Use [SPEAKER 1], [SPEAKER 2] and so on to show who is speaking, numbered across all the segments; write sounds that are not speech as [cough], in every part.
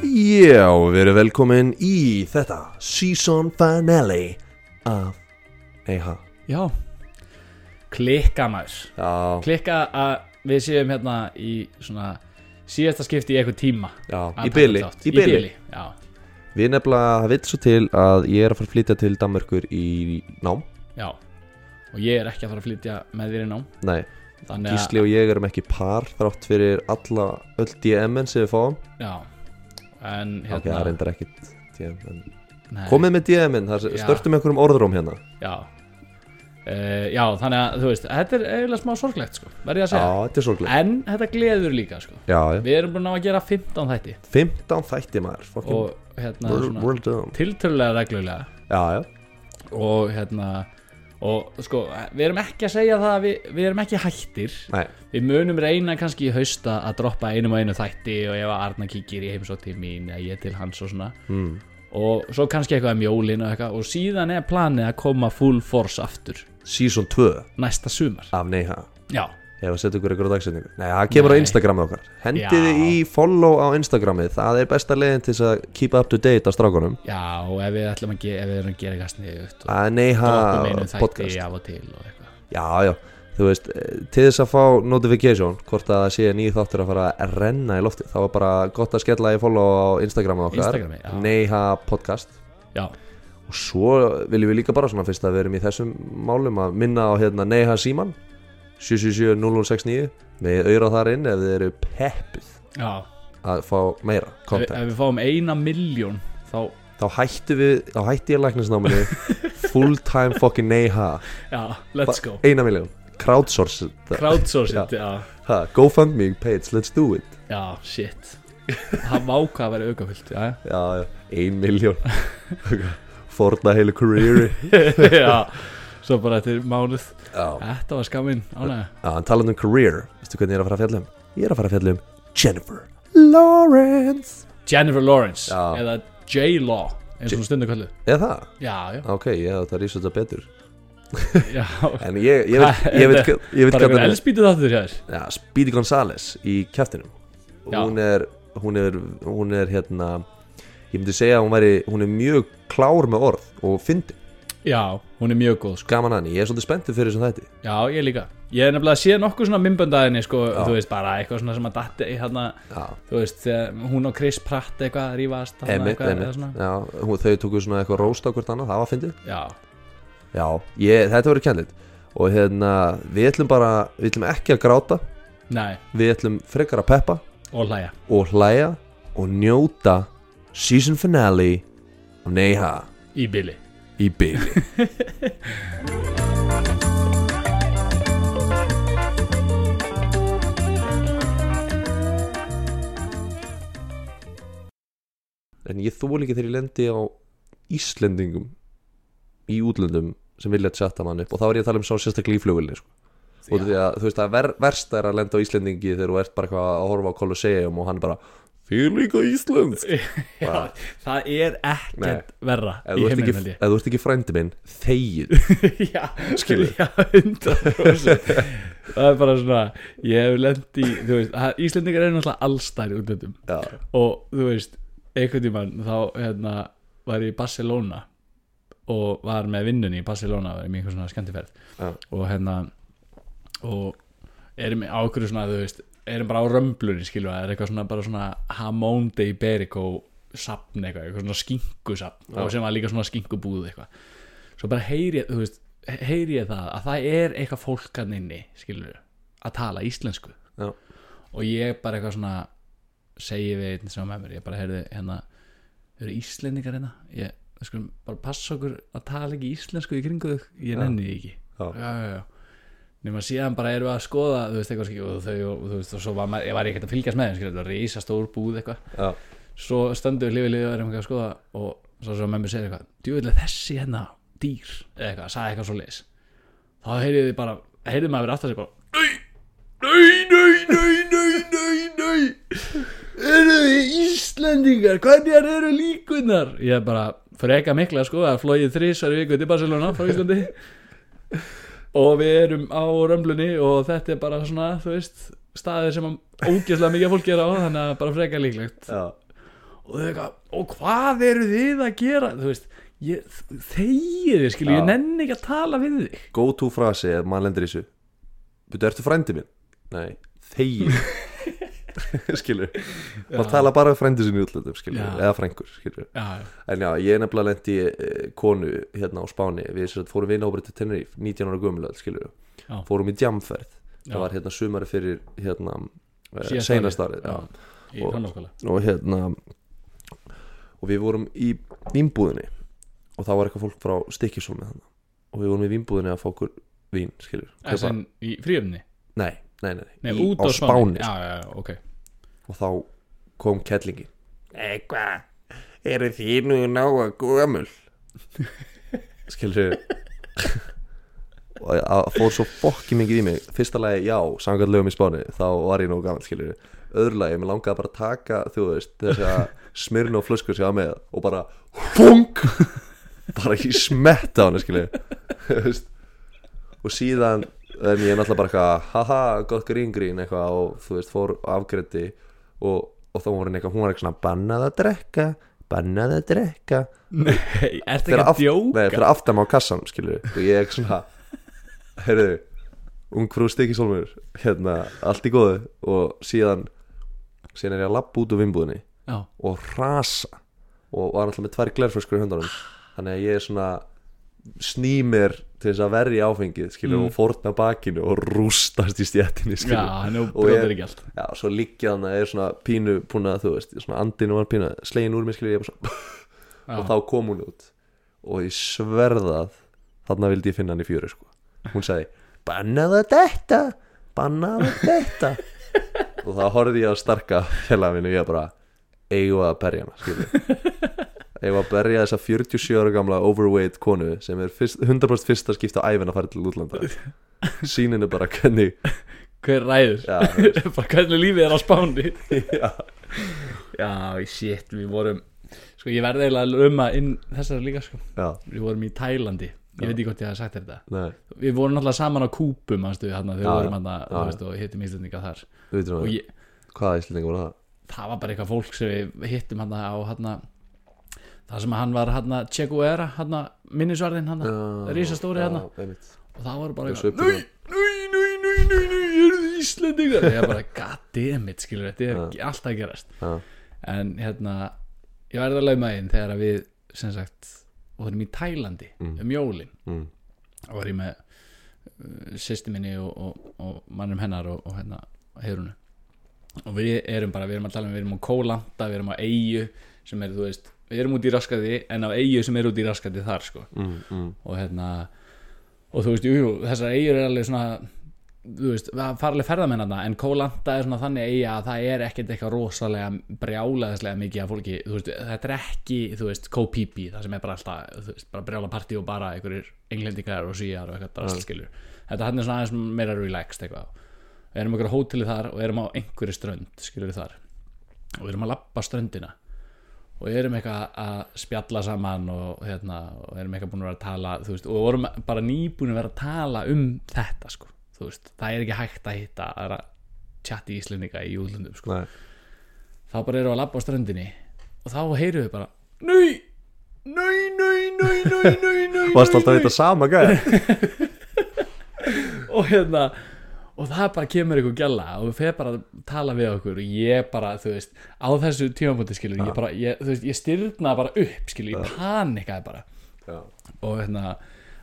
[SPEAKER 1] Já, við erum velkomin í þetta Season Finale af Eiha
[SPEAKER 2] Já Klikka maður
[SPEAKER 1] Já,
[SPEAKER 2] Klikka að við séum hérna í svona síðasta skipti í eitthvað tíma
[SPEAKER 1] já,
[SPEAKER 2] að
[SPEAKER 1] í
[SPEAKER 2] taka
[SPEAKER 1] byli,
[SPEAKER 2] þátt.
[SPEAKER 1] í byli
[SPEAKER 2] Já,
[SPEAKER 1] Við nefnilega, það veit svo til að ég er að fara að flytja til Danmörkur í nám
[SPEAKER 2] já Og ég er ekki að fara að flytja með þér í nám
[SPEAKER 1] Nei,
[SPEAKER 2] Þannig að
[SPEAKER 1] Gísli og ég erum ekki par þrátt fyrir alla öll DM-en sem við fáum
[SPEAKER 2] Já En
[SPEAKER 1] Ok, það
[SPEAKER 2] hérna
[SPEAKER 1] er endar ekkit DM en...
[SPEAKER 2] nei,
[SPEAKER 1] Komið með DM-en, það
[SPEAKER 2] Já.
[SPEAKER 1] störtum einhverjum orðróm hérna
[SPEAKER 2] Já uh, Já, þannig að þú veist Þetta er eiginlega smá sorglegt sko Verði ég að
[SPEAKER 1] Já,
[SPEAKER 2] segja
[SPEAKER 1] þetta er sorglega
[SPEAKER 2] En þetta gleður líka sko
[SPEAKER 1] Já, já,
[SPEAKER 2] Við erum búin að ná að gera 15 þætti
[SPEAKER 1] 15 þætti maður Fucking
[SPEAKER 2] Og hérna
[SPEAKER 1] world,
[SPEAKER 2] svona
[SPEAKER 1] world down
[SPEAKER 2] Tiltölulega reglulega
[SPEAKER 1] Já, já,
[SPEAKER 2] og hérna og sko, við erum ekki að segja það að við, við erum ekki hættir
[SPEAKER 1] nei,
[SPEAKER 2] við munum reyna kannski í hausta að droppa einum og einu þætti og ef að Arna kíkir í heimsótt til mín eða ég til hans og svona
[SPEAKER 1] mm.
[SPEAKER 2] og svo kannski eitthvað um jólin og eitthvað og síðan er planið að koma full force aftur
[SPEAKER 1] Season 2
[SPEAKER 2] næsta sumar
[SPEAKER 1] af Neiha
[SPEAKER 2] já,
[SPEAKER 1] Ef að setja ykkur ykkur á dagsendingu Nei, það kemur á
[SPEAKER 2] Nei.
[SPEAKER 1] Instagramið okkar Hendið
[SPEAKER 2] Já.
[SPEAKER 1] þið í follow á Instagramið Það er besta leiðin til þess að keep up to date á strákunum
[SPEAKER 2] já og ef við ætlum að, ge ef við erum að gera eitthvað sniðugt og
[SPEAKER 1] Það er neyha
[SPEAKER 2] droppum einu þætti
[SPEAKER 1] podcast
[SPEAKER 2] af og til og eitthvað
[SPEAKER 1] Já, já, þú veist eh, Til þess að fá notification Hvort að það sé nýð þáttur að fara að renna í lofti Þá er bara gott að skella í follow á Instagramið okkar
[SPEAKER 2] Instagrami, já.
[SPEAKER 1] Neyha podcast
[SPEAKER 2] já,
[SPEAKER 1] Og svo viljum við líka bara svona Fyrst að við erum í þessum málum Að minna á hérna Neyha Síman 777-0069 Með auðra þar inn ef þið eru peppið
[SPEAKER 2] já.
[SPEAKER 1] að fá meira
[SPEAKER 2] Ef,
[SPEAKER 1] content
[SPEAKER 2] ef við fáum eina miljón þá,
[SPEAKER 1] þá hættu við, þá hætti ég
[SPEAKER 2] [laughs]
[SPEAKER 1] læknisnáminu full time fucking neyha
[SPEAKER 2] já, let's go
[SPEAKER 1] eina miljón, crowdsource it.
[SPEAKER 2] crowdsource
[SPEAKER 1] Já.
[SPEAKER 2] it, já
[SPEAKER 1] ha, GoFundMe page, let's do it
[SPEAKER 2] Já, [laughs] shit Það má hvað að vera aukafullt Já,
[SPEAKER 1] já, já, ein
[SPEAKER 2] [laughs]
[SPEAKER 1] miljón forna heilu careeri
[SPEAKER 2] [laughs] já Svo bara eftir mánuð
[SPEAKER 1] já,
[SPEAKER 2] Þetta var skaminn, ánægja
[SPEAKER 1] já en talað um career veistu hvernig ég er að fara að fjalla um? ég er að fara að fjalla um Jennifer Lawrence
[SPEAKER 2] Jennifer Lawrence
[SPEAKER 1] Já.
[SPEAKER 2] Eða J-Law Eins og hún stundu kvöldu
[SPEAKER 1] eða það?
[SPEAKER 2] Já, já,
[SPEAKER 1] ok, ég hef þetta að rísa þetta betur
[SPEAKER 2] [laughs] já
[SPEAKER 1] en ég, ég veit, ég
[SPEAKER 2] [laughs]
[SPEAKER 1] veit, ég veit, ég veit
[SPEAKER 2] Bara
[SPEAKER 1] hvað
[SPEAKER 2] einhver
[SPEAKER 1] það er
[SPEAKER 2] elspýtu þáttur hjá þér
[SPEAKER 1] Já, Speedy Gonzales í kjæftinum
[SPEAKER 2] Já.
[SPEAKER 1] hún er, hún er hún er hérna ég myndi segja að hún, væri, hún er mjög klár með orð og fyndi,
[SPEAKER 2] Já, hún er mjög góð sko
[SPEAKER 1] gaman hann ég er svolítið spenntið fyrir þessum þætti
[SPEAKER 2] Já, ég líka Ég er nefnilega að sé nokkuð svona mymböndaðinni sko
[SPEAKER 1] Já.
[SPEAKER 2] Þú veist bara eitthvað svona sem að datti í hérna
[SPEAKER 1] Já,
[SPEAKER 2] Þú veist, þegar hún og Chris Pratt eitthvað að rífast þarna
[SPEAKER 1] emitt,
[SPEAKER 2] eitthvað, eða
[SPEAKER 1] emitt
[SPEAKER 2] svona.
[SPEAKER 1] Já, hún, þau tóku svona eitthvað róst á hvort annað, það var fyndið
[SPEAKER 2] Já,
[SPEAKER 1] Já, ég, þetta verður kennlit og hérna, við ætlum bara við ætlum ekki að gráta,
[SPEAKER 2] nei,
[SPEAKER 1] við ætlum frekar að peppa
[SPEAKER 2] og hlæja
[SPEAKER 1] og hlæja og njóta season finale af Neiha
[SPEAKER 2] Í bili
[SPEAKER 1] í
[SPEAKER 2] [laughs]
[SPEAKER 1] byli En ég þól ekki þegar ég lendi á Íslendingum í útlöndum sem vilja chatta mann upp og þá er ég að tala um sá sérstaklega í flugulni sko. og því að þú veist að ver, verst er að lenda á Íslendingi þegar þú ert bara eitthvað að horfa á Colosseum og hann bara fyrir líka Íslands
[SPEAKER 2] Já, það er ekkert
[SPEAKER 1] Nei.
[SPEAKER 2] verra
[SPEAKER 1] Ef
[SPEAKER 2] í
[SPEAKER 1] þú ert
[SPEAKER 2] heiminum
[SPEAKER 1] ekki,
[SPEAKER 2] held
[SPEAKER 1] ef þú ert ekki frændi minn,
[SPEAKER 2] [laughs]
[SPEAKER 1] þegið
[SPEAKER 2] ég Já,
[SPEAKER 1] Skilur.
[SPEAKER 2] Já, 100% Það er bara svona Ég hef lent í, þú veist að Íslendingar eru náttúrulega allstæri útlöndum
[SPEAKER 1] Já,
[SPEAKER 2] Og þú veist, einhvern tímann Þá hérna, var ég í Barcelona Og var með vinnunni í Barcelona Var ég með einhver svona skemmtiferð
[SPEAKER 1] Já.
[SPEAKER 2] Og hérna Og erum á okkur svona, þú veist Erum bara á römblunni, skilur Það er eitthvað svona, bara svona Hamón de Iberico safn eitthvað, eitthvað svona skinkusafn og sem var líka svona skinkubúð eitthvað svo bara heyri ég, þú veist, heyri ég það að það er eitthvað fólkan inni skilur, að tala íslensku
[SPEAKER 1] Já.
[SPEAKER 2] og ég bara eitthvað svona segi við einn sem var með mér ég bara heyrði hérna eru íslendingar hérna ég, við skulum bara passa okkur að tala ekki íslensku í kringu þau, ég nenni því ekki
[SPEAKER 1] Já.
[SPEAKER 2] já, já, já nema síðan bara erum við að skoða þú veist eitthvað skil og þau og þú veist og svo var maður, ég var ekkert að fylgjast með þeim skilur, þetta var reysa stór búð eitthvað
[SPEAKER 1] já
[SPEAKER 2] svo stöndum við hlifið hlifið og erum eitthvað að skoða og svo sem með mér segir eitthvað djúvilega þessi hérna dýr eða eitthvað, sagði eitthvað svo leis þá heyrið þið bara, heyrið maður verið aftur sig bara Nei, nei, nei, nei, nei, nei Eru þið Íslendingar, hvernig eru líkunar? Ég er bara freka mikla sko að flóið þrísar í viku til Barcelona frá Íslandi og við erum á römblunni og þetta er bara svona, þú veist staðið sem ógeðslega mikið fólki er á þannig að bara freka líklegt
[SPEAKER 1] Já,
[SPEAKER 2] og þau eitthvað, og hvað eru þið að gera þú veist, ég, þegið þið skilju,
[SPEAKER 1] Já.
[SPEAKER 2] ég nenni ekki að tala við þig
[SPEAKER 1] go to frasi ef maður lendir í þessu Butu, ertu frændi minn? Nei, þegi [laughs] Skilur Maður tala bara við frændi sinni í útlöndum, skilur
[SPEAKER 2] Já.
[SPEAKER 1] Eða frængur, skilur
[SPEAKER 2] já,
[SPEAKER 1] En já, ég er nefnilega lendi eh, konu hérna á Spáni Við sem sagt fórum vinahópur til Tenerife 19 ára gömulega, skilur
[SPEAKER 2] Já.
[SPEAKER 1] Fórum í djamferð
[SPEAKER 2] Já.
[SPEAKER 1] Það var hérna sumari fyrir hérna
[SPEAKER 2] Síðasta
[SPEAKER 1] Seinastarið
[SPEAKER 2] já,
[SPEAKER 1] já.
[SPEAKER 2] í
[SPEAKER 1] Og-
[SPEAKER 2] framhaldsskóla
[SPEAKER 1] og hérna og við vorum í vínbúðinni og það var eitthvað fólk frá Stikkisólmi þannig og við vorum í vínbúðinni að fá okkur vín skilur,
[SPEAKER 2] Eh,
[SPEAKER 1] Kaupa-
[SPEAKER 2] sem í fríöfni,
[SPEAKER 1] nei, nei, nei,
[SPEAKER 2] nei,
[SPEAKER 1] í,
[SPEAKER 2] út
[SPEAKER 1] á Spáni sko.
[SPEAKER 2] já, já, já, ok
[SPEAKER 1] og þá kom kellingi
[SPEAKER 3] Eitthvað, eru þið nú náa
[SPEAKER 1] [laughs]
[SPEAKER 3] gömul?
[SPEAKER 1] skilur og það fór svo fokki mikið í mig fyrsta lagi, já, samkvæmt lögum í Spáni þá var ég nógu gaman, skilur öðru lagi, mér langaði bara að taka, þú veist þess að smirn og flöskur sér að með og bara, fung bara ekki smetta á hana, skilur [laughs] Þú veist. og síðan en ég er náttúrulega bara eitthvað haha, gott grín grín eitthvað og þú veist, fór afgretti og, og þá var henni eitthvað, hún var eitthvað svona bannað að drekka, bannað að drekka
[SPEAKER 2] Nei, ertu ekki að
[SPEAKER 1] aft-
[SPEAKER 2] djóka?
[SPEAKER 1] nei, fyrir aftam á kassan skilur og ég er svona heyrðu, ung frú stikisólmur hérna, allt í góðu og síðan, síðan er ég að labba út úr vimbúðinni
[SPEAKER 2] Já,
[SPEAKER 1] og rasa og var alltaf með tvær glerflöskur í höndunum þannig að ég er svona snýmir til þess að verja áfengið skilur og fórna bakinu og rústast í stjættinni
[SPEAKER 2] já,
[SPEAKER 1] skilur
[SPEAKER 2] nú
[SPEAKER 1] Og ég-
[SPEAKER 2] brotir ekki allt
[SPEAKER 1] Já, svo líkja þannig að er svona pínu búin að þú veist, svona andinu var pínu slegin úr mér skilur ég er bara svona og þá
[SPEAKER 2] Já,
[SPEAKER 1] kom hún út og ég sverðað þarna vildi ég finna hann í fjöru sko. hún sagði, bannaðu þetta bannaðu þetta og þá horfði ég á starka félaga mínu og ég bara, eigum við að berja hana skilur eigum við að berja þessa 47 ára gamla overweight konu sem er fyrst, 100% fyrsta skipta á æfin að fara til útlanda sýninu bara hvernig
[SPEAKER 2] hver ræður?
[SPEAKER 1] já, þú veist,
[SPEAKER 2] [laughs] Bara hvernig lífið er á Spáni
[SPEAKER 1] já,
[SPEAKER 2] Já, shit, við vorum Sko, ég verði eiginlega að löma inn þessar líka, sko
[SPEAKER 1] já,
[SPEAKER 2] Við vorum í Tælandi Ég veit ekki hvort ég hafði sagt þér þetta
[SPEAKER 1] nei,
[SPEAKER 2] Við vorum náttúrulega saman á Kúpum, hans við hann Þegar
[SPEAKER 1] Já,
[SPEAKER 2] við vorum hann
[SPEAKER 1] já.
[SPEAKER 2] að, og hittum íslendinga þar
[SPEAKER 1] þú veitum
[SPEAKER 2] Og
[SPEAKER 1] að
[SPEAKER 2] ég,
[SPEAKER 1] hvaða íslendinga var það
[SPEAKER 2] það var bara eitthvað fólk sem við hittum hann á hann Það sem hann var hann að Che Guevara, hann að minnisvarðin hann
[SPEAKER 1] Já,
[SPEAKER 2] Rísastóri
[SPEAKER 1] já,
[SPEAKER 2] hann
[SPEAKER 1] einmitt.
[SPEAKER 2] Og það voru bara
[SPEAKER 1] Þessu
[SPEAKER 2] eitthvað
[SPEAKER 1] uppi
[SPEAKER 2] Núi, núi, núi, núi, núi, núi, eru þið íslendingar Ég er bara, goddammit, skilur Þetta er ekki alltaf að gerast
[SPEAKER 1] Já.
[SPEAKER 2] en hérna ég verði að lauma einn þegar að við sem sagt vorum í Tælandi um jólin
[SPEAKER 1] Mm.
[SPEAKER 2] og var ég með uh, sýsti minni og, og, og mannum hennar og, og hérna heyrunu og við erum bara, við erum að tala um við erum á Kólanda, við erum á Eyju sem er, þú veist, við erum út í raskati en á Eyju sem er út í raskati þar sko
[SPEAKER 1] mm, mm,
[SPEAKER 2] og hérna og þú veist, jú, jú, þessar eigur er alveg svona þú veist, farlega ferðamenn þarna en Kólanda er svona þannig eiga að það er ekkert eitthvað rosalega brjálaðislega mikið af fólki, þú veist, þetta er ekki þú veist, kópípi, það sem er bara alltaf þú veist, bara brjála partí og bara einhverjir englendingar og síjar og eitthvað drastlskilur þetta hann er svona aðeins meira relaxed eitthvað við erum okkur á hóteli þar og erum á einhverju strönd skilur þar og við erum að lappa ströndina og við erum eitthvað að spjalla saman og, hérna, og erum eitthvað búin að vera að tala þú veist, og við vorum bara nýbúin að vera að tala um þetta sko, þú veist, það er ekki hægt að hitta aðra tjatti íslendinga í útlöndum sko.
[SPEAKER 1] nei,
[SPEAKER 2] þá bara erum við að labba á ströndinni og þá heyrum við bara Nau, nau, nau, nau, nau, nau, nau
[SPEAKER 1] Varst alltaf þetta sama gæði
[SPEAKER 2] [laughs] og hérna og það bara kemur einhver gjalla og við fer bara að tala við okkur og ég bara, þú veist, á þessu tímabóti skilur, ég bara, ég, þú veist, ég styrna bara upp skilur, ég panikaði bara og hérna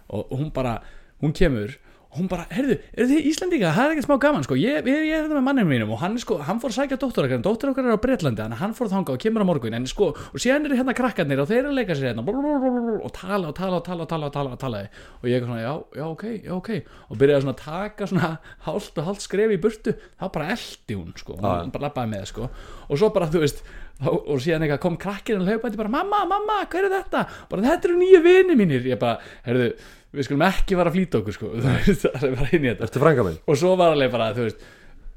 [SPEAKER 2] og hún bara, hún kemur og hún bara, heyrðu, eru þið Íslendinga, það er ekkert smá gaman sko, ég, ég, ég er þetta með manninu mínum og hann er sko, hann fór að sækja dóttur okkar, en dóttur okkar er á Bretlandi, þannig að hann fór þangað og kemur á morgun en sko, og síðan eru hérna krakkarnir og þeir eru að leika sér hérna blablabla, og tala og tala og tala og tala og tala og tala og ég er svona, já, já, ok, já, ok og byrjaði svona að taka svona hálft og hálft skref í burtu, þá bara eldi hún sko,
[SPEAKER 1] Já, já.
[SPEAKER 2] hún bara labbaði með sko og svo bara, þú veist, þá, og síðan eitthvað kom krakkirinn og hlaupandi bara, mamma, mamma, hver er þetta bara, þetta eru nýju vini mínir ég bara, heyrðu, við skulum ekki vara að flýta okkur sko, [laughs] þú veist, það er bara inn í þetta
[SPEAKER 1] Ertu frænga minn?
[SPEAKER 2] og svo var alveg bara, þú veist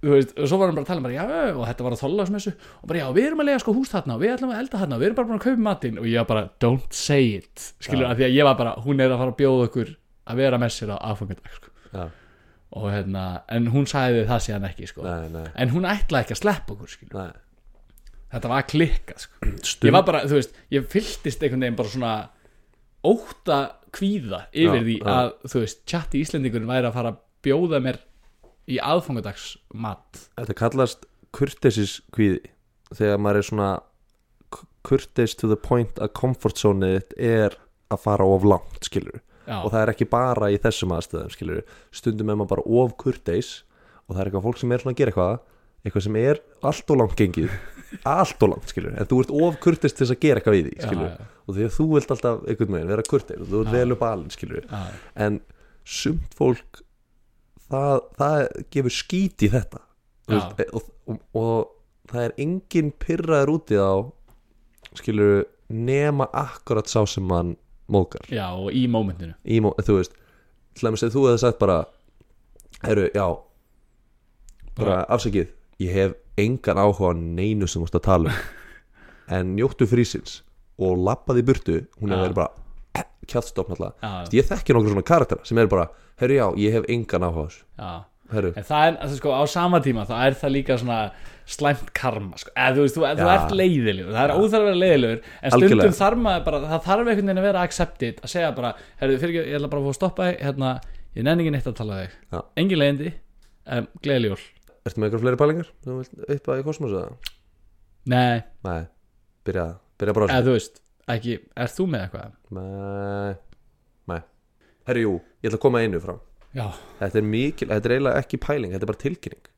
[SPEAKER 2] þú veist, og svo var hann bara að tala um bara, já, já, já, og þetta var að þolla og bara, já, við erum að lega sko hús þarna og við ætlum að elda þarna og við erum bara búin að kaupa matinn og ég var bara, don't say it skilur, af því að ég var bara, hún er að fara að bjóða okkur að vera með sér á aðfangadag sko.
[SPEAKER 1] Já,
[SPEAKER 2] og hérna, en hún sagði það síðan ekki sko.
[SPEAKER 1] nei, nei,
[SPEAKER 2] en hún ætlaði ekki að sleppa okkur skilur
[SPEAKER 1] nei
[SPEAKER 2] þetta var klikkað sko.
[SPEAKER 1] Stund,
[SPEAKER 2] ég var bara, þú veist, ég fylltist einhvern veginn bara svona óta kvíða yfir
[SPEAKER 1] Já,
[SPEAKER 2] því
[SPEAKER 1] já.
[SPEAKER 2] að, þú veist, chatti íslendingurinn væri að fara að bjóða mér í aðfangadags mat
[SPEAKER 1] Þetta kallast kurteisis kvíði Þegar maður er svona kurteis to the point að comfort zone þitt er að fara of langt skilur
[SPEAKER 2] Já,
[SPEAKER 1] og það er ekki bara í þessum aðstöðum skilur stundum er maður bara of kurteis og það er eitthvað fólk sem er svona að gera eitthvað eitthvað sem er allt og langt gengið allt og langt skilur en þú ert of kurteis til þess að gera eitthvað í því
[SPEAKER 2] Já,
[SPEAKER 1] skilur
[SPEAKER 2] já.
[SPEAKER 1] og því að þú vilt alltaf einhvern veginn vera kurteis og þú vilt vel upp alinn skilur
[SPEAKER 2] já,
[SPEAKER 1] en sumt fólk það, það gefur skít í þetta Þú
[SPEAKER 2] Já.
[SPEAKER 1] veist, e, og, og, og það er engin pyrraður úti á skilur nema akkurat sá sem mann móðgar
[SPEAKER 2] já, og í mómentinu
[SPEAKER 1] í, mó- þú veist, til dæmis að þú hefði sagt bara herru, já bara afsakið ég hef engan áhuga á neinu sem þú múst að
[SPEAKER 2] [laughs]
[SPEAKER 1] tala um en njóttu frísins og labbaði í burtu hún hefði
[SPEAKER 2] Já.
[SPEAKER 1] verið bara [clears throat] kjáttstofn alltaf
[SPEAKER 2] Já,
[SPEAKER 1] Þú veist, ég þekki nokkur svona karakter sem er bara herru já, ég hef engan áhuga á þessu
[SPEAKER 2] já
[SPEAKER 1] herru,
[SPEAKER 2] En það er, það sko, á sama tíma þá er það líka svona slæmt karma, sko, eða þú veist, þú, þú ert leiðilegur, það er óþarf að vera leiðilegur, en stundum
[SPEAKER 1] Algjörlega.
[SPEAKER 2] þarf maður bara, það þarf einhvern veginn að vera accepted, að segja bara, herru, fyrir ekki, ég ætla bara að fá að stoppa þig, hérna, ég nenni ekki neitt að tala við þig,
[SPEAKER 1] Já.
[SPEAKER 2] engin leiðindi, um, gleðileg jól,
[SPEAKER 1] ertu með einhver fleiri pælingar? þú vilt upp að í kosmosa?
[SPEAKER 2] nei,
[SPEAKER 1] nei, byrja, byrja bara á
[SPEAKER 2] eða þú veist, ekki, er þú með eitthvað?
[SPEAKER 1] þessu nei, nei herru jú, ég ætla að koma einu fram
[SPEAKER 2] Já,
[SPEAKER 1] þetta er mikil, þetta er eiginlega ekki pæling þetta er bara tilkynning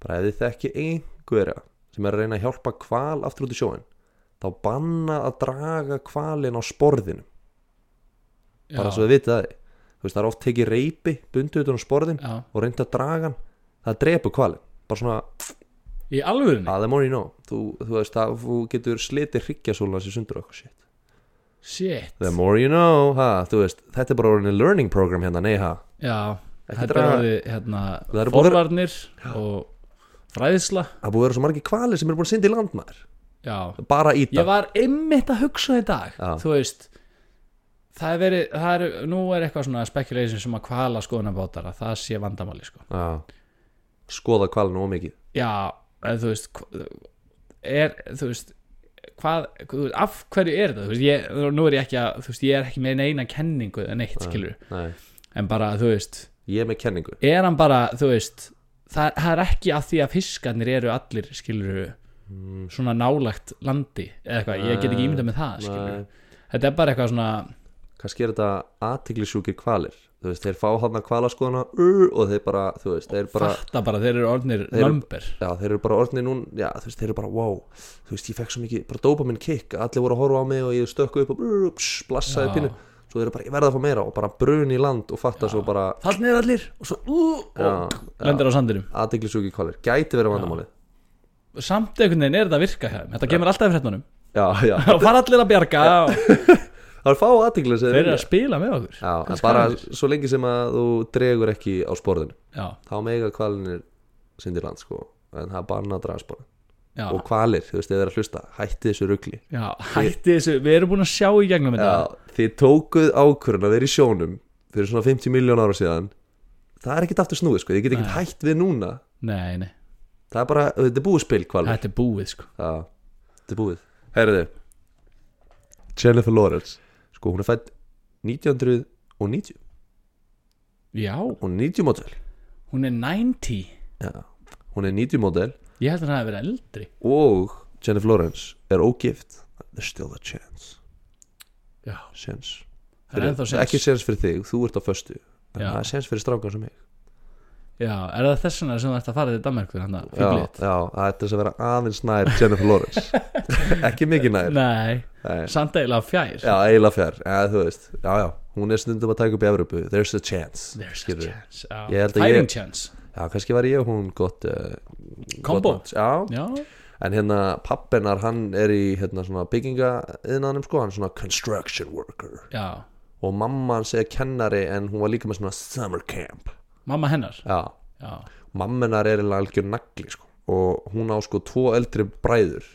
[SPEAKER 1] bara ef þið þekki einhverja sem er að reyna að hjálpa kval aftur út í sjóin þá banna að draga kvalin á sporðinu
[SPEAKER 2] já,
[SPEAKER 1] bara svo þið vitið það þú veist það er oft tekið reypi bundið utan á sporðin
[SPEAKER 2] já,
[SPEAKER 1] og reynda að draga hann það drepur kvalin bara svona
[SPEAKER 2] í alvörunni,
[SPEAKER 1] að the more you know þú, þú veist það þú getur slitið hryggjasólan sér sundur og eitthvað shit
[SPEAKER 2] shit,
[SPEAKER 1] the more you know ha, þú veist þetta er bara orðinni learning program hérna nei ha
[SPEAKER 2] já,
[SPEAKER 1] Ekki
[SPEAKER 2] þetta er
[SPEAKER 1] draga-
[SPEAKER 2] orðið, hérna,
[SPEAKER 1] Það eru búin að vera-
[SPEAKER 2] forvarnir og fræðisla,
[SPEAKER 1] það er búið að vera svo margir kvali sem eru búin að synda í landmaður
[SPEAKER 2] já,
[SPEAKER 1] bara í
[SPEAKER 2] ég
[SPEAKER 1] dag
[SPEAKER 2] var einmitt að hugsa um í dag
[SPEAKER 1] Já.
[SPEAKER 2] þú veist það er verið, það er, nú er eitthvað svona speculation sem að kvala skoðanabátara það sé vandamáli sko
[SPEAKER 1] Já. skoða kvalinu of mikið
[SPEAKER 2] já, en þú veist hva- er, þú veist hvað, þú veist, af hverju er þetta þú veist, ég, nú er ég ekki að, þú veist, ég er ekki með eina kenningu en eitt skilur
[SPEAKER 1] Nei.
[SPEAKER 2] en bara, þú veist,
[SPEAKER 1] ég er með kenningu
[SPEAKER 2] er hann bara, þú veist það, það er ekki að því að fiskarnir eru allir skilur svona nálagt landi eða eitthvað, ég get ekki ímyndað með það skilur
[SPEAKER 1] Mm. Nei.
[SPEAKER 2] þetta er bara eitthvað svona
[SPEAKER 1] kannski er þetta aðtiklisjúkir kvalir þú veist, þeir fá hann að kvala skoðana og þeir bara, þú veist, þeir bara
[SPEAKER 2] fatta bara, þeir eru orðnir
[SPEAKER 1] Þeir eru-
[SPEAKER 2] number
[SPEAKER 1] já, þeir eru bara orðni núna, já, þú veist, þeir eru bara wow, þú veist, ég fekk svo mikið, bara dopa minn kick allir voru að horfa á mig og ég stökku upp og brr, pss, blassaði
[SPEAKER 2] Já.
[SPEAKER 1] pínu svo þeir eru bara, ég verða að fá meira og bara brun í land og fatta svo bara
[SPEAKER 2] fallnir allir og svo ú,
[SPEAKER 1] Já,
[SPEAKER 2] og lendir á sandinum
[SPEAKER 1] aðtiklisjúkir kvalir, gæti verið vandamálið
[SPEAKER 2] samt einhvern veginn er þetta að virka hjá þeim þetta kemur alltaf í fréttunum
[SPEAKER 1] já, já,
[SPEAKER 2] [laughs] og fara allir að bjarga og
[SPEAKER 1] það er fá aðtiklis
[SPEAKER 2] þeir eru að spila með okkur
[SPEAKER 1] já, en
[SPEAKER 2] Kannski
[SPEAKER 1] bara
[SPEAKER 2] aðeins.
[SPEAKER 1] svo lengi sem að þú dregur ekki á sporðinu
[SPEAKER 2] já,
[SPEAKER 1] þá mega kvalinir syndir land sko en það er banna að draga spara
[SPEAKER 2] já,
[SPEAKER 1] og kvalir, þú veist, ef þið er að hlusta hætti þessu rugli
[SPEAKER 2] já, hætti þessu við erum búin að sjá í gegnum þetta
[SPEAKER 1] Já, þið tókuð ákvörðun að vera í sjónum fyrir svona 50 miljón ára síðan það er ekkert aftur snúið sko, þið get ekkert hætt við núna
[SPEAKER 2] nei, nei,
[SPEAKER 1] það er bara, þetta er búið spil kvalir
[SPEAKER 2] þetta er búið sko
[SPEAKER 1] Já, þetta er búið Herðu, Jennifer Lawrence sko, hún er fætt 1990
[SPEAKER 2] já,
[SPEAKER 1] hún er 90 model
[SPEAKER 2] hún er 90
[SPEAKER 1] Já, hún er 90 model
[SPEAKER 2] ég held að hann hafi verið eldri
[SPEAKER 1] og Jennifer Lawrence er ógift there's still a chance
[SPEAKER 2] já,
[SPEAKER 1] chance
[SPEAKER 2] það er ennþá
[SPEAKER 1] Fyrir-
[SPEAKER 2] sens
[SPEAKER 1] ekki séns fyrir þig, þú ert á föstu en
[SPEAKER 2] Já.
[SPEAKER 1] það er séns fyrir strákan sem mig
[SPEAKER 2] já, er það þess vegna sem þú ert að fara til Danmarkur hann að
[SPEAKER 1] já, já, það er til þess að vera aðeins nær Jennifer
[SPEAKER 2] [laughs]
[SPEAKER 1] Lawrence ekki mikið nær
[SPEAKER 2] nei,
[SPEAKER 1] Nei.
[SPEAKER 2] samt eiginlega fjær
[SPEAKER 1] já, eiginlega fjær, ja, þú veist já, já, hún er stundum að taka upp í Evropu there's a chance,
[SPEAKER 2] There's a
[SPEAKER 1] skilurðu.
[SPEAKER 2] chance já.
[SPEAKER 1] Ég held að
[SPEAKER 2] Fighting
[SPEAKER 1] ég-
[SPEAKER 2] chance
[SPEAKER 1] já, kannski var ég og hún gott uh,
[SPEAKER 2] Combo.
[SPEAKER 1] gott match. já,
[SPEAKER 2] Já,
[SPEAKER 1] en hérna pappenar hann er í hérna svona bygginga innanum sko, hann er svona construction worker
[SPEAKER 2] já,
[SPEAKER 1] og mamma hans er kennari en hún var líka með svona summer camp
[SPEAKER 2] mamma hennar
[SPEAKER 1] já,
[SPEAKER 2] Já,
[SPEAKER 1] mammenar er eiginlega algjör nagli sko. og hún á sko tvo eldri bræður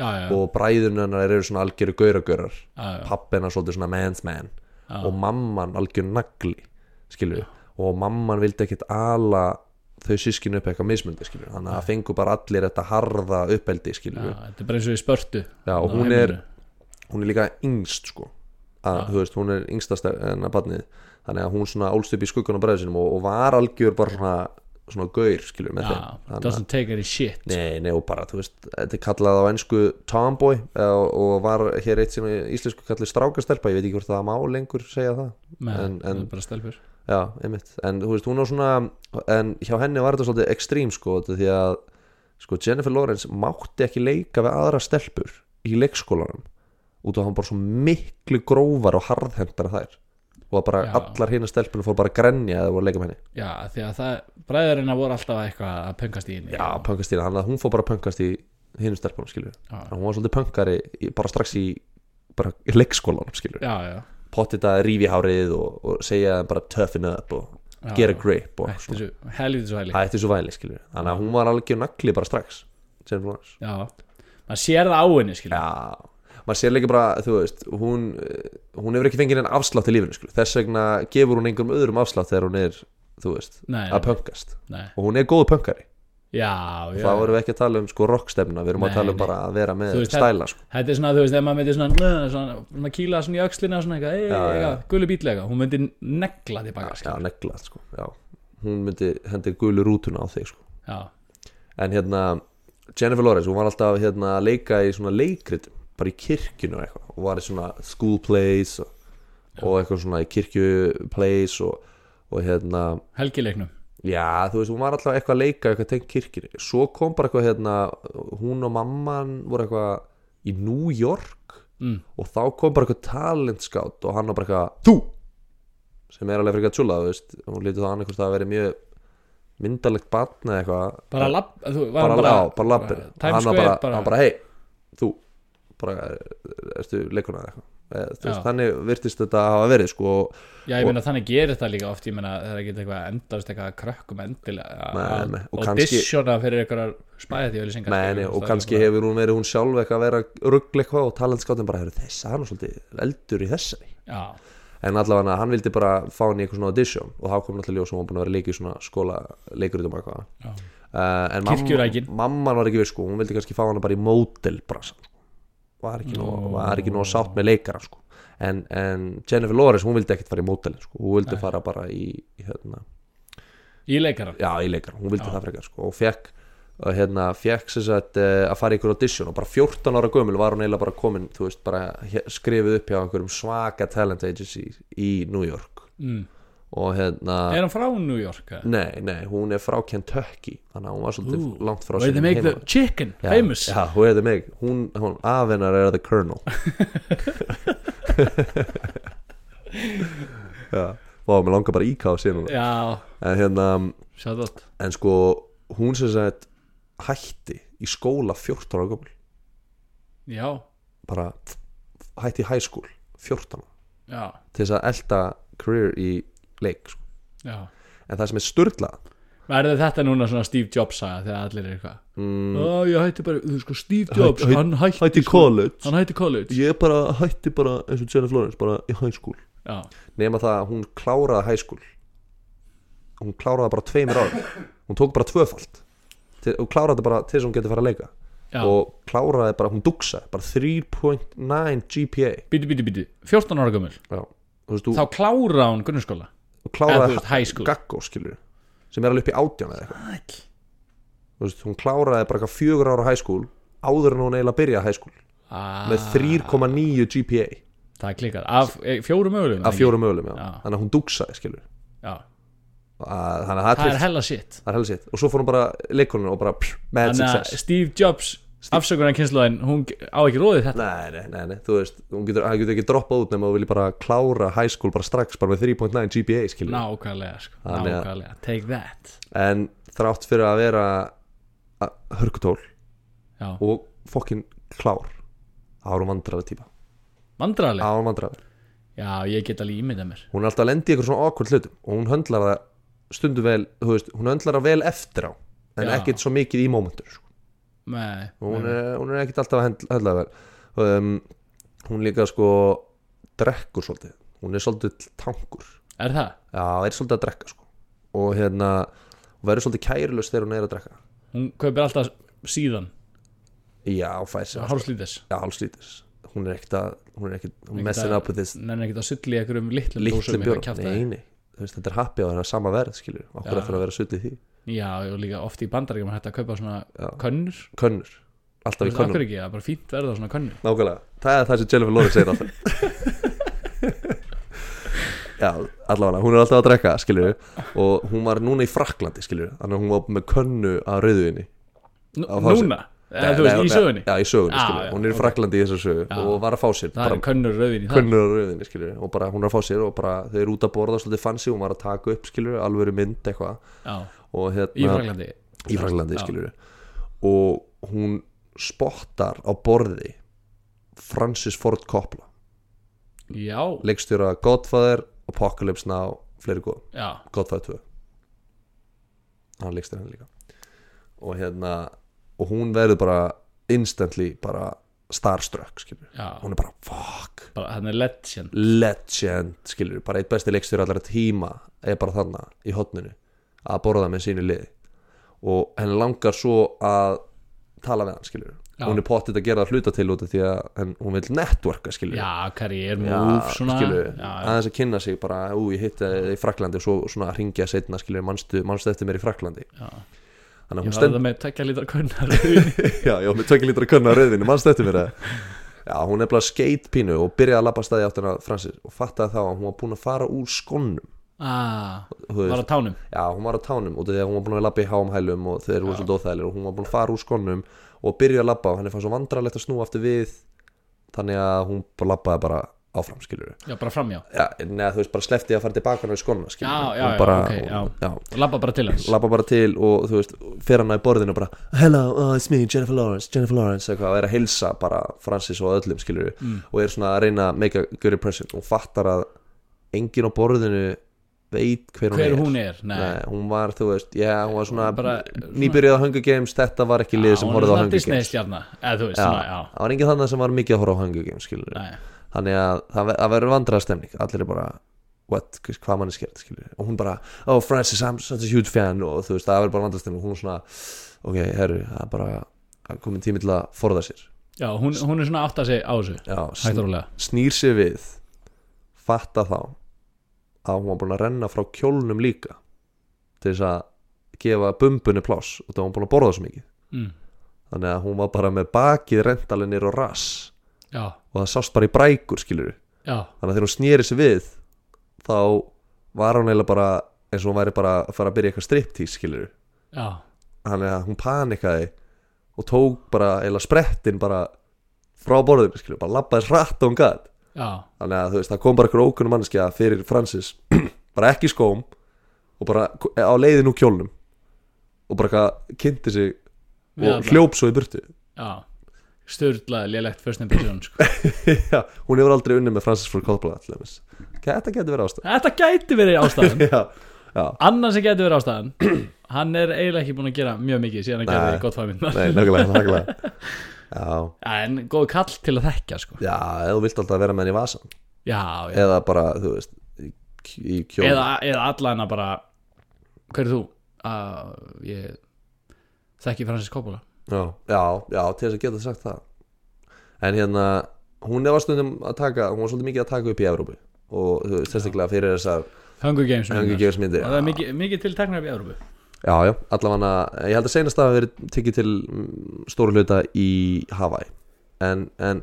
[SPEAKER 2] já, já,
[SPEAKER 1] og bræðunar eru svona algjöru gauragaurar
[SPEAKER 2] já, já.
[SPEAKER 1] pappina svolítið svona man's man og mamman algjör nagli skilju og mamman vildi ekkit ala þau sískinu upp eitthvað mismundi skilur þannig að það fengu bara allir þetta harða uppeldi skilur já,
[SPEAKER 2] þetta er bara eins og í spörtu
[SPEAKER 1] og
[SPEAKER 2] Ná,
[SPEAKER 1] hún er,
[SPEAKER 2] heimilinu.
[SPEAKER 1] hún er líka yngst sko að, þú veist, hún er yngstast en að barnið þannig að hún svona ólst upp í skuggan á bræðsinum og, og var algjör bara svona, svona gaur skilur með
[SPEAKER 2] Já,
[SPEAKER 1] þeim Þannig að-
[SPEAKER 2] doesn't take any shit
[SPEAKER 1] Nei, nei og bara, þú veist, þetta er kallað á ensku tomboy eh, og var hér eitt sem í íslensku kallið strákastelpa ég veit ekki hvort það má lengur segja það
[SPEAKER 2] Nei,
[SPEAKER 1] en- en-
[SPEAKER 2] það er bara stelpur
[SPEAKER 1] já, einmitt, en þú veist, hún var svona en hjá henni var þetta svolítið ekstrím sko, þetta því að sko, Jennifer Lawrence mátti ekki leika við aðra stelpur í leikskólanum út af að hann bara svo miklu grófar og harðhendar þær og að bara
[SPEAKER 2] Já.
[SPEAKER 1] allar hina stelpunum fór bara að grenja eða voru að leika með henni
[SPEAKER 2] Já, því að það, bræðurina voru alltaf eitthvað að pöngast í henni
[SPEAKER 1] já, pöngast í hann, hún fór bara að pöngast í hinum stelpunum, skilur
[SPEAKER 2] já,
[SPEAKER 1] Þannig að hún var svolítið pöngari í- bara strax í bara leikskólanum skilur
[SPEAKER 2] já, já,
[SPEAKER 1] pottið að rífi hárið og, og segja þeim bara toughen up og
[SPEAKER 2] já
[SPEAKER 1] get a grip og
[SPEAKER 2] Hætti þessu, helviti svo helviti
[SPEAKER 1] það eftir svo væli skilur þannig að hún var algjör nagli bara strax sem hún var
[SPEAKER 2] Já, maður sér það á henni, skilja
[SPEAKER 1] já maður sér líka bara þú veist hún, eh, hún hefur ekki fengið enn afslátt í lífinu skilur þess vegna gefur hún einhverjum öðrum afslátt þegar hún er þú veist
[SPEAKER 2] Nei,
[SPEAKER 1] að pöngast
[SPEAKER 2] nei,
[SPEAKER 1] og hún er góð pöngari
[SPEAKER 2] já, já
[SPEAKER 1] þá erum við ekki að tala um sko rockstefna við erum
[SPEAKER 2] Nei,
[SPEAKER 1] að tala um
[SPEAKER 2] nei.
[SPEAKER 1] bara að vera með
[SPEAKER 2] Þú veist,
[SPEAKER 1] stæla sko.
[SPEAKER 2] Þetta er svona, þú veist, ef maður myndi svona, svona, svona, svona kýla svona í öxlina og svona eitthvað,
[SPEAKER 1] Já, já,
[SPEAKER 2] eitthvað,
[SPEAKER 1] já.
[SPEAKER 2] gullu bítlega, hún myndi negla tilbaka,
[SPEAKER 1] já,
[SPEAKER 2] skilja.
[SPEAKER 1] negla sko. já. hún myndi hendir gulu rútuna á þig sko.
[SPEAKER 2] Já,
[SPEAKER 1] en hérna Jennifer Lawrence, hún var alltaf hérna, að leika í svona leikrit bara í kirkjunu og eitthvað og var í svona school plays og, og eitthvað svona í kirkju plays og, og hérna
[SPEAKER 2] helgileiknum.
[SPEAKER 1] já, þú veist, hún var alltaf eitthvað að leika eitthvað tengt kirkjunni, svo kom bara eitthvað hérna, hún og mamman voru eitthvað í New York
[SPEAKER 2] Mm.
[SPEAKER 1] og þá kom bara eitthvað talentskátt og hann var bara eitthvað þú sem er alveg fyrir eitthvað tjúla veist, hún lítið það annað hvort það að vera mjög myndalegt barn eða eitthvað
[SPEAKER 2] Bara lapp, þú var
[SPEAKER 1] bara,
[SPEAKER 2] hann
[SPEAKER 1] bara, á, bara lappir
[SPEAKER 2] Times
[SPEAKER 1] hann var
[SPEAKER 2] Square,
[SPEAKER 1] bara,
[SPEAKER 2] bara,
[SPEAKER 1] hann bara hei þú bara erstu leikuna eða eitthvað Eh, þú veist,
[SPEAKER 2] Já.
[SPEAKER 1] þannig virtist þetta að hafa verið sko og-
[SPEAKER 2] já, ég meina þannig gerir þetta líka oft, ég meina það er ekki eitthvað endast eitthvað að krökkum endilega,
[SPEAKER 1] Nei,
[SPEAKER 2] að-
[SPEAKER 1] nei, og
[SPEAKER 2] að
[SPEAKER 1] kannski-
[SPEAKER 2] auditiona fyrir eitthvað spæði því öllisengar.
[SPEAKER 1] meni, og kannski hefur hún verið hún sjálf eitthvað að vera ruggl eitthvað og talentskátum bara "Heyrðu, þess að hann er svolítið eldur í þessari
[SPEAKER 2] Já,
[SPEAKER 1] en allavega hann vildi bara fá hann í eitthvað svona audition og þá kom náttúrulega ljós og hún var búin að vera að leika í svona skóla leikuritum eitthvað
[SPEAKER 2] já,
[SPEAKER 1] uh, en
[SPEAKER 2] Kirkjurækin.
[SPEAKER 1] mamma, mamman var ekki við sko hún vildi kannski fá hana bara í mótelbrasa var ekki nóg, var ekki nóg sátt með leikara sko. en, en Jennifer Lawrence hún vildi ekkert fara í mótelin sko. hún vildi fara bara í, í hérna,
[SPEAKER 2] í leikaran.
[SPEAKER 1] já, í leikara, hún vildi það frekar sko, og fekk og hérna, fekk sem sagt eh, að fara í ykkur audition og bara 14 ára gömul var hún eiginlega bara komin, þú veist, bara he- skrifuð upp hjá einhverjum svaka talent agency í New York
[SPEAKER 2] Mm.
[SPEAKER 1] og hérna,
[SPEAKER 2] Er hann frá New York? eða?
[SPEAKER 1] nei, nei, hún er frá Kentucky, þannig að hún var svolítið
[SPEAKER 2] Ú,
[SPEAKER 1] langt frá
[SPEAKER 2] Where they
[SPEAKER 1] sínum
[SPEAKER 2] make the
[SPEAKER 1] heimavöll.
[SPEAKER 2] chicken
[SPEAKER 1] Já,
[SPEAKER 2] famous.
[SPEAKER 1] Já, hún hefði mig Hún, hún afennar er the
[SPEAKER 2] [laughs]
[SPEAKER 1] colonel Já Vá, mér langar bara íká sér núna
[SPEAKER 2] Já,
[SPEAKER 1] En hérna,
[SPEAKER 2] shout out.
[SPEAKER 1] en sko Hún sem sagt hætti Í skóla 14 ára gömul
[SPEAKER 2] Já,
[SPEAKER 1] Bara hætti í high school 14 ára,
[SPEAKER 2] já,
[SPEAKER 1] Til þess að elda career í leik sko.
[SPEAKER 2] já.
[SPEAKER 1] En það sem er sturla
[SPEAKER 2] Verður þetta núna svona Steve Jobs saga þegar allir er eitthvað
[SPEAKER 1] mm,
[SPEAKER 2] Ó, ég hætti bara, þú veist sko Steve Jobs,
[SPEAKER 1] Hætti-
[SPEAKER 2] hann hætti, sko,
[SPEAKER 1] college
[SPEAKER 2] Hann hætti college
[SPEAKER 1] Ég bara hætti bara eins og Jennifer Lawrence Bara í high school
[SPEAKER 2] Já,
[SPEAKER 1] nema það að hún kláraði hæskúl hún kláraði bara tveimur árum hún tók bara tvöfald til, hún kláraði þetta bara til þess að hún geti fara að leika
[SPEAKER 2] já,
[SPEAKER 1] og kláraði bara, hún duksaði bara 3.9 GPA
[SPEAKER 2] bíti, bíti, bíti 14 ára gömul,
[SPEAKER 1] já, þú veist,
[SPEAKER 2] þá
[SPEAKER 1] þú
[SPEAKER 2] klára hún grunnskóla
[SPEAKER 1] hún
[SPEAKER 2] Eða þú
[SPEAKER 1] kláraði
[SPEAKER 2] veist, high school
[SPEAKER 1] gaggó skilur sem er alveg upp í átján eða eitthvað
[SPEAKER 2] Æll.
[SPEAKER 1] Þú veist, hún kláraði bara eitthvað fjögur ára hæskúl áður en hún eiginlega byrjaði hæskúl
[SPEAKER 2] ah,
[SPEAKER 1] með 3.9 GPA
[SPEAKER 2] Það klikkar, af e, fjórum mögulegum
[SPEAKER 1] af fjórum mögulegum, já.
[SPEAKER 2] Já.
[SPEAKER 1] þannig að hún duksaði skilur
[SPEAKER 2] Já,
[SPEAKER 1] Að- þannig að það
[SPEAKER 2] það er
[SPEAKER 1] treyst-
[SPEAKER 2] hella shit
[SPEAKER 1] það er helsitt og svo fór hún bara leikoninu og bara pff, mad
[SPEAKER 2] Þannig
[SPEAKER 1] success
[SPEAKER 2] að Steve Jobs, afsökunar kynnslóðin Hún ge- á ekki róðið þetta
[SPEAKER 1] Nei, nei, nei, nei, þú veist, hún getur, hann getur ekki droppað út nema þú vilji bara klára high school bara strax bara með 3.9 GPA, skilur
[SPEAKER 2] Nákvæmlega, sko,
[SPEAKER 1] Þannig að-
[SPEAKER 2] nákvæmlega Take that
[SPEAKER 1] en þrátt fyrir að vera að- hörkutól
[SPEAKER 2] Já,
[SPEAKER 1] og fokkin klár þá er hún vandraði típa, þá
[SPEAKER 2] vandrarlega
[SPEAKER 1] er hún vandraði
[SPEAKER 2] Já, ég get alveg ímyndað mér
[SPEAKER 1] hún er alltaf að lendi ykkur svona awkward hlutum og hún höndlar það stundu vel, þú veist, hún höndlar það vel eftir á en
[SPEAKER 2] Já.
[SPEAKER 1] ekkert svo mikið í mómentur sko.
[SPEAKER 2] Nei,
[SPEAKER 1] hún,
[SPEAKER 2] nei,
[SPEAKER 1] er- hún er ekkert alltaf að höndla, höndla það vel um, hún líka sko drekkur svolítið, hún er svolítið tankur
[SPEAKER 2] er það?
[SPEAKER 1] Já, er svolítið að drekka sko Og hérna, og verður svolítið kærulaus þegar hún er að drekka
[SPEAKER 2] Hún kaupir alltaf síðan
[SPEAKER 1] já, fær sér alltaf-
[SPEAKER 2] Hálslítis
[SPEAKER 1] já, hálslítis hún er ekkert að, hún er ekkert hún
[SPEAKER 2] Ekkert
[SPEAKER 1] messin
[SPEAKER 2] að-
[SPEAKER 1] up with this
[SPEAKER 2] Nenni ekkert að sulli ykkur um litlum dósum
[SPEAKER 1] litlum
[SPEAKER 2] eitthvað
[SPEAKER 1] bjór
[SPEAKER 2] kjaftaði.
[SPEAKER 1] nei, nei, þú veist, þetta er happy og það er sama verð skilur, okkur
[SPEAKER 2] Já.
[SPEAKER 1] eftir að vera sutt í því
[SPEAKER 2] Já, og líka oft í bandaríkjum er hægt að kaupa svona
[SPEAKER 1] Já.
[SPEAKER 2] könnur
[SPEAKER 1] könnur, alltaf í
[SPEAKER 2] Þú veist, af
[SPEAKER 1] könnur
[SPEAKER 2] hverju ekki, það er bara fínt verða svona könnur
[SPEAKER 1] nákvæmlega, það er það sem Jennifer Lawrence segir
[SPEAKER 2] [laughs]
[SPEAKER 1] alltaf já, allavega, hún er alltaf að drekka skilur, og hún var núna í Fraklandi skilur, þannig að hún var með könnu að rauðvinni
[SPEAKER 2] Nú-
[SPEAKER 1] Á fási.
[SPEAKER 2] Núna, eða Eh, þú veist, í sögunni
[SPEAKER 1] já, í sögunni,
[SPEAKER 2] Já,
[SPEAKER 1] skilur,
[SPEAKER 2] já,
[SPEAKER 1] hún er í
[SPEAKER 2] ok.
[SPEAKER 1] Fraklandi í þessar sögu
[SPEAKER 2] Já.
[SPEAKER 1] og var að fá sér
[SPEAKER 2] Það
[SPEAKER 1] bara
[SPEAKER 2] er könnur rauðin í það
[SPEAKER 1] kunnur á rauðinni skilur og bara hún er að fá sér og bara þau eru út að borða svolítið fancy hún var að taka upp skilur alvöru mynd eitthvað
[SPEAKER 2] Já,
[SPEAKER 1] og hérna
[SPEAKER 2] í Fraklandi
[SPEAKER 1] í Fraklandi
[SPEAKER 2] Já.
[SPEAKER 1] skilur og hún spottar á borði Francis Ford Coppola
[SPEAKER 2] Já,
[SPEAKER 1] leikstjóra Godfather Apocalypse Now fleiri góð
[SPEAKER 2] já,
[SPEAKER 1] Godfather 2 hann leikstjóra henni líka og hérna og hún verður bara instantly bara starstruck skilur
[SPEAKER 2] já
[SPEAKER 1] hún er bara fuck
[SPEAKER 2] Bara, hann er legend
[SPEAKER 1] legend, skilur, bara eitt besti leikstjóri allara tíma er bara þarna í hotninu að borða með sínu liði og henni langar svo að tala við hann, skilur
[SPEAKER 2] Já.
[SPEAKER 1] hún er pottitt að gera það hluta til út af því að henn, hún vil networka, skilur
[SPEAKER 2] Já, karriér,
[SPEAKER 1] Já,
[SPEAKER 2] move, svona
[SPEAKER 1] skilur,
[SPEAKER 2] Já,
[SPEAKER 1] aðeins að kynna sig bara, ú, ég hitti þig í Fraklandi og svo svona að ringja setna, skilur, manstu, manstu eftir mér í Fraklandi
[SPEAKER 2] já
[SPEAKER 1] þannig að
[SPEAKER 2] Ég
[SPEAKER 1] hún
[SPEAKER 2] var
[SPEAKER 1] stendur
[SPEAKER 2] það með tekja lítra kunnar rauðin
[SPEAKER 1] já, já, með tvekki lítur að kunna rauðinu, mannst eftir mér það Já, hún er bara skeitt pínu og byrjaði að labba staði áttina að Francis og fattaði þá að hún var búin að fara úr skonnum
[SPEAKER 2] [laughs] Ah,
[SPEAKER 1] þú veist,
[SPEAKER 2] var á tánum
[SPEAKER 1] já, hún var á tánum út af því að hún var búin að labba í háum hælum og þeir voru svolítið óþægilegir og hún var búin að fara úr skonnum og byrjaði að labba og henni fannst svo vandralegt að snúa aftur við þannig að hún bara labbaði bara áfram, skilur
[SPEAKER 2] Já, bara framjá
[SPEAKER 1] Já, neða, þú veist, bara sleppti að fara tilbaka í skonna, skilur
[SPEAKER 2] Já, já, já,
[SPEAKER 1] bara,
[SPEAKER 2] ok, já.
[SPEAKER 1] hún, já
[SPEAKER 2] Labba bara til hans
[SPEAKER 1] labba bara til og þú veist fer hana í borðinu og bara hello, oh, it's me, Jennifer Lawrence, Jennifer Lawrence eitthvað, og er að hilsa bara Francis og öllum skilur
[SPEAKER 2] Mm.
[SPEAKER 1] og er svona að reyna að make a good impression og fattar að enginn á borðinu veit hver,
[SPEAKER 2] Hver
[SPEAKER 1] hún er
[SPEAKER 2] hún er, nei
[SPEAKER 1] Nei, hún var, þú veist, já, hún var svona
[SPEAKER 2] Bara-
[SPEAKER 1] nýbyrjuð á Hunger Games, þetta var ekki lið sem horfði á Hunger
[SPEAKER 2] Disney
[SPEAKER 1] Games
[SPEAKER 2] stjarna, eða þú veist,
[SPEAKER 1] Já,
[SPEAKER 2] svona, já
[SPEAKER 1] það var enginn þannig sem var mikið að horfa á Hunger Games skilur
[SPEAKER 2] Nei,
[SPEAKER 1] þannig að það, ver- það verður vandraðstemning allir er bara what, hvers- hvað mann er skert skilur. og hún bara, oh Francis, I'm such a huge fan og þú veist, það verður bara vandraðstemning og hún er svona, ok, herru, það er bara það er komin tími til að forða sér
[SPEAKER 2] já, hún, hún er svona átt að segja á þessu
[SPEAKER 1] Já,
[SPEAKER 2] Hægt
[SPEAKER 1] sn-
[SPEAKER 2] og rólega
[SPEAKER 1] snýr sér við fatta þá að hún var búin að renna frá kjólnum líka til þess að gefa bumbunni pláss og það var hún búin að borða svo mikið
[SPEAKER 2] mm.
[SPEAKER 1] þannig að hún var bara með bakið rendalinir og rass
[SPEAKER 2] Já,
[SPEAKER 1] og það sást bara í brækur skilur
[SPEAKER 2] já,
[SPEAKER 1] þannig að þegar hún snýri sig við þá var hún eiginlega bara eins og hún væri bara að fara að byrja eitthvað striptease skilur
[SPEAKER 2] já
[SPEAKER 1] þannig að hún panikaði og tók bara eiginlega sprettin bara frá borðinu skilur, bara labbaði hratt og hún gat
[SPEAKER 2] Já,
[SPEAKER 1] þannig að þú veist, það kom bara eitthvað ókunnum mannskja fyrir Francis, [clears throat] bara ekki í skóm og bara á leiðin úr kjólnum og bara eitthvað kynnti sig
[SPEAKER 2] Við
[SPEAKER 1] og
[SPEAKER 2] alla.
[SPEAKER 1] hljóp svo í burtu [laughs]
[SPEAKER 2] já Sturlaði lélegt first impression sko.
[SPEAKER 1] Já, hún hefur aldrei unni með Francis Ford Coppola til dæmis. þetta getur verið ástæð
[SPEAKER 2] Þetta gæti verið ástæðan
[SPEAKER 1] [laughs] já, já,
[SPEAKER 2] Annar sem gæti verið ástæðan [clears throat] Hann er eiginlega ekki búin að gera mjög mikið síðan hann
[SPEAKER 1] Nei.
[SPEAKER 2] gerði gott fæmyndar
[SPEAKER 1] Nei, nákvæmlega, nákvæmlega Já,
[SPEAKER 2] En góð kall til að þekkja sko.
[SPEAKER 1] já, eða þú vilt alltaf vera með henni í vasan
[SPEAKER 2] Já, já
[SPEAKER 1] Eða bara, þú veist, í, í kjól
[SPEAKER 2] Eða, eða allana bara Hver er þú? Uh, ég þekki Francis Coppola
[SPEAKER 1] já, já, já, til þess að geta sagt það En hérna, hún var stundum að taka Hún var svolítið mikið að taka upp í Evrópu Og þú veist, sérstaklega fyrir þessar
[SPEAKER 2] Hunger Games
[SPEAKER 1] Hengi
[SPEAKER 2] myndirnar.
[SPEAKER 1] gefis myndir
[SPEAKER 2] Og Það er mikið, mikið til teknar upp í Európu
[SPEAKER 1] Já, já, allavega Ég held að seinast að hafa verið tekið til mm, Stóru hluta í Hawaii En, en,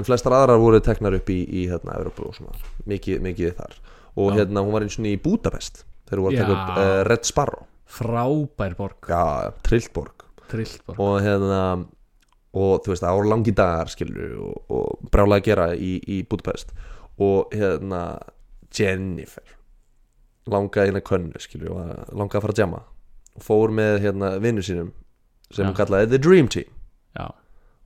[SPEAKER 1] en flestar aðrar voru teknar upp í, í hérna, Evrópu og svona, mikið, mikið þar og hérna, hún var eins og í Budapest þegar hún var að taka upp
[SPEAKER 2] Já.
[SPEAKER 1] uh, Red Sparrow
[SPEAKER 2] Frábær borg,
[SPEAKER 1] Já, já, trillborg
[SPEAKER 2] trillt borg
[SPEAKER 1] og hérna og þú veist, ára langi dagar skilur og, og brjálega að gera í, í Budapest og hérna Jennifer langaði inn að könnu skilur og var- langaði að fara að jamma og fór með hérna vinnu sínum sem
[SPEAKER 2] Já.
[SPEAKER 1] hún kallaði The Dream Team
[SPEAKER 2] Já,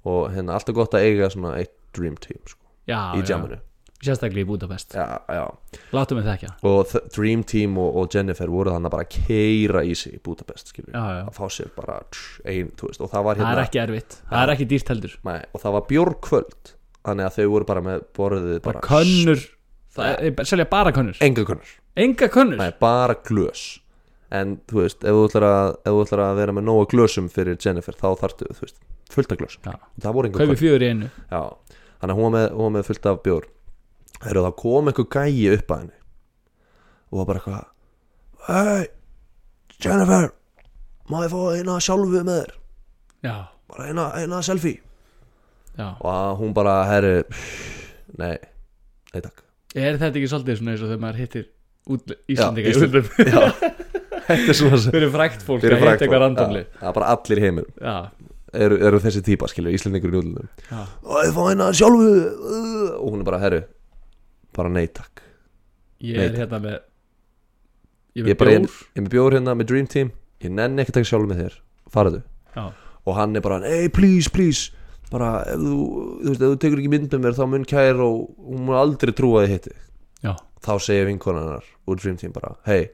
[SPEAKER 1] og hérna alltaf gott að eiga svona eitt Dream Team sko,
[SPEAKER 2] já,
[SPEAKER 1] í
[SPEAKER 2] Ah, já.
[SPEAKER 1] jamminu
[SPEAKER 2] Sérstaklega í Budapest
[SPEAKER 1] já, já.
[SPEAKER 2] Láttu mig þekkja
[SPEAKER 1] og The Dream Team og, og Jennifer voru þannig bara að keira í sig í Budapest skilur
[SPEAKER 2] Já, já.
[SPEAKER 1] að fá sér bara tss, ein, þú veist, og það var
[SPEAKER 2] Það er
[SPEAKER 1] hérna
[SPEAKER 2] ekki erfitt, það er ekki dýrt heldur
[SPEAKER 1] Nei, og það var bjórkvöld þannig að þau voru bara með borðið bara,
[SPEAKER 2] Bara könnur Það er, selja bara könnur
[SPEAKER 1] enga kunnur,
[SPEAKER 2] Enga könnur
[SPEAKER 1] nei bara glös en þú veist, ef þú ætlar að, ef þú ætlar að vera með nóga glösum fyrir Jennifer þá þartu, þú veist, fullt af glösum
[SPEAKER 2] Já.
[SPEAKER 1] það voru einhver
[SPEAKER 2] kaupi fjögur í einu
[SPEAKER 1] Já, þannig að hún var með, hún var með fullt af bjór Þegar það kom einhver gæi upp að henni og var bara eitthvað Hey, Jennifer má ég fá eina sjálfu með þér
[SPEAKER 2] já,
[SPEAKER 1] bara eina, eina selfie
[SPEAKER 2] já
[SPEAKER 1] og að hún bara, herri nei, nei takk
[SPEAKER 2] er þetta ekki svolítið svona eins og þegar maður hittir útl-
[SPEAKER 1] Já,
[SPEAKER 2] Íslendinga í
[SPEAKER 1] Ísland-
[SPEAKER 2] útlum
[SPEAKER 1] [laughs] Já, þetta er svona sem
[SPEAKER 2] fyrir frækt fólk
[SPEAKER 1] fyrir
[SPEAKER 2] að hitta
[SPEAKER 1] frægt fólk.
[SPEAKER 2] eitthvað randomli
[SPEAKER 1] Já, það er bara allir heimur
[SPEAKER 2] já,
[SPEAKER 1] eru, eru þessi típa, skilju, Íslendingur í útlunum
[SPEAKER 2] já,
[SPEAKER 1] og ég fá eina sjálfu uh, og hún er bara, herru bara nei takk
[SPEAKER 2] ég er
[SPEAKER 1] Nei.
[SPEAKER 2] hérna með ég er
[SPEAKER 1] ég
[SPEAKER 2] með
[SPEAKER 1] er bara,
[SPEAKER 2] bjór
[SPEAKER 1] ég, ég er með bjór hérna með Dream Team ég nenni ekki að taka sjálfu með þér, faraðu
[SPEAKER 2] já,
[SPEAKER 1] og hann er bara, hey please, please bara, ef þú, þú veist, ef þú tekur ekki mynd með mér þá mun kær og hún mun aldrei trúa að þið hitti
[SPEAKER 2] já,
[SPEAKER 1] þá segir vinkonarnar úr Dream Team bara, hey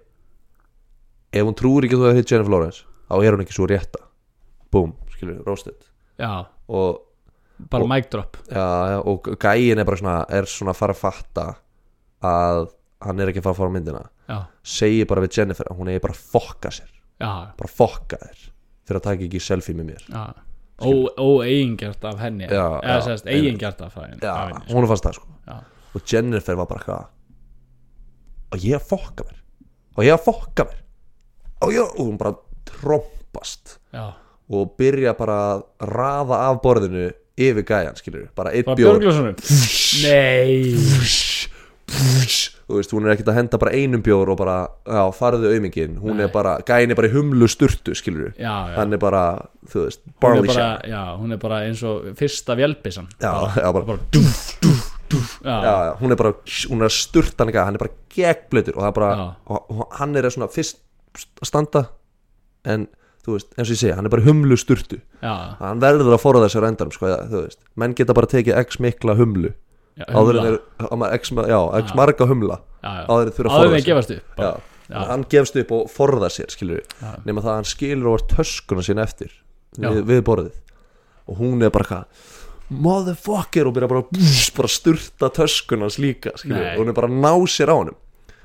[SPEAKER 1] ef hún trúir ekki að þú hefur hitt Jennifer Lawrence þá er hún ekki svo rétta búm, skilur, roasted
[SPEAKER 2] já
[SPEAKER 1] og,
[SPEAKER 2] bara
[SPEAKER 1] Og-
[SPEAKER 2] mic drop
[SPEAKER 1] ja, og gæin er bara svona er svona að fara að fatta að hann er ekki að fara að fara á myndina
[SPEAKER 2] já,
[SPEAKER 1] segir bara við Jennifer að hún eigi bara að fokka sér
[SPEAKER 2] já,
[SPEAKER 1] bara fokka þér fyrir að taka ekki selfie með mér
[SPEAKER 2] já Ó- óeigingjart af henni
[SPEAKER 1] Já,
[SPEAKER 2] eða
[SPEAKER 1] já,
[SPEAKER 2] sérst
[SPEAKER 1] einmitt.
[SPEAKER 2] eigingjart af henni
[SPEAKER 1] já,
[SPEAKER 2] af henni, sko.
[SPEAKER 1] hún fannst það sko
[SPEAKER 2] já,
[SPEAKER 1] og Jennifer var bara hvað og ég að fokka mér og ég að fokka mér og, ég, og hún bara trompast
[SPEAKER 2] já
[SPEAKER 1] og byrja bara að raða af borðinu yfir gæjan skilur bara einn
[SPEAKER 2] bara
[SPEAKER 1] bjór [laughs]
[SPEAKER 2] björglösunum nei
[SPEAKER 1] þú veist, hún er ekkert að henda bara einum bjór og bara, já, farðu auðmingin hún er bara, gæin er bara í humlu sturtu skilur
[SPEAKER 2] já, já
[SPEAKER 1] hann er bara, þú veist,
[SPEAKER 2] Hún er,
[SPEAKER 1] barley
[SPEAKER 2] bara,
[SPEAKER 1] shot
[SPEAKER 2] já, hún er bara eins og fyrsta vjálpisan
[SPEAKER 1] já, já, bara,
[SPEAKER 2] já,
[SPEAKER 1] já, já, hún er bara hún er að sturta hann eitthvað, hann er bara gegnblöytur og, það er bara,
[SPEAKER 2] Já.
[SPEAKER 1] og, og hann er svona fyrst að standa en þú veist, eins og ég segi, hann er bara í humlu sturtu
[SPEAKER 2] já,
[SPEAKER 1] hann verður að forða þessu endanum sko, eða, þú veist, menn geta bara tekið x mikla humlu
[SPEAKER 2] já
[SPEAKER 1] áður
[SPEAKER 2] humla.
[SPEAKER 1] en þeir, á, ma- x, ma- já, x marga humla
[SPEAKER 2] Já, já.
[SPEAKER 1] áður en þeir þurfa að
[SPEAKER 2] áður
[SPEAKER 1] forða
[SPEAKER 2] en gefast upp
[SPEAKER 1] já,
[SPEAKER 2] bara. Já.
[SPEAKER 1] hann gefst upp og forða sér skilur við,
[SPEAKER 2] Já.
[SPEAKER 1] nema það að hann skilur og var töskuna sín eftir
[SPEAKER 2] Já.
[SPEAKER 1] við, við borðið og hún er bara hvað motherfucker og byrja bara búss, bara að sturta töskuna hans líka skilur
[SPEAKER 2] Nei.
[SPEAKER 1] við, og hún er bara að ná sér á honum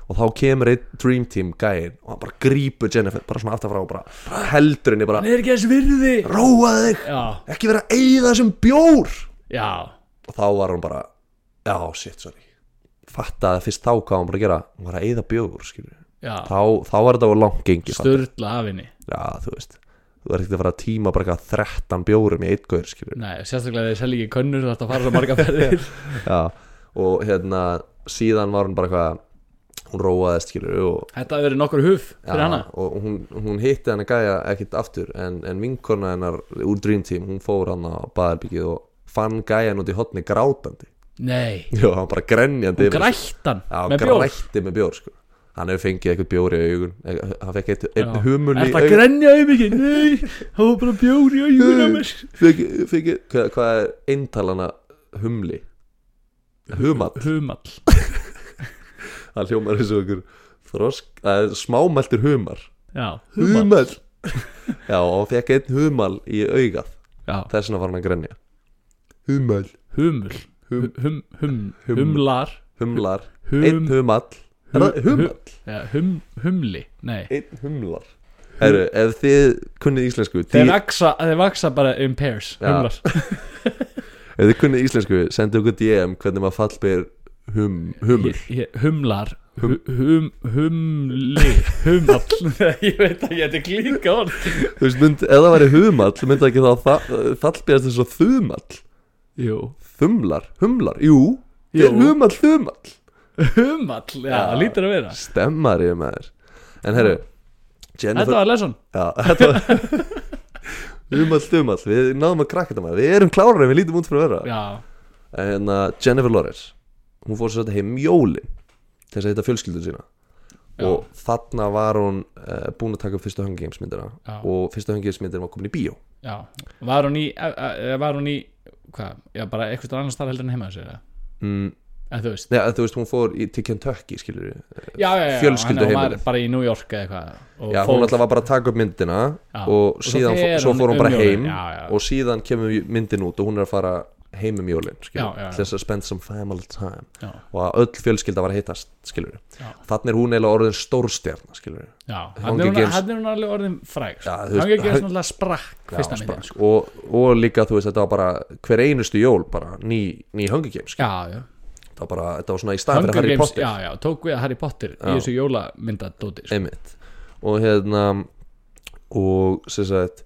[SPEAKER 1] og þá kemur einn Dream Team gæin og hann bara grípur Jennifer bara svona aftar frá og bara heldur henni bara
[SPEAKER 2] hann er ekki þess virði
[SPEAKER 1] róa þig,
[SPEAKER 2] já,
[SPEAKER 1] ekki vera að eyða þessum bjór
[SPEAKER 2] já,
[SPEAKER 1] og þá var hún bara já, shit, sorry fattaði fyrst þá hvað hún bara að gera hún var að eyða bjór, skilur við.
[SPEAKER 2] já
[SPEAKER 1] þá, þá var þetta á langt gengi fattaði.
[SPEAKER 2] sturla af henni
[SPEAKER 1] já, þú veist þú er ekkert að fara að tíma bara eitthvað 13 bjórum í eitt gaur, skilur
[SPEAKER 2] Nei, sérstaklega þeir selja ekki könnur þetta að fara svo marga ferðir
[SPEAKER 1] já, og hérna síðan var hún bara eitthvað hún róaðist, skilur og,
[SPEAKER 2] Þetta hafi verið nokkur huf fyrir hana
[SPEAKER 1] og hún, hún hitti hann að gæja ekkert aftur en, en vinkona hennar úr Dream Team hún fór hann á baðarbyggið og fann gæjan út í hotni grátandi
[SPEAKER 2] Nei,
[SPEAKER 1] já, hann bara grenjandi yfir þessu.
[SPEAKER 2] grættan
[SPEAKER 1] Já,
[SPEAKER 2] með bjór
[SPEAKER 1] grætti með bjór sko. Hann hefur fengið eitthvað bjór í augun eh, Hann fekk eitt,
[SPEAKER 2] Já.
[SPEAKER 1] einn humul í
[SPEAKER 2] Er það grenja um ekki? Nei, það var bara bjór í augun á mér
[SPEAKER 1] fekk, fekk, hvað, hvað er eintalana humli? Humall
[SPEAKER 2] Humall
[SPEAKER 1] Hann hljómar eins og okkur þrosk, að, Smámæltur humar
[SPEAKER 2] Já, humall
[SPEAKER 1] Humall Já, og hann fekk einn humal í augað
[SPEAKER 2] Já,
[SPEAKER 1] Þess vegna var hann að grenja Humal
[SPEAKER 2] humul
[SPEAKER 1] Hum-
[SPEAKER 2] hum, hum,
[SPEAKER 1] Hum-
[SPEAKER 2] Humlar
[SPEAKER 1] Humlar Einn
[SPEAKER 2] Hum,
[SPEAKER 1] humall Er það
[SPEAKER 2] Hum-
[SPEAKER 1] humall?
[SPEAKER 2] ja, hum, Humli, nei
[SPEAKER 1] Einn humlar Herru, ef þið kunnið íslensku
[SPEAKER 2] Þeir
[SPEAKER 1] dí-
[SPEAKER 2] vaksa, þeir vaksa bara in pairs
[SPEAKER 1] Já. [laughs]
[SPEAKER 2] Humlar
[SPEAKER 1] Ef þið kunnið íslensku, sendu okkur DM hvernig maður fallbyr hum, humul
[SPEAKER 2] Ég- ég- Humlar Hum, hum, humli
[SPEAKER 1] [laughs]
[SPEAKER 2] Humall Ég veit ekki, þetta er klíka orð
[SPEAKER 1] Þú veist, mynd, ef það væri humall, myndi ekki þá fallbyrast þess að þumall
[SPEAKER 2] Jú
[SPEAKER 1] Þumlar, humlar, jú,
[SPEAKER 2] Jú.
[SPEAKER 1] er humall, þumall
[SPEAKER 2] Humall, já,
[SPEAKER 1] Já.
[SPEAKER 2] það lítur að vera
[SPEAKER 1] Stemmar ég maður En herru,
[SPEAKER 2] Þetta
[SPEAKER 1] Jennifer
[SPEAKER 2] var lesan
[SPEAKER 1] já, Þetta var Humall, þumall, við náðum að krakka þetta maður Við erum klárar en við lítum út fyrir að vera
[SPEAKER 2] Já,
[SPEAKER 1] en að Jennifer Lawrence hún fór sér þetta heim jólin til þess að hitta fjölskyldun sína
[SPEAKER 2] Já.
[SPEAKER 1] og þarna var hún uh, búin að taka upp fyrstu höngiheimsmyndina
[SPEAKER 2] Já.
[SPEAKER 1] og fyrstu höngiheimsmyndina var komin í bíó
[SPEAKER 2] já Var hún í, eh, eh, var hún í Hvað, já, bara eitthvað annars þar heldur en heima þessi
[SPEAKER 1] mm,
[SPEAKER 2] En þú veist,
[SPEAKER 1] Nei, að þú veist, hún fór í, til Kentucky skilur við
[SPEAKER 2] já, já, já
[SPEAKER 1] Fjölskyldu
[SPEAKER 2] hann- Hún
[SPEAKER 1] heimilið.
[SPEAKER 2] var bara í New York eða eitthvað og
[SPEAKER 1] Já,
[SPEAKER 2] fór-
[SPEAKER 1] hún alltaf var bara að taka upp myndina
[SPEAKER 2] Já.
[SPEAKER 1] og
[SPEAKER 2] Og svo
[SPEAKER 1] síðan,
[SPEAKER 2] fer
[SPEAKER 1] svo, svo
[SPEAKER 2] hún
[SPEAKER 1] fór hún
[SPEAKER 2] um
[SPEAKER 1] bara
[SPEAKER 2] jólin.
[SPEAKER 1] heim
[SPEAKER 2] Já, já.
[SPEAKER 1] og síðan kemur myndin út og hún er að fara heim um jólin
[SPEAKER 2] Já,
[SPEAKER 1] skilur,
[SPEAKER 2] já, já.
[SPEAKER 1] til þess að spend some family time
[SPEAKER 2] já,
[SPEAKER 1] og að öll fjölskylda var að hittast skilur
[SPEAKER 2] Já.
[SPEAKER 1] þannig er hún eiginlega orðin stórstjarn skilur
[SPEAKER 2] já hann
[SPEAKER 1] Hunger
[SPEAKER 2] er, hún,
[SPEAKER 1] Games-
[SPEAKER 2] hann er hún alveg orðin fræg
[SPEAKER 1] Já,
[SPEAKER 2] sko.
[SPEAKER 1] þú
[SPEAKER 2] hann
[SPEAKER 1] veist,
[SPEAKER 2] er ekki
[SPEAKER 1] hann-
[SPEAKER 2] svona sprakk
[SPEAKER 1] Já,
[SPEAKER 2] fyrsta myndin
[SPEAKER 1] sprakk.
[SPEAKER 2] sko.
[SPEAKER 1] og, og líka þú veist þetta var bara hver einustu jól bara ný, ný Hunger Games skilur.
[SPEAKER 2] já, já
[SPEAKER 1] þetta var, bara, þetta var svona í staðan
[SPEAKER 2] Hunger
[SPEAKER 1] fyrir Harry
[SPEAKER 2] Games,
[SPEAKER 1] Potter
[SPEAKER 2] já, já, tók við að Harry Potter í
[SPEAKER 1] Já.
[SPEAKER 2] þessu jólamyndadóti sko.
[SPEAKER 1] einmitt og hérna og sem sagt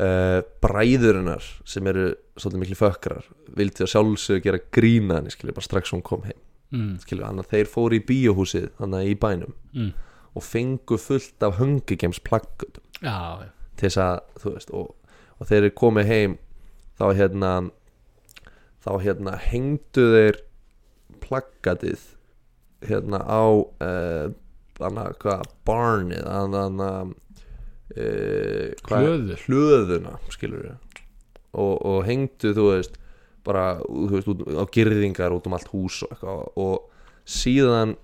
[SPEAKER 1] uh, bræðurinnar sem eru svolítið miklu fökkrar vildi að sjálfsög gera grína henni skilur bara strax hún kom heim
[SPEAKER 2] mm,
[SPEAKER 1] skilur hann að þeir fóru í bíóhúsið hann í bænum
[SPEAKER 2] mm,
[SPEAKER 1] og fengu fullt af Hunger Games plaggut
[SPEAKER 2] já, já,
[SPEAKER 1] til þess að þú veist og, og þeir eru komið heim þá hérna þá hérna hengdu þeir plaggatið hérna á uh, hana, hvað, barnið hana, hana, uh,
[SPEAKER 2] Hlöður.
[SPEAKER 1] hlöðuna skilur við og, og hengdu þú veist bara þú veist, út, á girðingar út um allt hús og, eitthvað, og síðan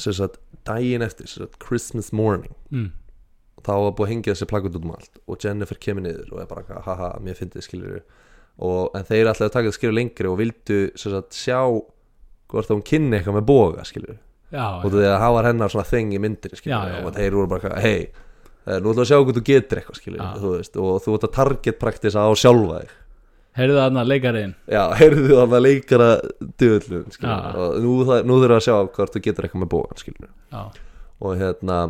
[SPEAKER 1] sem sagt daginn eftir sem sagt, Christmas morning
[SPEAKER 2] mm,
[SPEAKER 1] þá var búið að hengja þessi plakut út um allt og Jennifer kemur niður og er bara eitthvað, haha, mér fyndið skilur og, en þeir ætlaði að taka þetta skilur lengri og vildu sem sagt, sjá hvort að hún kynni eitthvað með boga skilur
[SPEAKER 2] já,
[SPEAKER 1] og
[SPEAKER 2] já,
[SPEAKER 1] því að það var hennar svona þeng í myndir skilur
[SPEAKER 2] Já, já, já.
[SPEAKER 1] og þeir voru bara, eitthvað, hei nú ætlaði að sjá hvort þú getur eitthvað skilur
[SPEAKER 2] Já.
[SPEAKER 1] þú veist, og þú ert að target praktisa á sjálfa þig
[SPEAKER 2] heyrðu það hann að leikariðin
[SPEAKER 1] já, heyrðu þannig að leikara döðlun
[SPEAKER 2] Já.
[SPEAKER 1] og nú, það- nú þurfa að sjá hvort þú getur eitthvað með boga skilur
[SPEAKER 2] já,
[SPEAKER 1] og hérna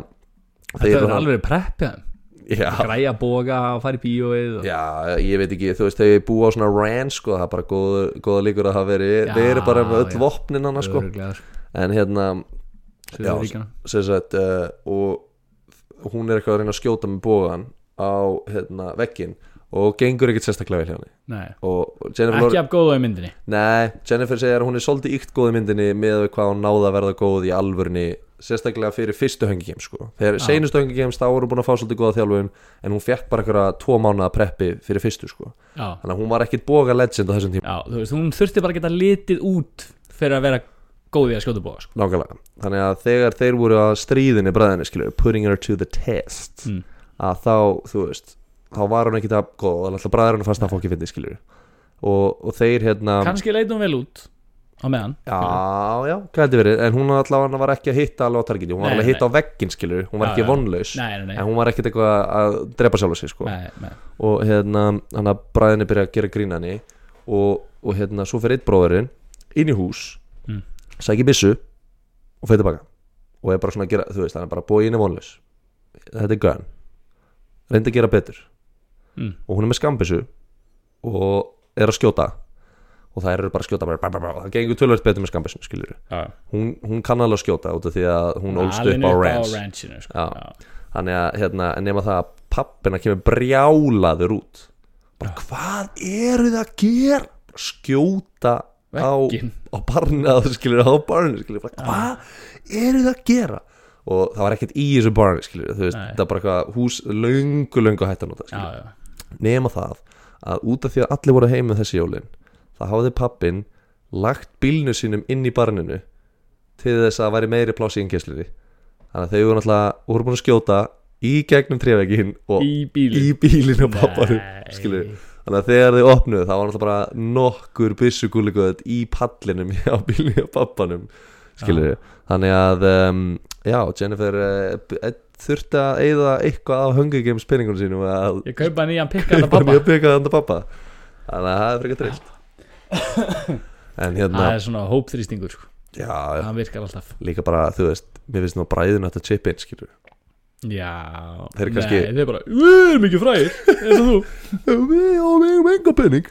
[SPEAKER 2] þetta
[SPEAKER 1] þeir-
[SPEAKER 2] er alveg preppið
[SPEAKER 1] já,
[SPEAKER 2] græja boga og fara í bíóið og...
[SPEAKER 1] Já, ég veit ekki, þú veist, þegar ég búið á svona ranch sko, það er bara góð, góða líkur að það veri
[SPEAKER 2] Já,
[SPEAKER 1] þeir eru bara með
[SPEAKER 2] já.
[SPEAKER 1] öll vopnin hana sko.
[SPEAKER 2] Örugglega, sko,
[SPEAKER 1] en hérna, já,
[SPEAKER 2] Suðurríkjanna.
[SPEAKER 1] sem sagt uh, og hún er eitthvað að reyna að skjóta með bógan á hérna, veggin og gengur ekkert sérstaklega vel hjá henni
[SPEAKER 2] Nei,
[SPEAKER 1] og Jennifer,
[SPEAKER 2] ekki af góða í myndinni
[SPEAKER 1] nei, Jennifer segir að hún er svolítið ykt góð í myndinni með hvað hún náða að verða góð í alvörni sérstaklega fyrir fyrstu höngjum sko. þegar
[SPEAKER 2] Já.
[SPEAKER 1] seinustu höngjum þá voru búin að fá svolítið góða þjálfum en hún fekk bara eitthvað tvo mánuða preppi fyrir fyrstu sko.
[SPEAKER 2] já,
[SPEAKER 1] Þannig að hún var ekkit boga legend á þessum tíma
[SPEAKER 2] já, þú veist, hún þurfti bara að geta litið út fyrir að vera góð í að skjóta boga sko.
[SPEAKER 1] Nákvæmlega Þannig að þegar þeir voru að stríðinni bræðinni skilur Putting her to the test
[SPEAKER 2] Mm.
[SPEAKER 1] Að þá, þú veist Þá var hún ekkit að góð Þannig að alltaf bræðurinn fannst að fá ekki fyndi skilur og, og þeir hérna
[SPEAKER 2] kannski leit hún vel út á meðan
[SPEAKER 1] Já, já, gæti verið En hún allavega var ekki að hitta alveg á targeti Hún var
[SPEAKER 2] Nei,
[SPEAKER 1] alveg að hitta
[SPEAKER 2] nei.
[SPEAKER 1] á veggin skilur Hún var
[SPEAKER 2] Já,
[SPEAKER 1] ekki
[SPEAKER 2] já.
[SPEAKER 1] vonlaus
[SPEAKER 2] nei, nei, nei,
[SPEAKER 1] En hún var ekkit eitthvað að drepa sjálf sig sko
[SPEAKER 2] nei, nei.
[SPEAKER 1] og hérna hann að bræðinni byrja að gera grínani og, og hérna svo fyrir eitt bróðurinn inn í hús
[SPEAKER 2] Mm.
[SPEAKER 1] sækir byssu og fyrir tilbaka og er bara svona að gera, þú veist, hann er bara bóið inn í vonlaus þetta er gun reyndi að gera betur
[SPEAKER 2] Mm.
[SPEAKER 1] og hún er með skambissu og er að skjóta og það eru bara að skjóta bara, bara, bara, bara. það gengur tölvöld betur með skambissun, skilur
[SPEAKER 2] Já.
[SPEAKER 1] hún, hún kann alveg að skjóta út af því að hún ólst
[SPEAKER 2] Alin
[SPEAKER 1] upp á ranch
[SPEAKER 2] ranchinu sko.
[SPEAKER 1] Já. Þannig að hérna, en nema það að pappina kemur brjálaður út bara hvað eru það að gera Bara skjóta á,
[SPEAKER 2] Vegginn.
[SPEAKER 1] á barnið að þú skilur á barnið skilur, bara, hvað eru það að gera og það var ekkert í þessu barnið skilur þú veist,
[SPEAKER 2] Nei.
[SPEAKER 1] það var bara eitthvað hús löngu löngu hættan á það
[SPEAKER 2] Já,
[SPEAKER 1] skilur,
[SPEAKER 2] já.
[SPEAKER 1] nema það að út af því að allir voru heim með þessi jólin það hafði pappin lagt bílnu sínum inn í barninu til þess að það væri meiri pláss í engjæslinni þannig að þau voru náttúrulega voru búin að skjóta í gegnum trefegin og
[SPEAKER 2] í bíli
[SPEAKER 1] í bílinu á pappanum skilur þannig að þegar þau opnuðu þá var náttúrulega bara nokkur byssugúlugöð í pallinum [laughs] á bílinu á pappanum skilur þannig að um, já, Jennifer uh, þurfti að eyða eitthvað á Hunger Games penningunum sínum að
[SPEAKER 2] ég kaupa nýjan pikka að
[SPEAKER 1] Kaupa
[SPEAKER 2] pappa
[SPEAKER 1] mjög byggað handa pappa Þannig að það er frekar
[SPEAKER 2] [laughs]
[SPEAKER 1] drillt En hérna
[SPEAKER 2] það er svona hópþrýstingur sko.
[SPEAKER 1] Já, já,
[SPEAKER 2] hann virkar alltaf
[SPEAKER 1] líka bara, þú veist Mér finnst nú bræðin að þetta chip in, skilur
[SPEAKER 2] já
[SPEAKER 1] Þeir eru kannski-
[SPEAKER 2] nei, þeir bara við erum ekki fræðir eins og þú
[SPEAKER 1] [laughs] Við og við erum enga penning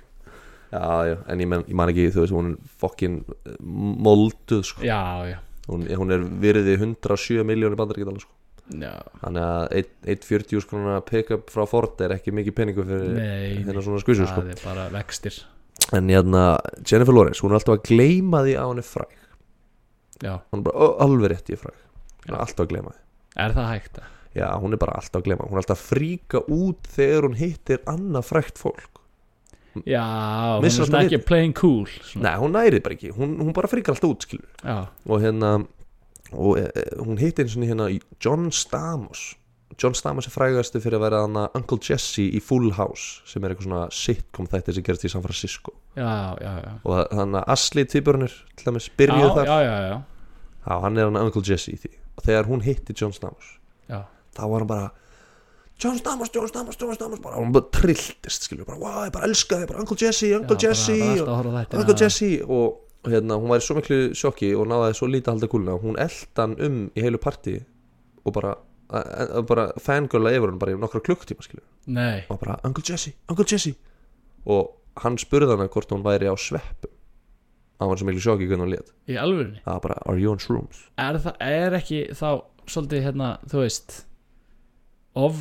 [SPEAKER 1] Já, já, en ég, men, ég man ekki, þú veist, hún er fokkin eh, molduð, sko
[SPEAKER 2] já, já,
[SPEAKER 1] Hún, hún er virði 107 miljónir bandaríkjadala, sko
[SPEAKER 2] já.
[SPEAKER 1] Þannig að 1,40 skrona pick-up frá Ford er ekki mikið penningu fyrir
[SPEAKER 2] Nei,
[SPEAKER 1] hérna
[SPEAKER 2] nei,
[SPEAKER 1] svona skvísu, sko
[SPEAKER 2] það er bara vextir
[SPEAKER 1] En hérna, Jennifer Lawrence, hún er alltaf að gleyma því að hún er fræg
[SPEAKER 2] já.
[SPEAKER 1] hún er bara "Ó, alveg rétt ég er fræg hún
[SPEAKER 2] Já.
[SPEAKER 1] er alltaf að glema því
[SPEAKER 2] er það hægt að
[SPEAKER 1] já, hún er bara alltaf að glema hún er alltaf að fríka út þegar hún hittir annað frægt fólk
[SPEAKER 2] já, hún er
[SPEAKER 1] Missa
[SPEAKER 2] svona
[SPEAKER 1] svona
[SPEAKER 2] ekki
[SPEAKER 1] lit.
[SPEAKER 2] playing cool svona.
[SPEAKER 1] nei, hún nærið bara ekki, hún, hún bara fríkar alltaf út skilur.
[SPEAKER 2] já,
[SPEAKER 1] og hérna og e, e, hún hittir eins og hérna í John Stamos John Stamos er frægastu fyrir að vera hana Uncle Jesse í Full House sem er eitthvað svona sitcom þætti sem gerist í San Francisco
[SPEAKER 2] já, já, já
[SPEAKER 1] og það- þannig að Asli Týburnir til dæmis byrjuð
[SPEAKER 2] já,
[SPEAKER 1] þar
[SPEAKER 2] já, já, já,
[SPEAKER 1] Já, hann er hann Uncle Jesse í því og þegar hún hitti John Stamos
[SPEAKER 2] já.
[SPEAKER 1] þá var hann bara John Stamos, John Stamos, John Stamos bara, og hann bara trilltist, skilur, bara, wow, ég bara elska þig, bara Uncle Jesse, Uncle
[SPEAKER 2] Já, bara-
[SPEAKER 1] Jesse
[SPEAKER 2] bara alltaf
[SPEAKER 1] og,
[SPEAKER 2] að horfa á þetta,
[SPEAKER 1] Uncle
[SPEAKER 2] já.
[SPEAKER 1] Jesse og og hérna, hún var í svo miklu sjokki og náði svo lítið að halda kúluna hún eld hann um í heilu partí og bara, að- að- bara fangirla yfir hann bara í nokkra klukkutíma, skilur
[SPEAKER 2] Nei,
[SPEAKER 1] og bara, Uncle Jesse, Uncle Jesse og hann spurði hana hvort hún væri á sveppum hann var svo miklu sjokki hvernig hún lét
[SPEAKER 2] í alvörunni
[SPEAKER 1] það var bara, are you on shrooms?
[SPEAKER 2] er, það, er ekki þá svolítið hérna, þú veist of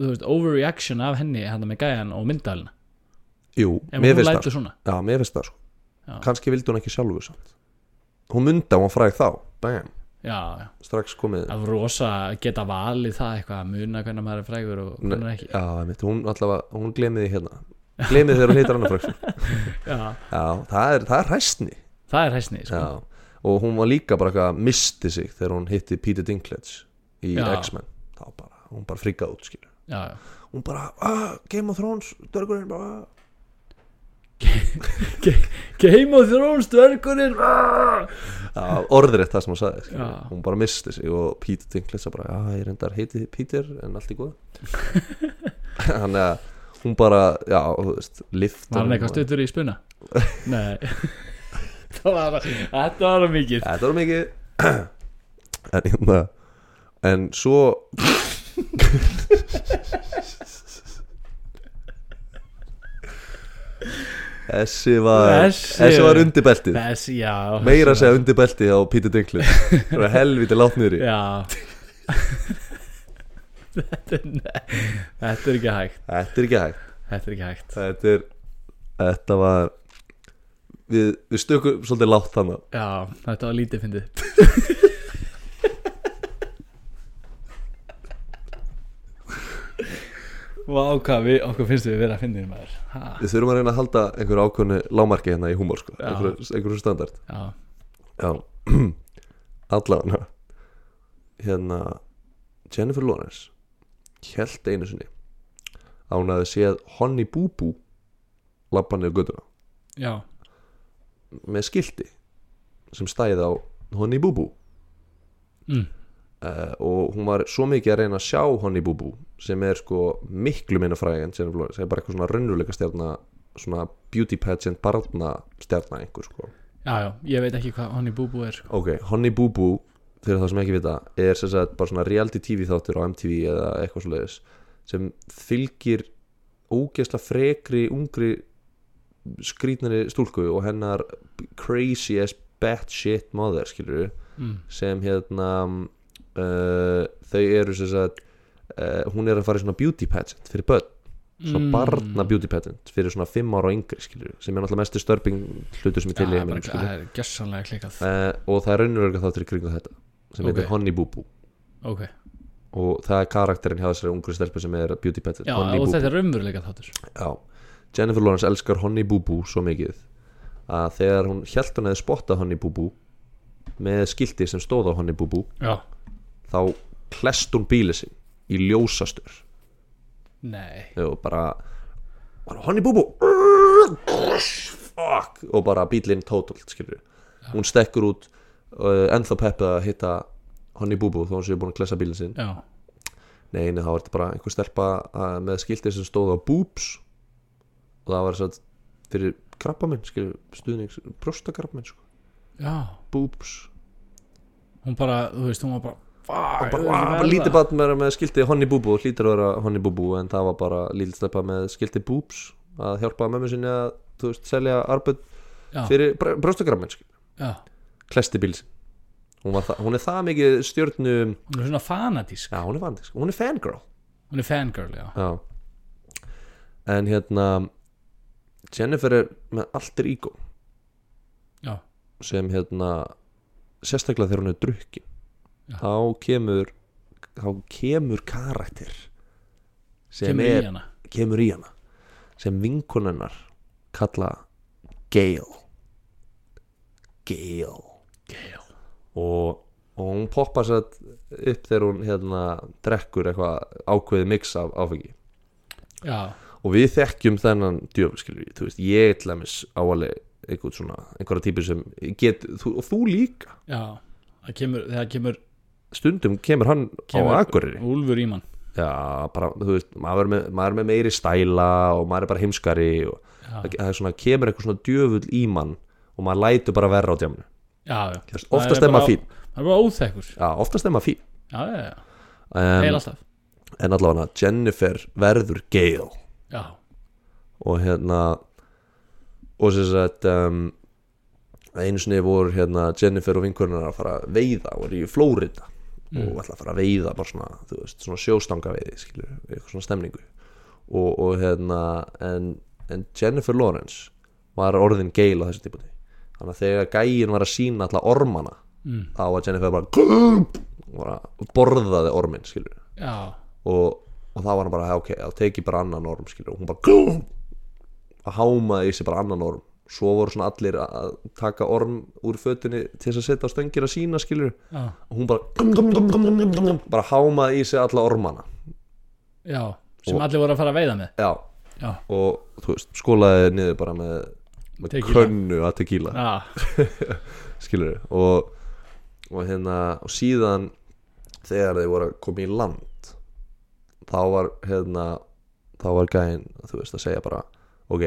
[SPEAKER 2] þú veist, overreaction af henni hérna með gæjan og myndalina
[SPEAKER 1] Jú,
[SPEAKER 2] ef
[SPEAKER 1] mér
[SPEAKER 2] hún
[SPEAKER 1] finnst það,
[SPEAKER 2] lætur svona
[SPEAKER 1] Já, mér finnst það sko
[SPEAKER 2] Já.
[SPEAKER 1] Kanski vildi hún ekki sjálfu samt Hún myndi að hún fræg þá Bam,
[SPEAKER 2] já, já,
[SPEAKER 1] strax komið
[SPEAKER 2] af rosa geta valið það eitthvað að muna hvernig maður er frægur og hvernig
[SPEAKER 1] Nei,
[SPEAKER 2] ekki
[SPEAKER 1] Já, mitt, hún allavega, hún glemiði hérna Glemiði þegar hún heitir annar fræg sko.
[SPEAKER 2] já,
[SPEAKER 1] Já, það er, það er hæstni
[SPEAKER 2] það er hæsni sko.
[SPEAKER 1] Já, og hún var líka bara eitthvað að misti sig þegar hún hitti Peter Dinklage í
[SPEAKER 2] Já.
[SPEAKER 1] X-Men Þá bara, hún bara frikað út skilur
[SPEAKER 2] já, já.
[SPEAKER 1] Hún bara, ah, Game of Thrones, dörgurinn bara ah."
[SPEAKER 2] Game of Thrones dörgurinn
[SPEAKER 1] Já, orðrétt það sem hún sagði skilur.
[SPEAKER 2] Já.
[SPEAKER 1] Hún bara misti sig og Peter Dinklage sagði bara, já, ég reyndar heiti Peter en allt í
[SPEAKER 2] [laughs]
[SPEAKER 1] góð Þannig að hún bara, já, þú veist, lift
[SPEAKER 2] Var hann eitthvað stuttur í
[SPEAKER 1] [laughs]
[SPEAKER 2] spuna? Nei [laughs] Það var, Þetta var of mikið
[SPEAKER 1] Þetta var mikið [clears throat] En hérna En svo
[SPEAKER 2] [laughs]
[SPEAKER 1] Þessi var
[SPEAKER 2] Þessi-
[SPEAKER 1] Þessi, var undir beltið
[SPEAKER 2] Þess, já
[SPEAKER 1] Meira að segja undir beltið á Peter Dinklage
[SPEAKER 2] [laughs]
[SPEAKER 1] Það var helviti látt niður í
[SPEAKER 2] Já [laughs] þetta, er- nei, þetta er ekki hægt
[SPEAKER 1] Þetta er ekki hægt
[SPEAKER 2] Þetta er ekki hægt
[SPEAKER 1] Þetta er Þetta var Við, við stökum svolítið látt þannig
[SPEAKER 2] Já, þetta var lítið fyndið Vá, hvað við, okkur finnst við vera að finna þér maður ha,
[SPEAKER 1] Við þurfum að reyna að halda einhverju ákvörnu lámarki hérna í húmor sko
[SPEAKER 2] Já.
[SPEAKER 1] Einhverju, einhverju standart
[SPEAKER 2] Já,
[SPEAKER 1] Já [clears throat] Allavega Hérna Jennifer Lawrence Hjælt einu sinni að hún hafði séð Honey Boo Boo labba niður göttuna
[SPEAKER 2] já,
[SPEAKER 1] með skilti sem stæði á Honey Boo Boo
[SPEAKER 2] Mm.
[SPEAKER 1] Eh, og hún var svo mikið að reyna að sjá Honey Boo Boo sem er sko miklu minna fræg en Jennifer Lawrence, það er bara eitthvað svona raunveruleika stjarna svona beauty pageant barna stjarna einhver sko
[SPEAKER 2] já, já, ég veit ekki hvað hann í búbú er sko.
[SPEAKER 1] Ok, Honey Boo Boo fyrir það sem ekki vita er sem sagt bara svona reality TV þáttur á MTV eða eitthvað svoleiðis sem fylgir ógeðsla frekri, ungri skrýtnari stúlku og hennar crazy as batshit mother skilur
[SPEAKER 2] mm.
[SPEAKER 1] sem hérna uh, þau eru sem sagt uh, hún er að fara í svona beauty pageant fyrir börn svona
[SPEAKER 2] Mm.
[SPEAKER 1] barna beauty pageant fyrir svona 5 ára og yngri skilur sem er náttúrulega mestu störping hlutur sem er til í
[SPEAKER 2] Já,
[SPEAKER 1] heiminum
[SPEAKER 2] bara-
[SPEAKER 1] skilurðu.
[SPEAKER 2] Það er gjössanlega klikað
[SPEAKER 1] uh, og það er raunverulega þáttur í kringum þetta sem heitir
[SPEAKER 2] Ok.
[SPEAKER 1] Honey Boo Boo
[SPEAKER 2] Ok,
[SPEAKER 1] og það er karakterinn hjá þessari ungru stelpu sem er beauty pattern
[SPEAKER 2] já,
[SPEAKER 1] Honey
[SPEAKER 2] og
[SPEAKER 1] Boo
[SPEAKER 2] þetta er raunveruleika þáttur
[SPEAKER 1] Boo Já. Jennifer Lawrence elskar Honey Boo Boo svo mikið að þegar hún hjælt hún hefði spottað Honey Boo Boo með skilti sem stóð á Honey Boo Boo
[SPEAKER 2] Já
[SPEAKER 1] þá klest hún bíli sinn í ljósastur
[SPEAKER 2] Nei
[SPEAKER 1] og bara bara, Honey Boo Boo fuck og bara bílinn totalt skilur hún stekkur út uh, ennþá peppið að hitta Honey Boo Boo þó hún séu búin að klessa bílinn sinn
[SPEAKER 2] Já,
[SPEAKER 1] Nei, nei, þá var þetta bara einhver stelpa að, með skildi sem stóð á boobs og það var satt fyrir krabba minn, skilur, stuðnings brjóstakrabba minn, sko,
[SPEAKER 2] já
[SPEAKER 1] boobs
[SPEAKER 2] Hún bara, þú veist, hún var bara
[SPEAKER 1] og
[SPEAKER 2] Fuck,
[SPEAKER 1] bara, "Vá, bara lítið bann með, með skildi honni búbú, hlýtur að vera honni búbú en það var bara lítið stelpa með skildi boobs að hjálpa mömmu sinni að, þú veist, selja arbet
[SPEAKER 2] Já.
[SPEAKER 1] fyrir brjóstakrabba minn, skilur,
[SPEAKER 2] Já,
[SPEAKER 1] klesti bíls hún, var það- hún er það mikið stjörnu
[SPEAKER 2] hún er svona fanatísk
[SPEAKER 1] já, hún er vandis, hún er fangirl
[SPEAKER 2] Hún er fangirl, já
[SPEAKER 1] Já En hérna Jennifer er með alter ego
[SPEAKER 2] Já,
[SPEAKER 1] sem hérna sérstaklega þegar hún er drukkin þá kemur þá kemur karakter sem
[SPEAKER 2] kemur
[SPEAKER 1] er,
[SPEAKER 2] í hana
[SPEAKER 1] kemur í hana sem vinkonennar kalla Gale Gale
[SPEAKER 2] Gale
[SPEAKER 1] og, og hún poppar satt upp þegar hún hérna drekkur eitthvað ákveðið mix af áfengi
[SPEAKER 2] já,
[SPEAKER 1] og við þekkjum þennan djöfn skilur við, þú veist, ég til dæmis á alveg einhvern svona, einhverja típur sem get, þú, og þú líka,
[SPEAKER 2] já það kemur, þegar kemur
[SPEAKER 1] stundum kemur hann
[SPEAKER 2] Kemur-
[SPEAKER 1] á akkurri,
[SPEAKER 2] úlfur í mann
[SPEAKER 1] já, bara, þú veist maður er, með, maður er með meiri stæla og maður er bara heimskari og
[SPEAKER 2] já,
[SPEAKER 1] það, það er svona, kemur eitthvað svona djöfull í mann og maður lætur bara verra á djáminu
[SPEAKER 2] já, já.
[SPEAKER 1] oftast
[SPEAKER 2] Það
[SPEAKER 1] er
[SPEAKER 2] bara-
[SPEAKER 1] maður fín,
[SPEAKER 2] það er bara óþekkur
[SPEAKER 1] já, oftast er maður fín
[SPEAKER 2] já, já, já, heil
[SPEAKER 1] um,
[SPEAKER 2] alltaf
[SPEAKER 1] en allavega Jennifer verður Gale
[SPEAKER 2] já,
[SPEAKER 1] og hérna og sem sagt um, einu sinni voru hérna Jennifer og vinkurinnar að fara að veiða og eru í Flórida og ætla að fara að veiða bara svona, þú veist, svona sjóstangaveiði skilur, eitthvað svona stemningu og, og hérna en, en Jennifer Lawrence var orðin geil á þessu típunni þannig að þegar gægin var að sína alla ormana
[SPEAKER 2] Mm.
[SPEAKER 1] þá var Jennifer bara, bara borðaði ormin skilur
[SPEAKER 2] já,
[SPEAKER 1] og, og það var hann bara "Já, ok, þá teki bara annan orm skilur, og hún bara "Gum!" að hámaði í sig bara annan orm svo voru svona allir að taka orm úr fötunni til þess að setja á stöngir að sína skilur,
[SPEAKER 2] já,
[SPEAKER 1] og hún bara "Gum, gum, gum, gum, gum, gum, gum," bara hámaði í sig alla ormana
[SPEAKER 2] já sem
[SPEAKER 1] Og-
[SPEAKER 2] allir voru að fara að veiða með
[SPEAKER 1] já,
[SPEAKER 2] já,
[SPEAKER 1] og þú veist, skólaði niður bara með, með
[SPEAKER 2] Tequila.
[SPEAKER 1] könnu að tequila
[SPEAKER 2] já,
[SPEAKER 1] skilur og, og hérna og síðan þegar þeir voru að koma í land þá var hérna þá var gæinn, þú veist, að segja bara ok,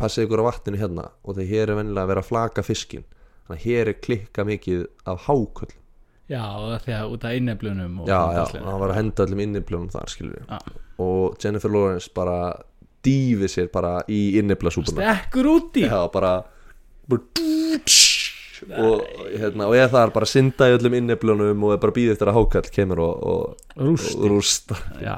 [SPEAKER 1] passið ykkur á vatninu hérna og þegar hér er venjulega að vera að flaka fiskin þannig að hér er klikka mikið af háköll
[SPEAKER 2] já og það þegar út af inneflunum og
[SPEAKER 1] já, já,
[SPEAKER 2] svona
[SPEAKER 1] og
[SPEAKER 2] drasli.
[SPEAKER 1] hann var að henda öllum inniblunum þar skilur
[SPEAKER 2] Já.
[SPEAKER 1] og Jennifer Lawrence bara dýfi sér bara í inniblasúpuna
[SPEAKER 2] stekkur út í
[SPEAKER 1] Já, bara, bara og, hérna, og ég þar bara synda í öllum inneflunum og er bara býð eftir að hákall kemur og, og,
[SPEAKER 2] rúst,
[SPEAKER 1] og rústa
[SPEAKER 2] já,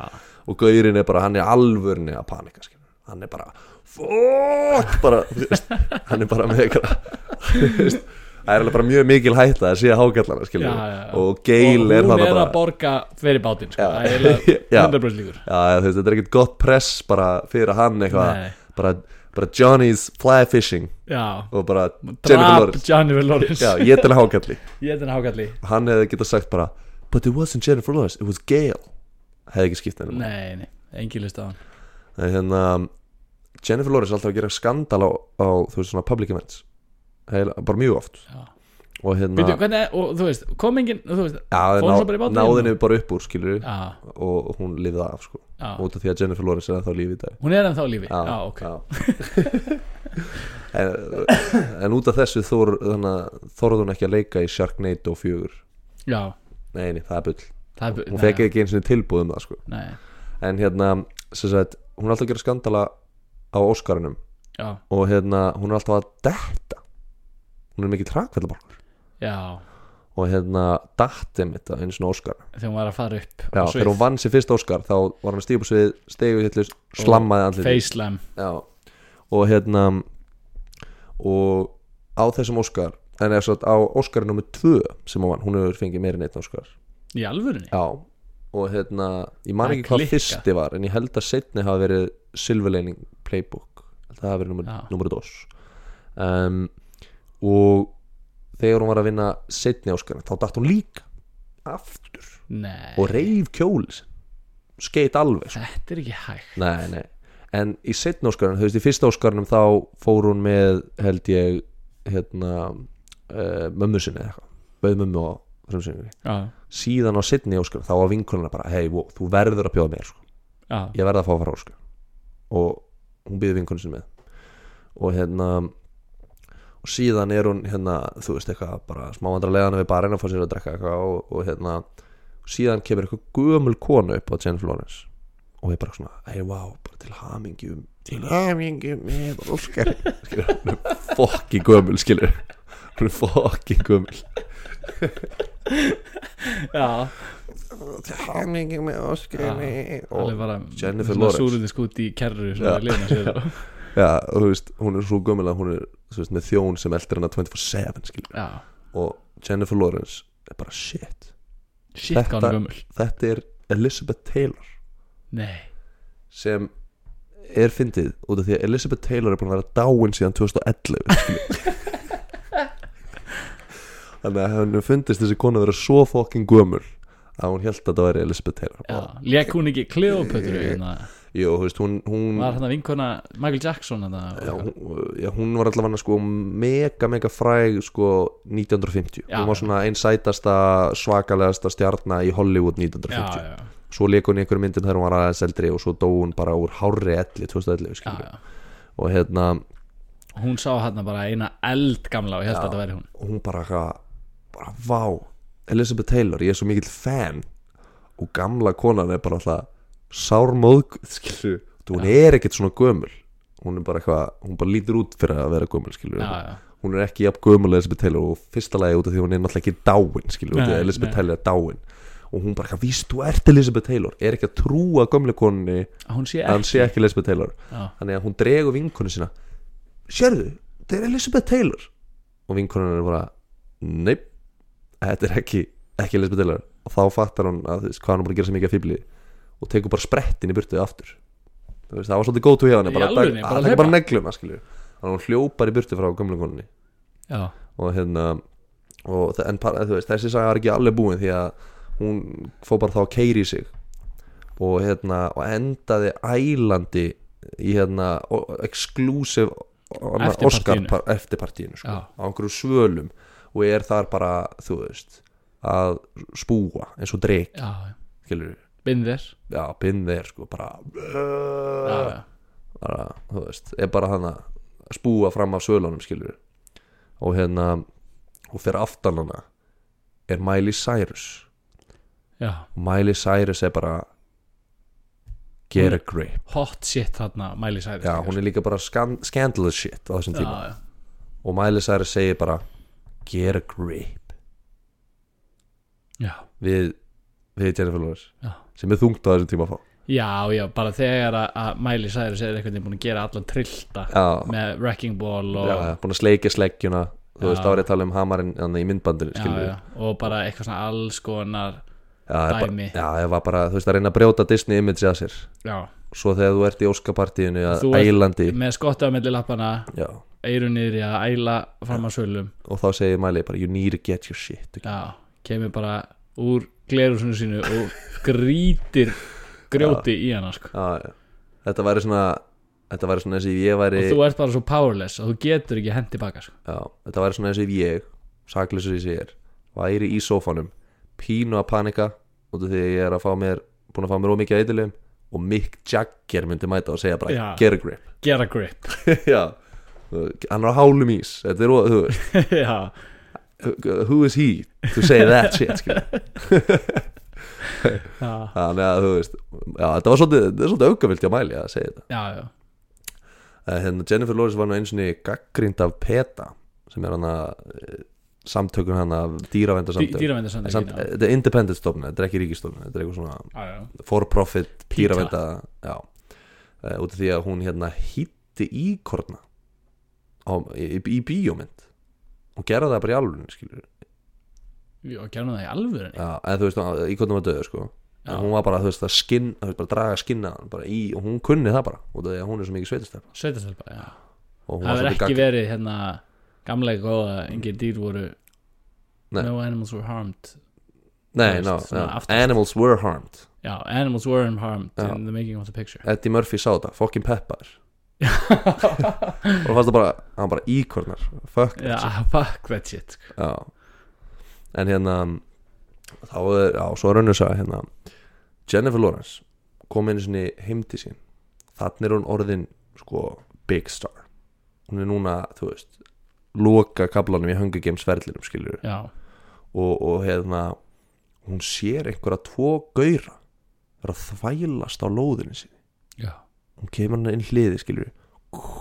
[SPEAKER 1] og gaurinn er bara, hann er alvörni að panika skilur. hann er bara fokk, bara, þú veist, hann er bara með eitthvað þú veist, það er alveg bara mjög mikil hætta að sé að hákallana skilur.
[SPEAKER 2] Já, já, já.
[SPEAKER 1] og geil er
[SPEAKER 2] og hún
[SPEAKER 1] þarna
[SPEAKER 2] er
[SPEAKER 1] bara
[SPEAKER 2] að borga fyrir bátinn sko.
[SPEAKER 1] Já.
[SPEAKER 2] það er eiginlega
[SPEAKER 1] [laughs] Já.
[SPEAKER 2] 100% líkur
[SPEAKER 1] já, já, þú veist, þetta er ekkert gott press bara fyrir hann eitthvað
[SPEAKER 2] Nei.
[SPEAKER 1] bara, bara Johnny's fly fishing
[SPEAKER 2] já,
[SPEAKER 1] og bara Jennifer
[SPEAKER 2] drap
[SPEAKER 1] Lawrence
[SPEAKER 2] Jennifer Lawrence
[SPEAKER 1] Já, ég til hákalli
[SPEAKER 2] ég er hérna þetta hákalli
[SPEAKER 1] Hann hefði getað sagt bara But it wasn't Jennifer Lawrence, it was Gail Hefði ekki skipt henni
[SPEAKER 2] nei, nei, engin list á hann
[SPEAKER 1] En hérna Jennifer Lawrence er alltaf að gera skandal á, á Þú veist svona public events Heil, Bara mjög oft
[SPEAKER 2] Já.
[SPEAKER 1] Og hérna
[SPEAKER 2] Býtu, hvernig, og þú veist, kom engin þú veist,
[SPEAKER 1] Já,
[SPEAKER 2] fór hún svo bara í
[SPEAKER 1] ná,
[SPEAKER 2] bátinn?
[SPEAKER 1] náðinni bara upp úr skilur
[SPEAKER 2] já,
[SPEAKER 1] Og hún lifði af sko
[SPEAKER 2] já,
[SPEAKER 1] Út af því að Jennifer Lawrence er ennþá á lífi í dag
[SPEAKER 2] hún er ennþá á lífi já, ok,
[SPEAKER 1] já. en, en út af þessu þor, þannig, að þorði hún ekki að leika í Sharknado 4
[SPEAKER 2] já
[SPEAKER 1] Nei, nei, það er bull
[SPEAKER 2] það er,
[SPEAKER 1] Hún fekk ekki eins og tilbúð um það sko
[SPEAKER 2] nei,
[SPEAKER 1] en hérna sem sagt, hún er alltaf að gera skandala á Óskarunum
[SPEAKER 2] já,
[SPEAKER 1] og hérna, hún er alltaf að detta hún er mikið trakvellabalkur
[SPEAKER 2] já
[SPEAKER 1] og hérna, dattum þetta einu svona Óskar
[SPEAKER 2] þegar hún var að fara upp
[SPEAKER 1] já, þegar hún vann sér fyrst Óskar þá var hann stíð upp á svið, stegu hittlust slammaði andliti
[SPEAKER 2] facelam,
[SPEAKER 1] já, og hérna og á þessum Óskar en eða satt á Óskar nummer 2 sem hún vann, hún hefur fengið meira en einn Óskar
[SPEAKER 2] í alvörunni
[SPEAKER 1] já, og hérna ég man
[SPEAKER 2] Það
[SPEAKER 1] ekki hvað
[SPEAKER 2] klikkar.
[SPEAKER 1] fyrsti var en ég held að setni hafa verið Silver Lining Playbook Held að það hafa verið nummer,
[SPEAKER 2] Já.
[SPEAKER 1] nummer dos um, og þegar hún var að vinna setni áskarna þá datt hún líka aftur
[SPEAKER 2] nei,
[SPEAKER 1] og reif kjóli skeit alveg sko.
[SPEAKER 2] þetta er ekki hægt
[SPEAKER 1] nei, nei. en í setni áskarna þú veist í fyrsta áskarnum þá fór hún með held ég hérna uh, mömmu sinni eða eitthvað bauð mömmu á frumsýningu
[SPEAKER 2] já,
[SPEAKER 1] síðan á sittni óskur þá var vinkonuna bara hei, wow, þú verður að bjóða mér sko.
[SPEAKER 2] já,
[SPEAKER 1] ég verð að fá að fara óskur og hún býður vinkonu sinni með og hérna og síðan er hún hérna þú veist eitthvað bara smáandralegan við barinn að fá sér að drekka eitthvað og, og hérna síðan kemur eitthvað gömul konu upp á Jennifer Lawrence og ég bara svona hei, wow, bara til hamingjum til hamingjum með [laughs] óskar skilur, hún er fokki gömul skilur hún er fokki gömul
[SPEAKER 2] já
[SPEAKER 3] til hamingi með óskinni
[SPEAKER 1] og
[SPEAKER 2] alveg bara
[SPEAKER 1] Jennifer
[SPEAKER 2] svona
[SPEAKER 1] Lawrence.
[SPEAKER 2] súrindi skút í kerru svona, liðna sér og-
[SPEAKER 1] [laughs] Já, og þú veist, hún er svo gömul að hún er þú veist, með þjón sem eldir hana 24-7 skilur.
[SPEAKER 2] já,
[SPEAKER 1] og Jennifer Lawrence er bara shit,
[SPEAKER 2] shit
[SPEAKER 1] Þetta-
[SPEAKER 2] gáðan gömul
[SPEAKER 1] þetta er Elizabeth Taylor
[SPEAKER 2] nei,
[SPEAKER 1] sem er fyndið út af því að Elizabeth Taylor er búin að vera dáin síðan 2011 skilur. [laughs] þannig að hann fundist þessi konu að vera svo fucking gömul að hún held að það væri Elizabeth Taylor
[SPEAKER 2] Já, lék hún ekki Kleopötru hérna,
[SPEAKER 1] Jú, þú veist, hún, hún,
[SPEAKER 2] var hérna vinkona Michael Jackson hérna,
[SPEAKER 1] Mm. já, hún já, hún var allavega sko mega, mega fræg sko 1950
[SPEAKER 2] Já,
[SPEAKER 1] Hún var
[SPEAKER 2] já.
[SPEAKER 1] svona einsætasta, svakalegasta stjarna í Hollywood
[SPEAKER 2] já,
[SPEAKER 1] 1950
[SPEAKER 2] já,
[SPEAKER 1] Svo leik hún í einhverjum myndum þegar hún var aðeins eldri og svo dó hún bara úr hárri elli 2011
[SPEAKER 2] já,
[SPEAKER 1] skilur
[SPEAKER 2] já.
[SPEAKER 1] Og hérna,
[SPEAKER 2] hún sá hérna bara eina eldgamla og ég held að þetta væri hún
[SPEAKER 1] hún bara eitthvað bara vá, Elizabeth Taylor ég er svo mikill fan og gamla konan er bara alltaf sármóð, skilur þú, hún er ekkert svona gömul hún er bara eitthvað, hún bara lítur út fyrir að vera gömul skilur,
[SPEAKER 2] já, já,
[SPEAKER 1] hún er ekki jafn gömul og Elizabeth Taylor og fyrsta lagi út af því hún er náttúrulega ekki dáin skilur, út af
[SPEAKER 2] Nei,
[SPEAKER 1] því Elizabeth
[SPEAKER 2] nei.
[SPEAKER 1] Taylor er dáin og hún bara eitthvað, víst, þú ert Elizabeth Taylor er ekki að trúa gömlu konunni
[SPEAKER 2] Að hún sé
[SPEAKER 1] að hann
[SPEAKER 2] ekki
[SPEAKER 1] sé ekki Elizabeth Taylor
[SPEAKER 2] já,
[SPEAKER 1] þannig að hún dregur vinkonu sína sérðu, þetta er Elizabeth Taylor og vinkonan er bara neip, þetta er ekki ekki Elizabeth Taylor og þá fattar hún að þú veist, hvað hann er búin að gera sem ekki að fýbli og tekur bara sprettin í burtu aftur Þú veist, það var svolítið góð tói hjá henni
[SPEAKER 2] Í
[SPEAKER 1] bara,
[SPEAKER 2] alvörunni,
[SPEAKER 1] dag-
[SPEAKER 2] bara
[SPEAKER 1] að
[SPEAKER 2] hlaupa?
[SPEAKER 1] taka bara neglum þannig að hún hljópar í burtu frá gömlungunni
[SPEAKER 2] já,
[SPEAKER 1] og hérna og, þa- en par, þú veist, þessi saga er ekki alveg búin því að hún fór bara þá að keiri sig og hérna og endaði ælandi í hérna o- exclusive annað
[SPEAKER 2] Eftir
[SPEAKER 1] Oscar
[SPEAKER 2] partíinu.
[SPEAKER 1] par, eftir partíinu sko,
[SPEAKER 2] Já.
[SPEAKER 1] á einhverju svölum og er þar bara þú veist að spúa eins og dreik
[SPEAKER 2] já,
[SPEAKER 1] skilur við
[SPEAKER 2] bindi þess
[SPEAKER 1] já, binn þeir sko bara,
[SPEAKER 2] já, já,
[SPEAKER 1] bara þú veist, er bara hann að spúa fram af svölunum skilur við og hérna og fyrir aftan hana er Miley Cyrus
[SPEAKER 2] já,
[SPEAKER 1] Miley Cyrus er bara get a grip
[SPEAKER 2] hot shit þarna Miley Cyrus
[SPEAKER 1] já, hún er líka bara scan scandalous shit á þessum
[SPEAKER 2] já,
[SPEAKER 1] tíma
[SPEAKER 2] já,
[SPEAKER 1] og Miley Cyrus segir bara get a grip
[SPEAKER 2] já,
[SPEAKER 1] við, við Jennifer Lawrence
[SPEAKER 2] já.
[SPEAKER 1] sem er þungt á þessum tíma að fá
[SPEAKER 2] Já, já, bara þegar að, að Miley Cyrus er einhvern veginn búin að gera allan trillta
[SPEAKER 1] já,
[SPEAKER 2] með Wrecking Ball og,
[SPEAKER 1] já, já, búin að sleikja sleggjuna þú
[SPEAKER 2] Já.
[SPEAKER 1] veist, þá er ég að tala um hamarinn þannig í myndbandinu,
[SPEAKER 2] já,
[SPEAKER 1] skilur við
[SPEAKER 2] já, og bara eitthvað svona alls konar
[SPEAKER 1] já, er bara,
[SPEAKER 2] Dæmi.
[SPEAKER 1] já, ég var bara, þú veist, að reyna að brjóta Disney image að sér,
[SPEAKER 2] já,
[SPEAKER 1] svo þegar þú ert í Óskapartíinu að
[SPEAKER 2] Þú ert-
[SPEAKER 1] ælandi
[SPEAKER 2] með skotta á milli lappana
[SPEAKER 1] já,
[SPEAKER 2] eiru niðri að æla fram að svölum
[SPEAKER 1] og þá segir Miley bara you need to get your shit together."
[SPEAKER 2] já, kemur bara úr glerusinu sínu og grítir grjóti í hana sko.
[SPEAKER 1] já, já. þetta væri svona þetta væri svona eins og ef ég væri
[SPEAKER 2] og þú ert bara svo powerless að þú getur ekki hendi baka sko.
[SPEAKER 1] já, þetta væri svona eins og ef ég sakleysur í sér, væri í sófanum pínu að panika út af því að ég er að fá mér, búin að fá mér ómikið eitthilum og Mick Jagger myndi mæta og segja bara
[SPEAKER 2] Já.
[SPEAKER 1] get a grip [laughs]
[SPEAKER 2] get a grip
[SPEAKER 1] já, Þú- hann er á hálum ís þetta er, þú veist,
[SPEAKER 2] [laughs] já,
[SPEAKER 1] who is he to say that shit skilur.
[SPEAKER 2] já,
[SPEAKER 1] þannig að þú veist já, þetta var svolítið, þetta er svolítið aukavilt hjá Miley að segja þetta
[SPEAKER 2] já, já.
[SPEAKER 1] Eh, hérna, Jennifer Lawrence var nú eins og gaggrind af PETA sem er hann að samtökun hann af
[SPEAKER 2] Dý-
[SPEAKER 1] dýravendarsamtök En samt,
[SPEAKER 2] dýravendarsamtökin já.
[SPEAKER 1] þetta er independent stofna, þetta er ekki ríkistofna þetta er eitthvað svona
[SPEAKER 2] Já, já.
[SPEAKER 1] for profit
[SPEAKER 2] PETA.
[SPEAKER 1] dýravenda, já uh, út af því að hún hérna hitti íkorna á, í, í, í bíómynd hún gerði það bara í alvörinu skilur
[SPEAKER 2] já, gerðum það í alvöru
[SPEAKER 1] já, en þú veist, íkorna var döðu sko
[SPEAKER 2] Já.
[SPEAKER 1] en hún var bara, þú veist, að skinn þú veist, bara að draga skinna hann bara í og hún kunni það bara út af því að hún er svo mikið sveitastelpa
[SPEAKER 2] sveitastelpa, já
[SPEAKER 1] og hún var
[SPEAKER 2] það verður
[SPEAKER 1] svolítið
[SPEAKER 2] ekki
[SPEAKER 1] gaggrind
[SPEAKER 2] verið hérna gamlega góða, engin dýr voru
[SPEAKER 1] Nei.
[SPEAKER 2] no animals were harmed
[SPEAKER 1] Nei,
[SPEAKER 2] veist,
[SPEAKER 1] no,
[SPEAKER 2] svona
[SPEAKER 1] no.
[SPEAKER 2] aftast.
[SPEAKER 1] Animals were harmed
[SPEAKER 2] já, animals were harmed
[SPEAKER 1] Já.
[SPEAKER 2] in the making of
[SPEAKER 1] [laughs]
[SPEAKER 2] the picture [laughs]
[SPEAKER 1] Eddie Murphy sá þetta, fucking peppar og fannst það bara hann bara íkornar, fuck
[SPEAKER 2] já,
[SPEAKER 1] yeah.
[SPEAKER 2] fuck that shit sko.
[SPEAKER 1] já. en hérna þá er, já, svo er önnur sagði hérna Jennifer Lawrence kom einu sinni heim til sín þannig er hún orðin, sko, big star hún er núna, þú veist loka kablanum í Hunger Games ferðlinum skilur
[SPEAKER 2] já,
[SPEAKER 1] og, og hérna hún sér einhverja tvo gauðra vera að þvælast á lóðinu sinni
[SPEAKER 2] já
[SPEAKER 1] hún kemur hann inn hliði skilur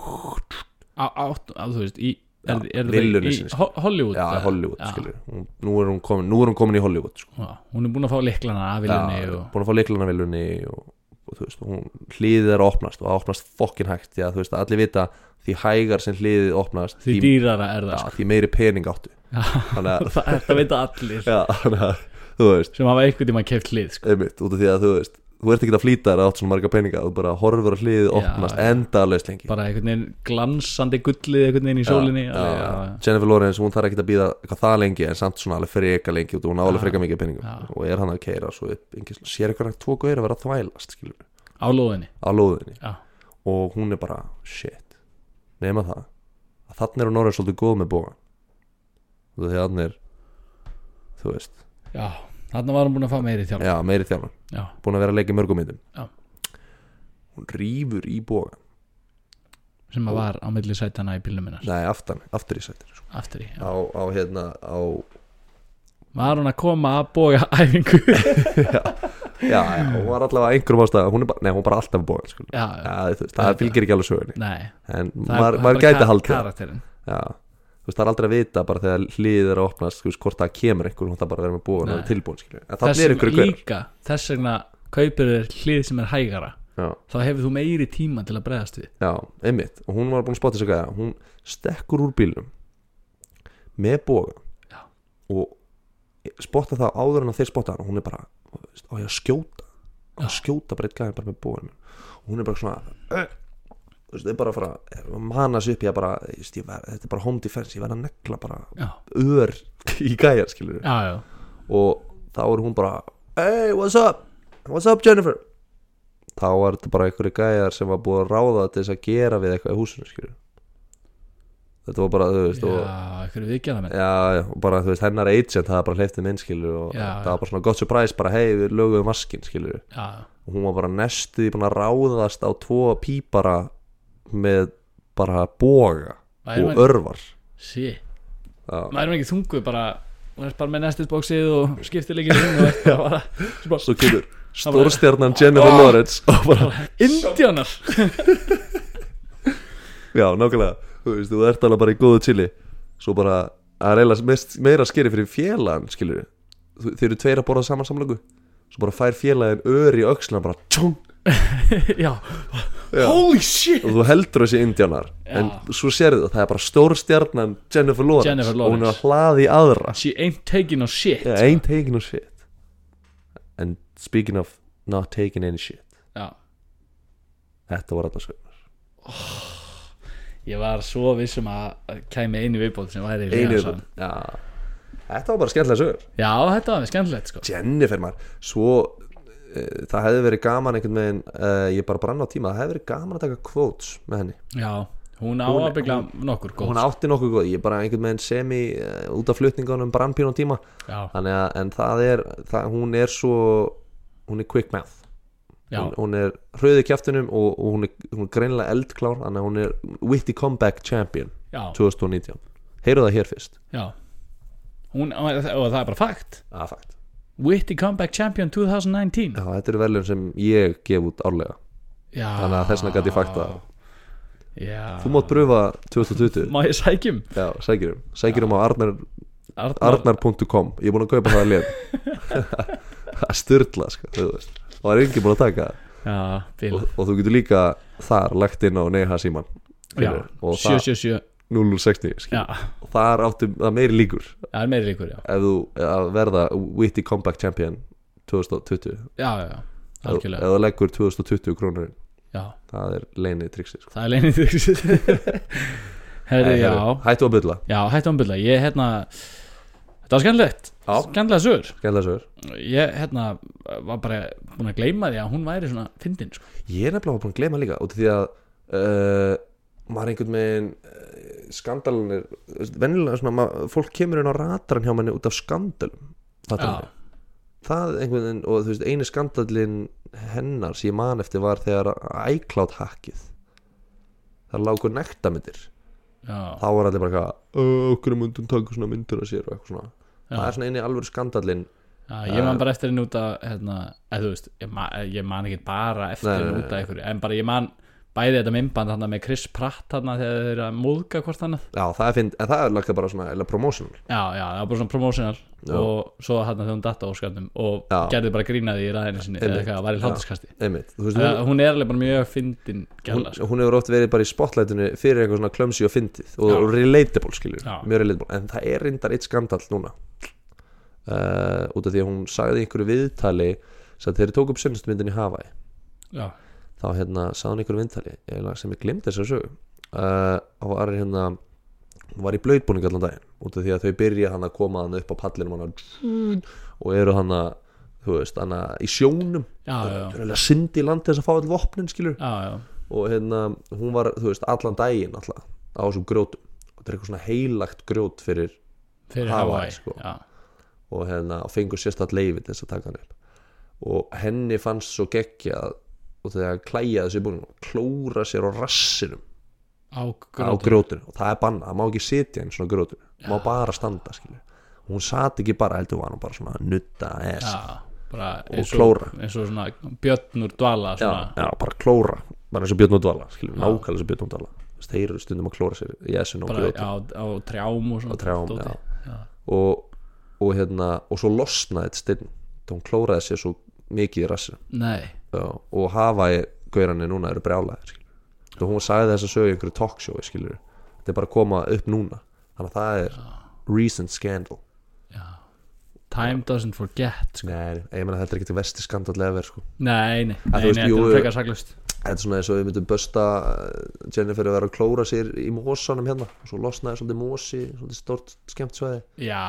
[SPEAKER 2] á, á, á, þú veist, í
[SPEAKER 1] Já,
[SPEAKER 2] er, er
[SPEAKER 1] villunni
[SPEAKER 2] það í
[SPEAKER 1] sinni,
[SPEAKER 2] Ho- Hollywood
[SPEAKER 1] já,
[SPEAKER 2] eða?
[SPEAKER 1] Hollywood
[SPEAKER 2] Já,
[SPEAKER 1] skilur hún, nú, er hún komin, nú er hún komin í Hollywood sko.
[SPEAKER 2] já, hún er búin að fá liklana af viljunni
[SPEAKER 1] Já,
[SPEAKER 2] og,
[SPEAKER 1] búin að fá leiklanavilunni og, og þú veist, hún hliðið er að opnast og það opnast fokkin hægt því að þú veist, allir vita því hægar sem hliðið opnast
[SPEAKER 2] því dýrara er
[SPEAKER 1] já,
[SPEAKER 2] það sko.
[SPEAKER 1] því meiri pening áttu þannig að,
[SPEAKER 2] [laughs]
[SPEAKER 1] [laughs]
[SPEAKER 2] það, það veit allir
[SPEAKER 1] já, þannig að þú veist,
[SPEAKER 2] sem hafa einhvern tíma keft hlið sko.
[SPEAKER 1] einmitt, út af því að þú veist þú ert ekki að flýta þér að átt svona marga peninga þú bara horfur að hliðið opnast
[SPEAKER 2] já.
[SPEAKER 1] endalaust lengi
[SPEAKER 2] bara einhvern veginn glansandi gullið einhvern veginn í sólinni
[SPEAKER 1] já, já.
[SPEAKER 2] alveg, já,
[SPEAKER 1] Jennifer Lawrence, hún þarf ekki að býða eitthvað það lengi en samt svona alveg freka lengi og hún á alveg freka mikið peningum
[SPEAKER 2] já.
[SPEAKER 1] og er hann að keira svo upp engin, sér eitthvað tvo gauðir að vera að þvælast skilur,
[SPEAKER 2] á lóðinni
[SPEAKER 1] á lóðinni
[SPEAKER 2] Já.
[SPEAKER 1] og hún er bara shit nema það að þannig er hún orðið svolítið góð með bógan þú veist þannig er þú veist,
[SPEAKER 2] já, þarna var hann búin að fá meiri þjálf já,
[SPEAKER 1] já meiri þjálfan
[SPEAKER 2] já,
[SPEAKER 1] búin að vera að leika í mörgum myndum
[SPEAKER 2] Já.
[SPEAKER 1] hún rýfur í bógan
[SPEAKER 2] sem að var á milli sætana í bílnum minnar
[SPEAKER 1] nei aftan, aftur í sættir sko.
[SPEAKER 2] aftur í, já.
[SPEAKER 1] á, á hérna á,
[SPEAKER 2] var hún að koma að bója [laughs] æfingu já,
[SPEAKER 1] já, já, hún var allavega einhverjum ástæða hún er bara, nei hún er bara alltaf bógan sko.
[SPEAKER 2] já,
[SPEAKER 1] Já, þú veist, það fylgir ekki alveg sögunni
[SPEAKER 2] nei
[SPEAKER 1] en
[SPEAKER 2] það
[SPEAKER 1] maður
[SPEAKER 2] er- það
[SPEAKER 1] maður
[SPEAKER 2] er bara
[SPEAKER 1] gæti
[SPEAKER 2] kar-
[SPEAKER 1] haldið það.
[SPEAKER 2] karakterinn,
[SPEAKER 1] Já. Þú veist, það er aldrei að vita bara þegar hliðið er að opnast þú veist, hvort það kemur einhver hún það bara að vera með búin og
[SPEAKER 2] Nei.
[SPEAKER 1] tilbúin skilur. en það er
[SPEAKER 2] þess
[SPEAKER 1] ykkur
[SPEAKER 2] vegna
[SPEAKER 1] hver
[SPEAKER 2] líka þess vegna kaupir þér hlið sem er hægara
[SPEAKER 1] já,
[SPEAKER 2] þá hefur þú meiri tíma til að bregðast við
[SPEAKER 1] já, einmitt og hún var búin að spotta sig að hún stekkur úr bílnum með bóga
[SPEAKER 2] Já.
[SPEAKER 1] og spotta það áður en að þeir spotta hann hún er bara, þú veist, á ég að skjóta á ég að skjóta bara eitt gæðin bara með bóin og hún er bara svona "Ugh." þú veist, þau bara að fara að mana sig upp ég bara, þú veist, ég ver, þetta er bara home defense ég verð að negla bara
[SPEAKER 2] já,
[SPEAKER 1] ör í gæjar skilur
[SPEAKER 2] já, já,
[SPEAKER 1] og þá er hún bara hey what's up, what's up Jennifer þá var þetta bara einhverju gæjar sem var búið að ráða til þess að gera við eitthvað í húsinu skilur þetta var bara þú veist
[SPEAKER 2] já,
[SPEAKER 1] og
[SPEAKER 2] einhverju viðgerða með
[SPEAKER 1] Já, já, og bara þú veist, hennar agent það bara hleyftið minn skilur og
[SPEAKER 2] Já,
[SPEAKER 1] það
[SPEAKER 2] já.
[SPEAKER 1] var bara svona gott surprise bara hei, við lögum maskin skilur
[SPEAKER 2] já,
[SPEAKER 1] og hún var bara næstuði búin að ráðast á tvo pípara með bara boga
[SPEAKER 2] Væri
[SPEAKER 1] og
[SPEAKER 2] maður-
[SPEAKER 1] örvar
[SPEAKER 2] sí
[SPEAKER 1] Já.
[SPEAKER 2] maður er ekki þungu bara hún er bara með næstins bóksið og skiptir líka hring
[SPEAKER 1] [laughs]
[SPEAKER 2] og eitthvað bara, svo bara
[SPEAKER 1] svo kemur stórstjarnan Jennifer Lawrence og
[SPEAKER 2] [laughs]
[SPEAKER 1] bara,
[SPEAKER 2] Indianar
[SPEAKER 1] já, nákvæmlega þú veist, þú ert alveg bara í góðu chili svo bara, það er eiginlega mest, meira skeri fyrir félagann, skilur við þeir eru tveir að borða saman samlöku svo bara fær félagin ör í öxlina bara tjóng,
[SPEAKER 2] já,
[SPEAKER 1] Já.
[SPEAKER 2] holy shit
[SPEAKER 1] og þú heldur þessi indjánar
[SPEAKER 2] Já.
[SPEAKER 1] en svo sérðu það, það er bara stórstjarnan Jennifer Lawrence,
[SPEAKER 2] Jennifer
[SPEAKER 1] og hún er
[SPEAKER 2] Lawrence.
[SPEAKER 1] að hlaði í aðra
[SPEAKER 2] she ain't taking no shit
[SPEAKER 1] yeah, ain't taking no shit and speaking of not taking any shit
[SPEAKER 2] já,
[SPEAKER 1] þetta var alltaf sko
[SPEAKER 2] ég var svo vissum að að kæmi einu viðbót sem væri
[SPEAKER 1] Einu-
[SPEAKER 2] Leonardsson.
[SPEAKER 1] Já. þetta var bara skemmtilega sögur
[SPEAKER 2] já, þetta var skemmtilegt sko
[SPEAKER 1] Jennifer maður svo uh, það hefði verið gaman einhvern veginn uh, ég bara brann á tíma, það hefði verið gaman að taka quotes með henni,
[SPEAKER 2] já, hún á
[SPEAKER 1] Hún-
[SPEAKER 2] að byggla nokkur góð
[SPEAKER 1] hún átti nokkuð góð ég bara einhvern veginn semi uh, út af flutningunum brann pínu á tíma,
[SPEAKER 2] já,
[SPEAKER 1] þannig að en það er, það, hún er svo hún er quick mouth
[SPEAKER 2] já,
[SPEAKER 1] hún, hún er hröði kjæftunum og, og hún, er, hún er greinlega eldklár þannig að hún er witty comeback champion
[SPEAKER 2] já,
[SPEAKER 1] 2019, heyrðu það hér fyrst
[SPEAKER 2] já hún, og það er bara fakt
[SPEAKER 1] að fakt,
[SPEAKER 2] Witty Comeback Champion 2019
[SPEAKER 1] já þetta eru verðlun sem ég gef út árlega,
[SPEAKER 2] já,
[SPEAKER 1] þannig að þessna gæti fakt að
[SPEAKER 2] já.
[SPEAKER 1] þú mátt pröfa 2020
[SPEAKER 2] má ég sækjum
[SPEAKER 1] Já, sækjurum, sækjurum um á arnar,
[SPEAKER 2] Arnar,
[SPEAKER 1] arnar.com Ég er búin að kaupa það að
[SPEAKER 2] [laughs]
[SPEAKER 1] lið Það er styrla, sko, þú veist Og það er enginn búin að taka það.
[SPEAKER 2] já, bíl
[SPEAKER 1] og, og þú getur líka þar lagt inn á Neha Síman
[SPEAKER 2] já,
[SPEAKER 1] Og það
[SPEAKER 2] 777
[SPEAKER 1] 0060 skilur.
[SPEAKER 2] já,
[SPEAKER 1] Og þar áttu það er meiri líkur
[SPEAKER 2] það er meiri líkur já,
[SPEAKER 1] Ef þú að verða Witty Comeback Champion 2020
[SPEAKER 2] já, já, já
[SPEAKER 1] Ef ef
[SPEAKER 2] algjörlega
[SPEAKER 1] þú leggur 2020 krónur
[SPEAKER 2] já,
[SPEAKER 1] Það er leinið triksi sko.
[SPEAKER 2] það er leinið [laughs] herri,
[SPEAKER 1] Nei,
[SPEAKER 2] já
[SPEAKER 1] heyrðu, Hættu að bylla
[SPEAKER 2] já, hættu ámbylla, ég hérna þetta var skemmtilegt,
[SPEAKER 1] Já.
[SPEAKER 2] skemmtilega sögur
[SPEAKER 1] Skæðlega sögur
[SPEAKER 2] ég hérna var bara búin að gleyma því að hún væri svona fyndin sko.
[SPEAKER 1] Ég er nefnilega búin að gleyma líka út af því að uh, maður einhvern veginn uh, skandalin er, þú veist, venjulega svona maður, fólk kemur inn á rataran hjá manni út af skandalum
[SPEAKER 2] já,
[SPEAKER 1] það, það einhvern veginn og þú veist eini skandalin hennar sem ég man eftir var þegar iCloud hackið það lágur nektamindir
[SPEAKER 2] já,
[SPEAKER 1] þá var allir bara eitthvað "Ö, okkur er myndum taka svona myndir að sér og eitthvað svona
[SPEAKER 2] Já.
[SPEAKER 1] það er svona eini alvöru skandalin
[SPEAKER 2] já, ég man bara eftir henni út að hérna, eða þú veist, ég man, ég man ekki bara eftir
[SPEAKER 1] Nei, nei,
[SPEAKER 2] henni
[SPEAKER 1] nei.
[SPEAKER 2] út að einhverju en bara ég man bæði þetta mymband þarna með Chris Pratt þarna þegar þeir eru að múðga hvort annað
[SPEAKER 1] já það er fint en það er lagða bara svona eða promotional
[SPEAKER 2] já, já, það var bara svona promotional
[SPEAKER 1] Já.
[SPEAKER 2] og svo þarna þegar hún datta á skjarnum og
[SPEAKER 1] Já.
[SPEAKER 2] gerði bara grínaði í ræðinu sinni eða
[SPEAKER 1] Einmitt.
[SPEAKER 2] eitthvað, var í hlátuskasti
[SPEAKER 1] einmitt þú veist
[SPEAKER 2] Hún, hún er alveg bara mjög fyndin
[SPEAKER 1] hún,
[SPEAKER 2] gæla sko.
[SPEAKER 1] hún hefur oft verið bara í spotlightinu fyrir eitthvað svona klömsi og fyndið og,
[SPEAKER 2] Já.
[SPEAKER 1] og relatable skilur,
[SPEAKER 2] Já.
[SPEAKER 1] mjög relatable en það Eh, er reyndar eitt skandall núna uh, út af því að hún sagði í einhverju viðtali Svo þegar þeir tók upp sjónustmyndin í Hawaii
[SPEAKER 2] já,
[SPEAKER 1] þá hérna sáðan ykkur vintali sem ég glemdi þess að sögu uh, og var hérna hún var í blöðbúning allan daginn út af því að þau byrja hann að koma hann upp á pallinum hann og eru hann að þú veist, hann að í sjónum
[SPEAKER 2] já, já, já,
[SPEAKER 1] eru að syndi í land til þess að fá all vopnin skilur
[SPEAKER 2] já, já.
[SPEAKER 1] og hérna hún var, þú veist, allan daginn alltaf á þessum grjótum og þetta er eitthvað svona heilagt grjót fyrir
[SPEAKER 2] fyrir
[SPEAKER 1] Hawaii,
[SPEAKER 2] Hawaii
[SPEAKER 1] sko.
[SPEAKER 2] já,
[SPEAKER 1] og hérna og fengur sérstætt leifi til þess að taka hann upp og henni fannst svo geggjað og þegar klæjaði sér búin klóra sér á rassinum
[SPEAKER 2] á
[SPEAKER 1] á
[SPEAKER 2] grótum
[SPEAKER 1] grjótinu og það er bannað, það má ekki sitja einn svona grjótinu má bara standa skilju og hún sat ekki bara, heldur var hann bara svona að nutta ass,
[SPEAKER 2] já, bara
[SPEAKER 1] Og
[SPEAKER 2] eins og,
[SPEAKER 1] klóra.
[SPEAKER 2] eins og svona björnur dvala
[SPEAKER 1] já,
[SPEAKER 2] svona,
[SPEAKER 1] já, bara klóra bara eins og Björn og Dvala, skilju, nákvæmlega eins og Björn og Dvala Þú veist, þeir eru stundum að klóra sér í essinu og
[SPEAKER 2] bara
[SPEAKER 1] grjótinu
[SPEAKER 2] á, á trjám og svona
[SPEAKER 1] Á trjám,
[SPEAKER 2] dóti. já.
[SPEAKER 1] og, og hérna, og svo losnaði þetta steinn, þá hún klóraði sér svo mikið í rassinu
[SPEAKER 2] nei,
[SPEAKER 1] Já, og Hawaii gaurarnir núna eru brjálæðir skilur. og hún sagði þess að sögja einhverju talkshow skilur. þetta er bara að koma upp núna þannig að það er recent scandal
[SPEAKER 2] time doesn't forget sko.
[SPEAKER 1] Nei, ég meina þetta er ekki til vesti skandal ever sko.
[SPEAKER 2] nei, nei, nei,
[SPEAKER 1] þú
[SPEAKER 2] nei,
[SPEAKER 1] veist,
[SPEAKER 2] þetta
[SPEAKER 1] jú,
[SPEAKER 2] er
[SPEAKER 1] jú.
[SPEAKER 2] frekar saklust
[SPEAKER 1] þetta er svona eins og við myndum bösta eh, Jennifer að vera að klóra sér í mósanum hérna og svo losnaði svolítið mósi svolítið stort skemmt svæði
[SPEAKER 2] já,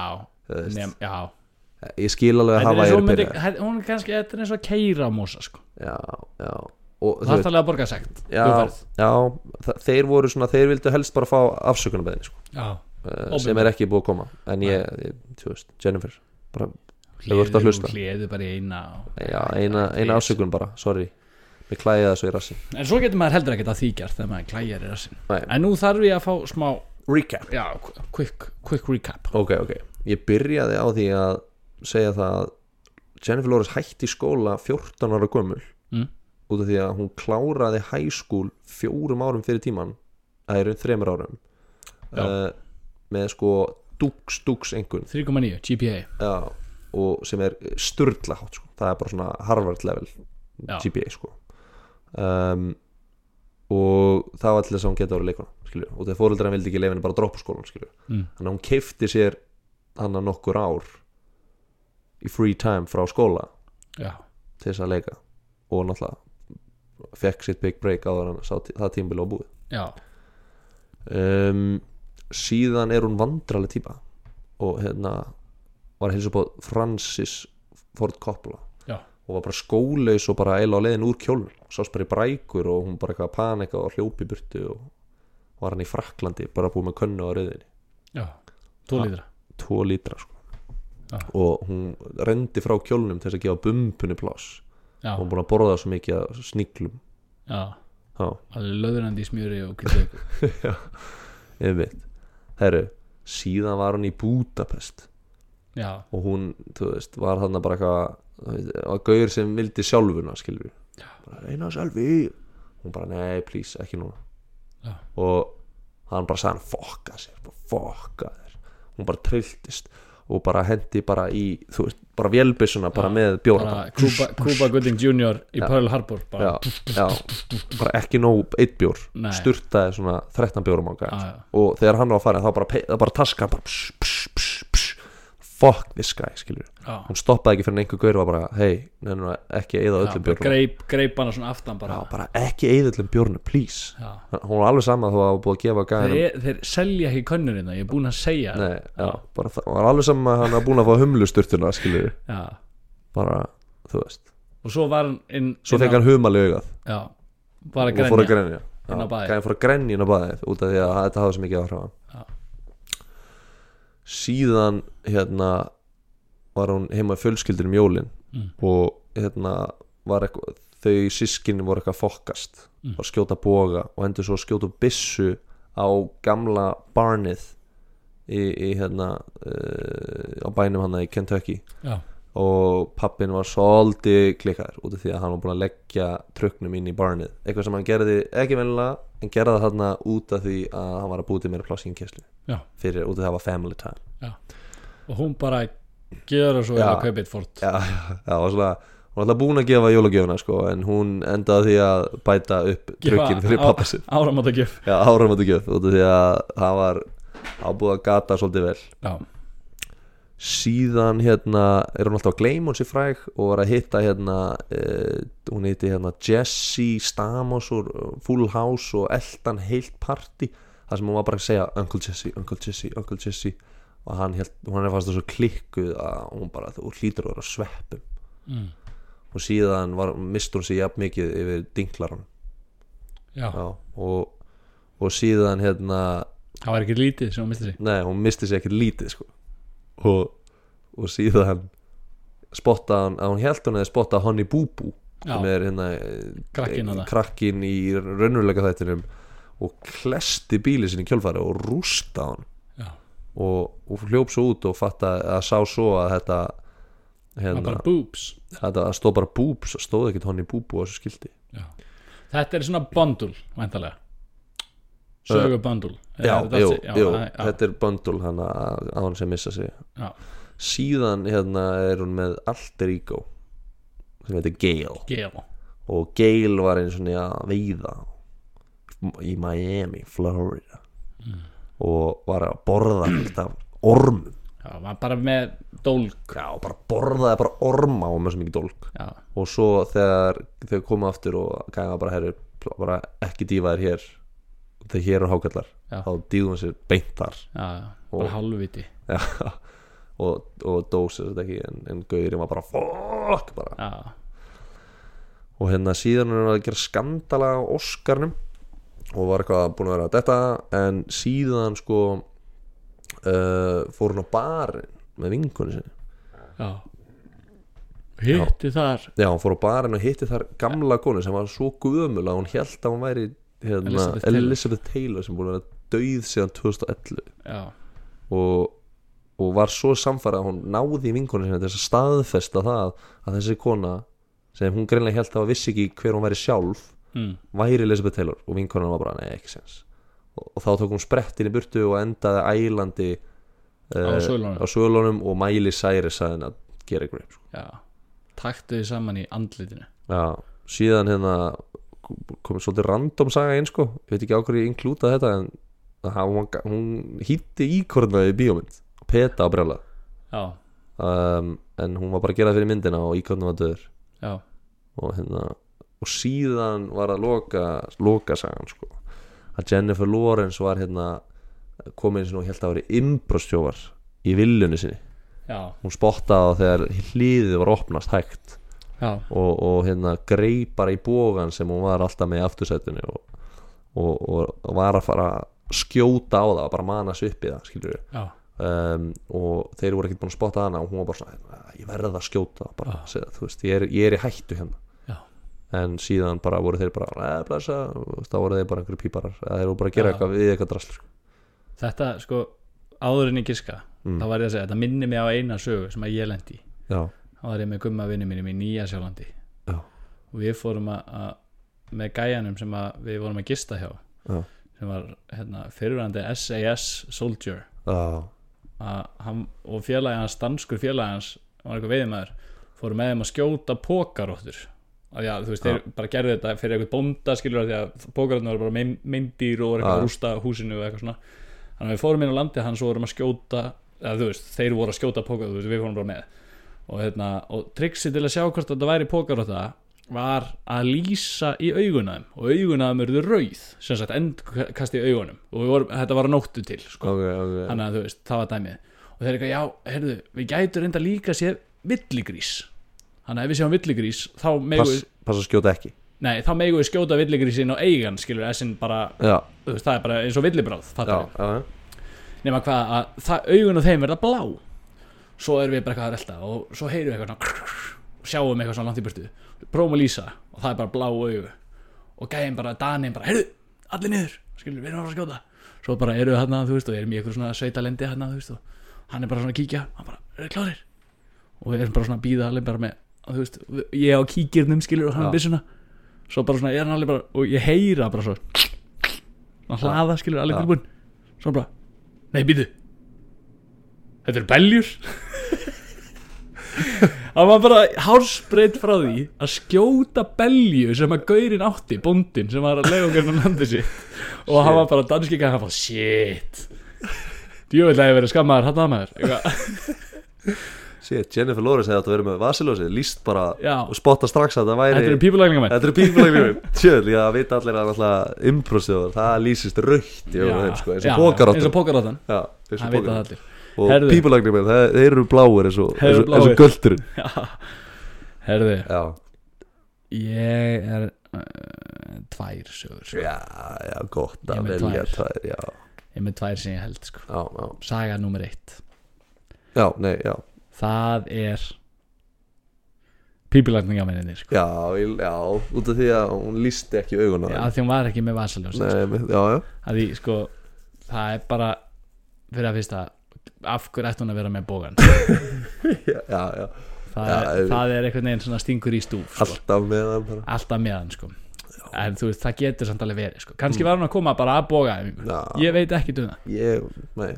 [SPEAKER 1] veist.
[SPEAKER 2] nefn, já
[SPEAKER 1] Eh, ég skil alveg að
[SPEAKER 2] Þetta er
[SPEAKER 1] Hawaii
[SPEAKER 2] eins og
[SPEAKER 1] eru
[SPEAKER 2] hún myndi,
[SPEAKER 1] byrjað
[SPEAKER 2] hæ- hún er kannski, þetta er eins og að keira á mosa sko.
[SPEAKER 1] já, já og
[SPEAKER 2] Það er alveg að borga sekt
[SPEAKER 1] já, já, þa- þeir voru svona þeir vildu helst bara fá afsökunarbeðinni sko.
[SPEAKER 2] já.
[SPEAKER 1] uh,
[SPEAKER 2] Opinber.
[SPEAKER 1] sem er ekki búið að koma en ég, ég þú veist, Jennifer bara, hefur vart að hlusta
[SPEAKER 2] Hleðu bara í eina og...
[SPEAKER 1] já, eina, eina afsökun bara, sorry mér klæði það svo í rassin
[SPEAKER 2] En svo getur maður heldur ekkert að því gert þegar maður klæjar í rassin
[SPEAKER 1] Nei.
[SPEAKER 2] En nú þarf ég að fá smá
[SPEAKER 1] recap
[SPEAKER 2] Já, qu- quick, quick recap
[SPEAKER 1] ok, ok, ég byrjaði á því að segja það að Jennifer Lawrence hætti í skóla 14 ára gömul
[SPEAKER 2] Mm.
[SPEAKER 1] út af því að hún kláraði high school fjórum árum fyrir tíman það eru þremur árum
[SPEAKER 2] Já.
[SPEAKER 1] uh, með sko dúks, dúks einhvern
[SPEAKER 2] 3,9, GPA
[SPEAKER 1] já, og sem er sturdla hátt sko. það er bara svona Harvard level
[SPEAKER 2] Já.
[SPEAKER 1] GPA sko. um, og það var til þess að hún geta orðið leikona skilju, og þegar fóreldra vildi ekki leifa henni bara að droppa skólan skilju,
[SPEAKER 2] Mm.
[SPEAKER 1] þannig að hún keifti sér hann að nokkur ár í free time frá skóla
[SPEAKER 2] Já,
[SPEAKER 1] til þess að leika og náttúrulega fekk sitt big break áður en sá tí- það tímbil á búið
[SPEAKER 2] já,
[SPEAKER 1] um, síðan er hún vandraleg típa og hérna var að hilsa på Francis Ford Coppola
[SPEAKER 2] já
[SPEAKER 1] og var bara skólaus og bara eila á leiðin úr kjólun og sást bara í brækur og hún bara eitthvað að panika og hljópi burtu og var hann í Fraklandi bara búið með könnu á rauðinni
[SPEAKER 2] Já, tólítra
[SPEAKER 1] tvo lítra sko
[SPEAKER 2] Já.
[SPEAKER 1] og hún rendi frá kjólnum til þess að gefa bumbunni pláss
[SPEAKER 2] Já,
[SPEAKER 1] og hún búin að borða svo mikið af sniglum
[SPEAKER 2] já
[SPEAKER 1] já,
[SPEAKER 2] Alveg löðurandi í smjöri og kryddauk
[SPEAKER 1] einmitt herru, síðan var hún í Budapest
[SPEAKER 2] Já,
[SPEAKER 1] og hún, þú veist, var þarna bara eitthvað að gaur sem vildi sjálfuna skilur bara reyna sjálfi hún bara, nei, please, ekki núna
[SPEAKER 2] Já.
[SPEAKER 1] og hann bara sagði hann, fokka sér, bara fokka þér hún bara trilltist og bara hendi bara í, þú veist, bara vélbissuna bara með bjóra
[SPEAKER 2] bara Cuba, Cuba Gooding Jr. í Pearl Harbor bara,
[SPEAKER 1] já, já, bara ekki nóg eitt bjór,
[SPEAKER 2] Nei.
[SPEAKER 1] styrtaði svona 13 bjórum á
[SPEAKER 2] Já,
[SPEAKER 1] gæð
[SPEAKER 2] já.
[SPEAKER 1] og þegar hann var að fara þá bara, pe- þá bara taska hann bara pss, pss, pss, pss, fuck this guy, skilur
[SPEAKER 2] já.
[SPEAKER 1] hún stoppaði ekki fyrir en einhver gaur var bara hei, neina ekki eða öllum
[SPEAKER 2] Já, bara
[SPEAKER 1] björnum
[SPEAKER 2] greip, greip hana svona aftan bara
[SPEAKER 1] já, bara ekki eða öllum björnum, please
[SPEAKER 2] Já.
[SPEAKER 1] hún var alveg sama þó að hún var búið að gefa
[SPEAKER 2] þeir,
[SPEAKER 1] gæðinum
[SPEAKER 2] er, þeir selja ekki könnurinn ég er búinn að segja það.
[SPEAKER 1] nei, já, bara það- hún var alveg sama að hann var búin að fá humlusturtuna skilur,
[SPEAKER 2] já.
[SPEAKER 1] bara, þú veist
[SPEAKER 2] og svo var hann inn
[SPEAKER 1] svo fekk hann humali augað
[SPEAKER 2] já, bara
[SPEAKER 1] og fór að
[SPEAKER 2] grænja
[SPEAKER 1] grenja Já,
[SPEAKER 2] Inn á baðið.
[SPEAKER 1] gæðin fór að grenja inn á baðið út af því að þetta hafði svo mikið áhrif á
[SPEAKER 2] Já.
[SPEAKER 1] hann síðan hérna var hún heima í fjölskyldinum jólin
[SPEAKER 2] Mm.
[SPEAKER 1] og hérna var eitthvað þau sískinni voru eitthvað að fokkast
[SPEAKER 2] Mm.
[SPEAKER 1] var að skjóta boga og endur svo að skjóta bissu á gamla barnið í, í hérna uh, á bænum hana í Kentucky
[SPEAKER 2] já,
[SPEAKER 1] og pappin var svolítið klikkaður út af því að hann var búin að leggja tröknum inn í barnið, eitthvað sem hann gerði ekki vennilega en gerði það þarna út af því að hann var að búið til meira pláss í kynslu
[SPEAKER 2] já,
[SPEAKER 1] fyrir út af því að það var family time
[SPEAKER 2] já. og hún bara gera svo
[SPEAKER 1] Já.
[SPEAKER 2] eða kaupið fórt
[SPEAKER 1] já, [laughs] já, já, og svona hún var alltaf búin að gefa jólagjöfuna sko en hún endaði á því að bæta upp trökkin fyrir pappa sinn
[SPEAKER 2] áramátt að gef
[SPEAKER 1] já, áramöndu gjöf út af því að hann var hann var búið að gata svolítið vel
[SPEAKER 2] já,
[SPEAKER 1] síðan hérna er hún alltaf að gleyma hún sér fræg og var að hitta hérna uh, hún heiti hérna Jesse Stamos úr eh, Full House og eldan heilt party þar sem hún var bara að segja Uncle Jesse, Uncle Jesse, Uncle Jesse og hann, held, hann er fast þessu klikkuð að hún bara, þú hlýtur að vera sveppum
[SPEAKER 2] Mm.
[SPEAKER 1] og síðan var, mistur hún sér jafn mikið yfir dinklaran
[SPEAKER 2] Já,
[SPEAKER 1] Já, og, og síðan hérna
[SPEAKER 2] það var ekki lítið sem hún misti sig
[SPEAKER 1] Nei, hún misti sér ekkert lítið sko. og, og síðan spotta hann, að hún held hún eða spotta Honey Boo Boo sem
[SPEAKER 2] Já,
[SPEAKER 1] er hérna
[SPEAKER 2] Krakkinn þarna.
[SPEAKER 1] krakkin í raunveruleika þættinum og klesti bílið sinni í kjölfari og rústa hann
[SPEAKER 2] já,
[SPEAKER 1] og, og hljóp svo út og fatta að sá svo að þetta
[SPEAKER 2] það var
[SPEAKER 1] hérna,
[SPEAKER 2] bara boobs
[SPEAKER 1] þetta að stóð bara boobs og stóð ekkert Honey Boo Boo á þessu skildi
[SPEAKER 2] já. Þetta er svona bandul, væntalega Sögu bandul
[SPEAKER 1] Eh, Já, jú, jú,
[SPEAKER 2] já,
[SPEAKER 1] þetta er böndul hann að að hún sem missa sig
[SPEAKER 2] já,
[SPEAKER 1] síðan hérna er hún með alter ego sem heitir Gale
[SPEAKER 2] gel
[SPEAKER 1] og Gale var eins og nýja veiða í Miami, Florida
[SPEAKER 2] Mm.
[SPEAKER 1] og var að borða þetta ormum
[SPEAKER 2] Já, maður bara með dólg
[SPEAKER 1] já, bara borðaði bara orma og með svo mikið dólk
[SPEAKER 2] Já,
[SPEAKER 1] og svo þegar þau komu aftur og gæða bara herri bara ekki dýfa þér hér þegar hér eru hákallar
[SPEAKER 2] Já.
[SPEAKER 1] þá dýfum sér beint þar [laughs]
[SPEAKER 2] já, já, bara
[SPEAKER 1] Og-
[SPEAKER 2] hálfviti
[SPEAKER 1] já, og, og dósi þetta ekki en, en gauðurinn var bara fokk bara
[SPEAKER 2] Já,
[SPEAKER 1] og hérna síðan er hann að gera skandala á Óskarnum og var eitthvað búin að vera að detta en síðan sko uh, fór hann á barinn með vinkunni sinni
[SPEAKER 2] já Hitti þar
[SPEAKER 1] já, hann fór á barinn og hitti þar gamla konu sem var svo gömul að hún held að hún væri hérna,
[SPEAKER 2] Elizabeth
[SPEAKER 1] Elizabeth,
[SPEAKER 2] Taylor.
[SPEAKER 1] Taylor sem búin að vera döið síðan 2011
[SPEAKER 2] Já,
[SPEAKER 1] og, og var svo samfæra að hún náði í vinkonu sinni til þess að staðfesta það að þessi kona sem hún greinlega held að hafa vissi ekki hver hún væri sjálf
[SPEAKER 2] mm.
[SPEAKER 1] væri Elizabeth Taylor og vinkonan var bara nei ekki sens og, og þá tók hún sprettin í burtu og endaði ælandi
[SPEAKER 2] á sölunum
[SPEAKER 1] á svölunum Eh, og Miley Cyrus að henn að gera grip sko.
[SPEAKER 2] Já, taktu þið saman í andlitinu
[SPEAKER 1] já, síðan hérna komið svolítið random saga einn sko ég veit ekki á hverju ég inklúta þetta en ha, hún, hún hýtti íkornaði í bíómynd peta á brjála
[SPEAKER 2] Já,
[SPEAKER 1] um, en hún var bara að gera það fyrir myndina og íkornaði var döður
[SPEAKER 2] já,
[SPEAKER 1] og hérna og síðan var að loka loka sagan sko að Jennifer Lawrence var hérna komin sinni og held að verið innbrostjófar í viljunni sinni
[SPEAKER 2] já,
[SPEAKER 1] hún spottaði á þegar hliðið var opnast hægt
[SPEAKER 2] já
[SPEAKER 1] og, og hérna greip bara í bógan sem hún var alltaf með í aftursætinu og, og, og var að fara að skjóta á það bara mana sig upp í það skilur við
[SPEAKER 2] Já,
[SPEAKER 1] um, og þeir voru ekkert búin að spotta hana og hún var bara svona, "Æ, ég verða að skjóta bara, ah. segja, þú veist, ég er, ég er í hættu hérna
[SPEAKER 2] Já.
[SPEAKER 1] en síðan bara voru þeir bara "Nei, blessa, þú veist, þá voru þeir bara einhverju píparar eða þeir voru bara að gera
[SPEAKER 2] Já.
[SPEAKER 1] eitthvað við eitthvað drasl sko.
[SPEAKER 2] þetta sko áður en ég giska
[SPEAKER 1] Mm.
[SPEAKER 2] þá var ég að segja, þetta minnir mig á eina sögu sem að ég lendi í.
[SPEAKER 1] já,
[SPEAKER 2] þá var ég með gumma vinnu mínum í Nýja Sjálandi
[SPEAKER 1] Já.
[SPEAKER 2] og við fórum að, að með gæjanum sem að við vorum að gista hjá
[SPEAKER 1] Já.
[SPEAKER 2] sem var hérna, fyrirrandi SAS Soldier
[SPEAKER 1] já,
[SPEAKER 2] að hann, og félagi hans, danskur félagi hans var eitthvað veiðmaður, fórum með þeim að skjóta pókaróttur að já, þú veist, þeir bara gerðu þetta fyrir eitthvað bónda skilur að því að pókaróttur voru bara mein, meindýr og voru
[SPEAKER 1] Já.
[SPEAKER 2] eitthvað að rústa húsinu og eitthvað svona þannig að við fórum inn á landi hans og vorum að skjóta eða þú veist, þeir voru að skjóta pókaróttur þú veist, við fórum bara með og, hérna, og triksi til að sjá hvort þetta væri pókarótta var að lýsa í augunaðum og augunaðum eruðu rauð sem sagt endkast í augunum og við vorum, þetta var að nóttu til sko
[SPEAKER 1] ok, ok
[SPEAKER 2] þannig að þú veist, það var dæmið og þeir eru eitthvað, já, heyrðu, við gætur reynda líka séð villigrís þannig að ef við séum villigrís, þá megu
[SPEAKER 1] pass, pass að skjóta ekki
[SPEAKER 2] nei, þá megu við skjóta villigrísin á eigan, skilur, essin bara
[SPEAKER 1] já,
[SPEAKER 2] þú veist, það er bara eins og villibráð,
[SPEAKER 1] já,
[SPEAKER 2] fattar
[SPEAKER 1] já, já.
[SPEAKER 2] við nema hvað, að það, augun á þeim verða blá svo erum við bara eitthvað að relta og svo heyrum við eitthvað svona krrr, og sjáum eitthvað svona langt í burtu prófum að lýsa og það er bara blá augu og gæðin bara, danin bara, heyrðu, allir niður skilur, við erum að fara að skjóta svo bara eru við hann þú veist, og erum í eitthvað svona sveitalendi hann þú veist, og hann er bara svona að kíkja hann bara, eru klárir og við erum bara svona að býða allir bara með þú veist, ég á kíkirnum skilur og
[SPEAKER 1] Já.
[SPEAKER 2] hann ja. byssuna svo bara svona, ég er hann allir bara og ég heyra bara svo hann hlaða skilur, allir
[SPEAKER 1] Já.
[SPEAKER 2] ja. tilbúin svo bara, nei, býtu þetta eru beljur hann var bara hársbreytt frá því að skjóta belju sem að gaurin átti, bóndin sem var að leiða okkur á landi sitt og hann var bara
[SPEAKER 1] [laughs]
[SPEAKER 2] danski gæði, hann bara shit djúvill að ég verið skammaður, hann að maður Eitthvað.
[SPEAKER 1] Shit, Jennifer Lawrence hefði átt að vera með vasilósið Lýst bara
[SPEAKER 2] Já.
[SPEAKER 1] og spotta strax að það væri
[SPEAKER 2] Þetta eru pípulækningar með
[SPEAKER 1] Þetta eru pípulegni minn Sjöðl, já, vita allir að alltaf improsjóður Það lýsist raukt í augunum á þeim, sko, eins og
[SPEAKER 2] Eins
[SPEAKER 1] pókaráttan
[SPEAKER 2] og pókaráttan
[SPEAKER 1] Já, eins og
[SPEAKER 2] Það veit það
[SPEAKER 1] pókaráttan
[SPEAKER 2] allir
[SPEAKER 1] Og
[SPEAKER 2] Herðu.
[SPEAKER 1] pípulegni minn, þeir þeir eru bláir eins og,
[SPEAKER 2] Þeir eru
[SPEAKER 1] eins og, eins
[SPEAKER 2] bláir.
[SPEAKER 1] og göldurinn
[SPEAKER 2] Herði,
[SPEAKER 1] Já,
[SPEAKER 2] ég er uh, tvær sögur sko.
[SPEAKER 1] já, já, gott
[SPEAKER 2] Ég
[SPEAKER 1] að
[SPEAKER 2] með
[SPEAKER 1] velja
[SPEAKER 2] tvær.
[SPEAKER 1] tvær Já,
[SPEAKER 2] Ég er með tvær sem ég held sko.
[SPEAKER 1] já, já,
[SPEAKER 2] Saga nummer eitt
[SPEAKER 1] já, nei, já
[SPEAKER 2] Það er pípulækningamenninni sko.
[SPEAKER 1] Já, ég- já, út af því að hún lýsti ekki augunum
[SPEAKER 2] Af því hún var ekki með vasaljós
[SPEAKER 1] Nei, með- já, já,
[SPEAKER 2] að því sko það er bara fyrir að fyrsta af hverju ætti hún að vera með bógan
[SPEAKER 1] já, já, já.
[SPEAKER 2] það,
[SPEAKER 1] Já,
[SPEAKER 2] er,
[SPEAKER 1] auðvitað.
[SPEAKER 2] það er einhvern veginn svona stingur í stúf sko.
[SPEAKER 1] Alltaf með hann bara
[SPEAKER 2] alltaf meðan sko en þú veist það getur samt alveg verið sko kannski var hún að koma bara að bóga
[SPEAKER 1] Mm. Já.
[SPEAKER 2] ég veit ekki um það
[SPEAKER 1] Ég, nei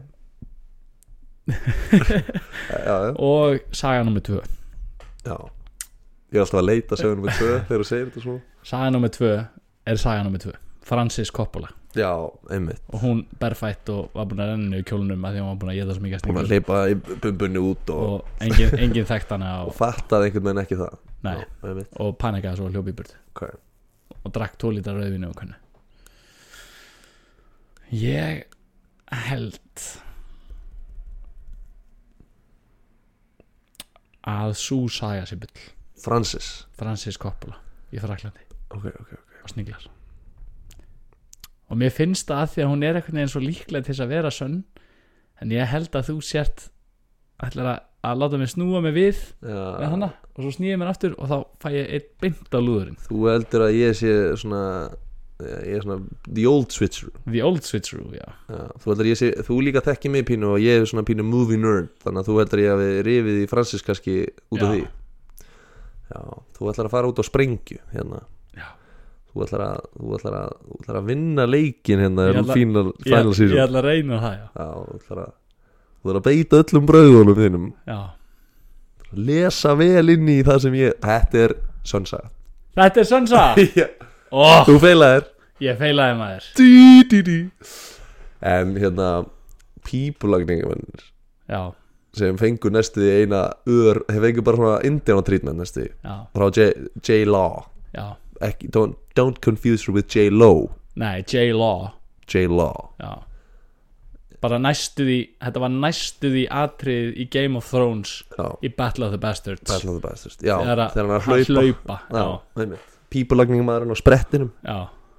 [SPEAKER 1] Já, já,
[SPEAKER 2] og saga nummer tvö
[SPEAKER 1] já Ég er alltaf að leita sögunum með tvö þegar þú segir þetta svo
[SPEAKER 2] saga nummer tvö er saga nummer tvö Francis Coppola
[SPEAKER 1] Já, einmitt
[SPEAKER 2] og hún berfætt og var búin að renna í kjólunum að því hún var búin að geta svo mikið að
[SPEAKER 1] Búin að
[SPEAKER 2] stingur
[SPEAKER 1] leipa í bumbunni út og,
[SPEAKER 2] og engin, engin þekkt hana
[SPEAKER 1] og
[SPEAKER 2] og,
[SPEAKER 1] fattaði einhvern veginn ekki það
[SPEAKER 2] nei,
[SPEAKER 1] Já, einmitt,
[SPEAKER 2] og panikaði svo og hljóp í burtu
[SPEAKER 1] ok
[SPEAKER 2] og drakk tólítar rauðinu og hvernig ég held að sú saga sér bull
[SPEAKER 1] Francis
[SPEAKER 2] Francis Coppola í Fraklandi
[SPEAKER 1] Ok, ok, ok
[SPEAKER 2] og sniglar og mér finnst það að því að hún er einhvern veginn svo líklega til þess að vera sönn en ég held að þú sért ætlar að, að láta mig snúa mig við með
[SPEAKER 1] Já,
[SPEAKER 2] hana og svo snýja mér aftur og þá fæ ég eitt beint á lúðurinn
[SPEAKER 1] þú heldur að ég sé svona eh, Ég er svona the old switcher
[SPEAKER 2] The Old Switcheroo, já
[SPEAKER 1] Já, þú heldur að ég sé, þú líka þekki mig pínu og ég er svona pínu movie nerd þannig að þú heldur að ég hafi rifið í Francis kannski út af
[SPEAKER 2] Já.
[SPEAKER 1] því Já, þú ætlar að fara út á sprengju hérna
[SPEAKER 2] Já.
[SPEAKER 1] Þú ætlar að, þú ætlar að, þú ætlar að vinna leikin hérna
[SPEAKER 2] Ég
[SPEAKER 1] er
[SPEAKER 2] ætla-
[SPEAKER 1] final, final
[SPEAKER 2] ég, ég
[SPEAKER 1] season Já,
[SPEAKER 2] ætla að reyna það já,
[SPEAKER 1] þú ætlar að Þú ætlar að beita öllum brauðunum þínum
[SPEAKER 2] já.
[SPEAKER 1] Lesa vel inn í það sem ég Þetta er
[SPEAKER 2] [laughs]
[SPEAKER 1] sönsa
[SPEAKER 2] Þetta er Sansa
[SPEAKER 1] [laughs] Þú
[SPEAKER 2] oh,
[SPEAKER 1] feilaðir
[SPEAKER 2] Ég feilaði maður
[SPEAKER 1] Dí, dí, dí. En hérna Pípulagningum mennir
[SPEAKER 2] Já,
[SPEAKER 1] sem fengur næstu því eina ör, þeir fengur bara svona indiana treatment næstu því
[SPEAKER 2] já,
[SPEAKER 1] frá J- J-Law
[SPEAKER 2] já
[SPEAKER 1] Ekki- don't, don't confuse her with J-Lo
[SPEAKER 2] Nei, J-Law
[SPEAKER 1] J-Law
[SPEAKER 2] Já Bara næstu því Þetta var næstu því atrið í Game of Thrones
[SPEAKER 1] Já.
[SPEAKER 2] Í Battle of the Bastards
[SPEAKER 1] Battle of the Bastards já,
[SPEAKER 2] Þegar að-
[SPEAKER 1] þegar hann er
[SPEAKER 2] hann
[SPEAKER 1] að hlaupa
[SPEAKER 2] hlaupa, já.
[SPEAKER 1] já, pípulagningamaðurinn á sprettinum
[SPEAKER 2] Já,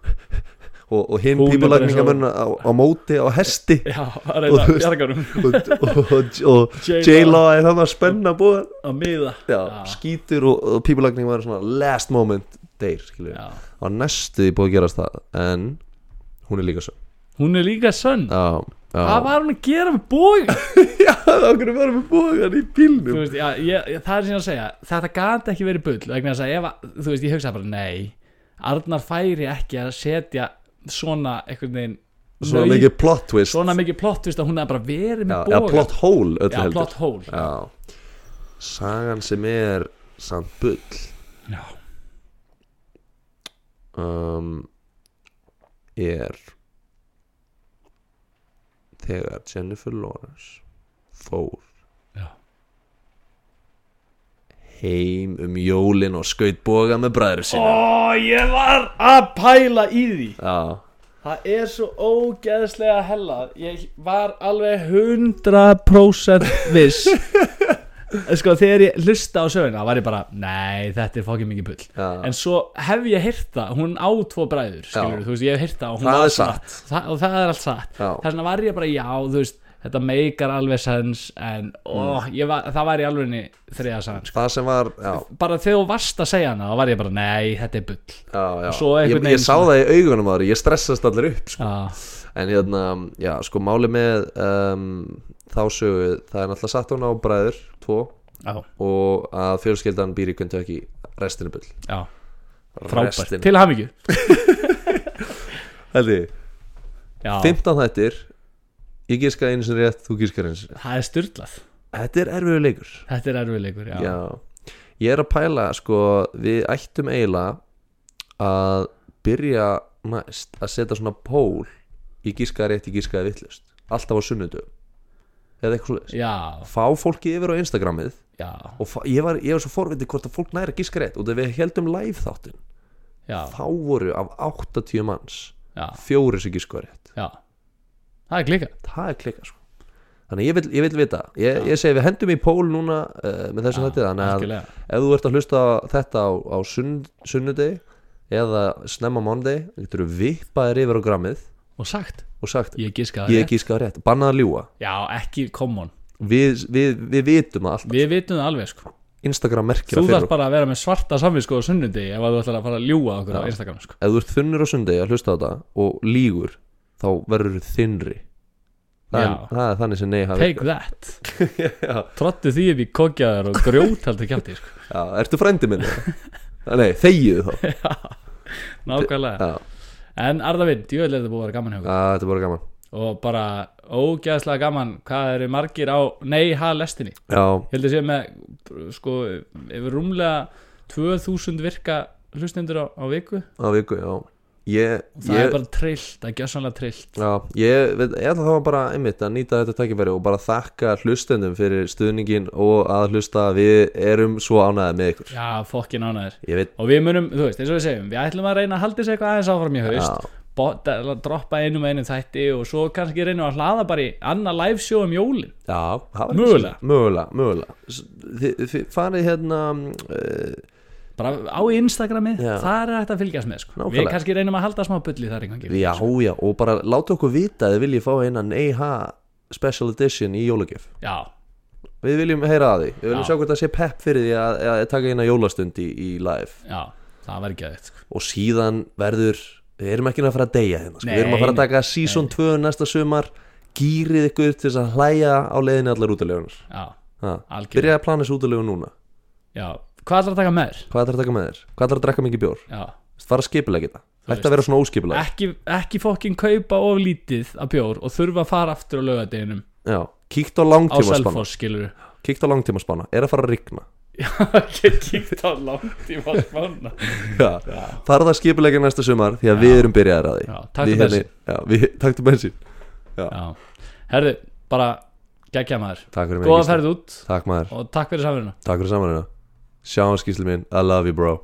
[SPEAKER 1] og, og hinn
[SPEAKER 2] Hún er bara eins og-
[SPEAKER 1] pípulagningamörn á, á móti á hesti
[SPEAKER 2] já, að reyna
[SPEAKER 1] Og þú veist-
[SPEAKER 2] bjargarum
[SPEAKER 1] og, og, og, og
[SPEAKER 2] [laughs] J-Law.
[SPEAKER 1] J-Law er þannig að spenna búið
[SPEAKER 2] Að miða
[SPEAKER 1] já,
[SPEAKER 2] Já.
[SPEAKER 1] skýtur og, og pípulagningamaðurinn svona last moment deyr, skilju
[SPEAKER 2] Já
[SPEAKER 1] og næstu því búið að gerast það en hún er líka svo
[SPEAKER 2] Hún er líka sönn
[SPEAKER 1] já, já.
[SPEAKER 2] Hvað var hún að gera með bói?
[SPEAKER 1] [laughs] Já, þá hvernig varum við bóðan í
[SPEAKER 2] Þú
[SPEAKER 1] bílnum
[SPEAKER 2] veist, já, ég, ég- það er sem ég að segja Þetta gæti ekki verið bull vegna þess að ef, að- þú veist, ég hugsa bara nei Arnar færi ekki að setja svona einhvern veginn
[SPEAKER 1] Svona
[SPEAKER 2] nau-
[SPEAKER 1] mikið plot twist
[SPEAKER 2] svona mikið plott, þú veist, að hún hefði bara verið
[SPEAKER 1] já,
[SPEAKER 2] með
[SPEAKER 1] já,
[SPEAKER 2] bóga
[SPEAKER 1] plot hole öllu
[SPEAKER 2] já,
[SPEAKER 1] heldur
[SPEAKER 2] plott hól já.
[SPEAKER 1] Já Sagan sem er samt bull
[SPEAKER 2] Já.
[SPEAKER 1] um, Er Þegar Jennifer Lawrence fór
[SPEAKER 2] Já.
[SPEAKER 1] heim um jólin og skaut boga með bræður sína
[SPEAKER 2] Ó, ég var að pæla í því
[SPEAKER 1] Já,
[SPEAKER 2] Það er svo ógeðslega hella Ég var alveg 100% viss Sko, þegar ég hlusta á söguna var ég bara, nei, þetta er fokið mikið bull
[SPEAKER 1] Já.
[SPEAKER 2] En svo hef ég heyrt það, hún á tvo bræður, skilur,
[SPEAKER 1] Já.
[SPEAKER 2] þú veist, ég hef heyrt það og hún
[SPEAKER 1] Það
[SPEAKER 2] var
[SPEAKER 1] er
[SPEAKER 2] svona-
[SPEAKER 1] satt.
[SPEAKER 2] það, Og það er allt satt
[SPEAKER 1] Já.
[SPEAKER 2] Þess vegna var ég bara, já, þú veist, þetta meikar alveg sens En,
[SPEAKER 1] Mm.
[SPEAKER 2] ó, ég var, það var í alveginni þriða sann,
[SPEAKER 1] það sem var Já,
[SPEAKER 2] sko. bara þegar þú varst að segja hana þá var ég bara, nei, þetta er bull
[SPEAKER 1] já, já.
[SPEAKER 2] Og svo
[SPEAKER 1] Ég, ég
[SPEAKER 2] einhvern veginn
[SPEAKER 1] sá það í augunum ári, ég stressast allir upp sko.
[SPEAKER 2] já,
[SPEAKER 1] En hérna, já, sko máli með um, þá sögu Það er náttúrulega satt hún á bræður, tvo
[SPEAKER 2] já,
[SPEAKER 1] Og að fjölskyldan býr í Kentucky restinu bull
[SPEAKER 2] já frábært,
[SPEAKER 1] Restin-
[SPEAKER 2] til hamingju
[SPEAKER 1] Hældi,
[SPEAKER 2] já,
[SPEAKER 1] 15 þættir Ég gíska einu sinni rétt, þú gískar einu sinni
[SPEAKER 2] það er styrlað,
[SPEAKER 1] Þetta er erfiður leikur
[SPEAKER 2] þetta er erfiðleikur já, já,
[SPEAKER 1] já. Ég er að pæla, sko Við ættum eiginlega að byrja næst að setja svona pól Ég gíska rétt, ég gíska vittlust Alltaf á sunnudum eða eitthvað svo
[SPEAKER 2] já,
[SPEAKER 1] fá fólki yfir á Instagramið
[SPEAKER 2] já,
[SPEAKER 1] og fa- ég var, ég var svo forvitið hvort að fólk næri að gíska rétt og þegar við heldum live þáttin
[SPEAKER 2] já,
[SPEAKER 1] þá voru af 80 manns
[SPEAKER 2] já,
[SPEAKER 1] fjóri sem gíska rétt
[SPEAKER 2] já það er klika
[SPEAKER 1] það er klika sko þannig ég vil, ég vil vita ég, ég segi við hendum í pól núna uh, með þessum þetta þannig að
[SPEAKER 2] algjörlega.
[SPEAKER 1] ef þú ert að hlusta á þetta á, á sunn, sunnudegi eða snemma mándegi þá getur þú vippaðir yfir á grammið
[SPEAKER 2] og sagt,
[SPEAKER 1] og sagt
[SPEAKER 2] ég giska það
[SPEAKER 1] ég
[SPEAKER 2] rétt.
[SPEAKER 1] gíska rétt, bannað að ljúa
[SPEAKER 2] já, ekki common,
[SPEAKER 1] við, við, við vitum að alltaf
[SPEAKER 2] við vitum það alveg sko
[SPEAKER 1] Instagram merkir
[SPEAKER 2] þú
[SPEAKER 1] að fyrir
[SPEAKER 2] þarf
[SPEAKER 1] okkur
[SPEAKER 2] bara að vera með svarta samvinsko á sunnundi ef að þú ætlar að fara að ljúga okkur á Instagram sko.
[SPEAKER 1] ef þú ert þunnur á sundegi að hlusta á þetta og lígur þá verður þú þinnri það er,
[SPEAKER 2] Já.
[SPEAKER 1] það er þannig sem nei hafi [laughs]
[SPEAKER 2] take that trottu því upp í kokjaðar og grjót heldur kjátti
[SPEAKER 1] [laughs]
[SPEAKER 2] sko.
[SPEAKER 1] já, ertu frændi
[SPEAKER 2] [laughs]
[SPEAKER 1] minni? Já, nei, þegið þá já,
[SPEAKER 2] nákvæmlega,
[SPEAKER 1] já,
[SPEAKER 2] en Arðavinn djúvel er þetta búið að vera gaman hjá okkur
[SPEAKER 1] þetta er bara gaman
[SPEAKER 2] og bara ógæðslega gaman hvað eru margir á nei-ha lestinni
[SPEAKER 1] já,
[SPEAKER 2] ég held að sé með sko, yfir rúmlega 2000 virka hlustendur á, á viku
[SPEAKER 1] á viku, já ég,
[SPEAKER 2] það
[SPEAKER 1] ég,
[SPEAKER 2] er bara trillt, það er gjössanlega trillt
[SPEAKER 1] já, ég, veit, ég ætla þá bara einmitt að nýta þetta tækifæri og bara þakka hlustendum fyrir stuðningin og að hlusta við erum svo ánæðið með ykkur
[SPEAKER 2] já, fokkin ánæður
[SPEAKER 1] ég veit,
[SPEAKER 2] og við munum, þú veist, eins og við segjum við ætlum að reyna að halda þessu eitthvað aðeins áfram í haust bota, droppa einum og einum þætti og svo kannski reynum að hlaða bara í annað live show um jólin
[SPEAKER 1] Já, það var
[SPEAKER 2] Mögulega.
[SPEAKER 1] ekki- Mögulega, mögulega S- Þið þið farið hérna uh,
[SPEAKER 2] bara á Instagramið,
[SPEAKER 1] Já.
[SPEAKER 2] þar er hægt að fylgjast með sko. við
[SPEAKER 1] Nákvæmlega.
[SPEAKER 2] kannski reynum að halda smá bulli þar einhvern
[SPEAKER 1] Já, já, og bara láta okkur vita að þið viljið fá eina NEH Special Edition í jólagjöf
[SPEAKER 2] já,
[SPEAKER 1] Við viljum heyra að því, við viljum
[SPEAKER 2] Já.
[SPEAKER 1] sjá hvort það sé pepp fyrir því að, að taka eina jólastund í, í live
[SPEAKER 2] já, það verður ekki að þetta sko.
[SPEAKER 1] Og síðan verður, við erum ekki að fara að deyja hérna sko. Við erum
[SPEAKER 2] Nei,
[SPEAKER 1] að fara að
[SPEAKER 2] nei,
[SPEAKER 1] taka season 2 næsta sumar Gýrið ykkur til þess að hlæja á leiðinni allar útilegunar
[SPEAKER 2] já, algjörlega
[SPEAKER 1] Byrjaði að plana þessu útilegu núna
[SPEAKER 2] já. hvað ætlar að taka með þér?
[SPEAKER 1] Hvað ætlar að taka með þér? Hvað ætlar að drekka mikið bjór?
[SPEAKER 2] Já.
[SPEAKER 1] Fara að skipulega þetta Hætti að vera svona óskipulega
[SPEAKER 2] ekki, ekki fokkin kaupa of lítið af bjór og þurfa að fara aftur á lögadeginum
[SPEAKER 1] Já, kíkt á
[SPEAKER 2] á
[SPEAKER 1] langtímaspanna
[SPEAKER 2] Selfoss skilur [laughs]
[SPEAKER 1] Kíkt á langtímaspanna, er að fara að rigna
[SPEAKER 2] ekki kíkt á langt í valsmanna
[SPEAKER 1] Já, farða skipulegja næsta sumar Því að við erum byrjaðar að því
[SPEAKER 2] Já, taktu
[SPEAKER 1] Við hérna
[SPEAKER 2] bensín.
[SPEAKER 1] já, við, Taktu bensin
[SPEAKER 2] Já, herðu, bara geggja maður
[SPEAKER 1] Takk fyrir mig
[SPEAKER 2] Góða
[SPEAKER 1] Gísli.
[SPEAKER 2] ferð út
[SPEAKER 1] Takk maður,
[SPEAKER 2] og takk fyrir samverðina
[SPEAKER 1] takk fyrir samanina Sjáum skýsli minn, I love you bro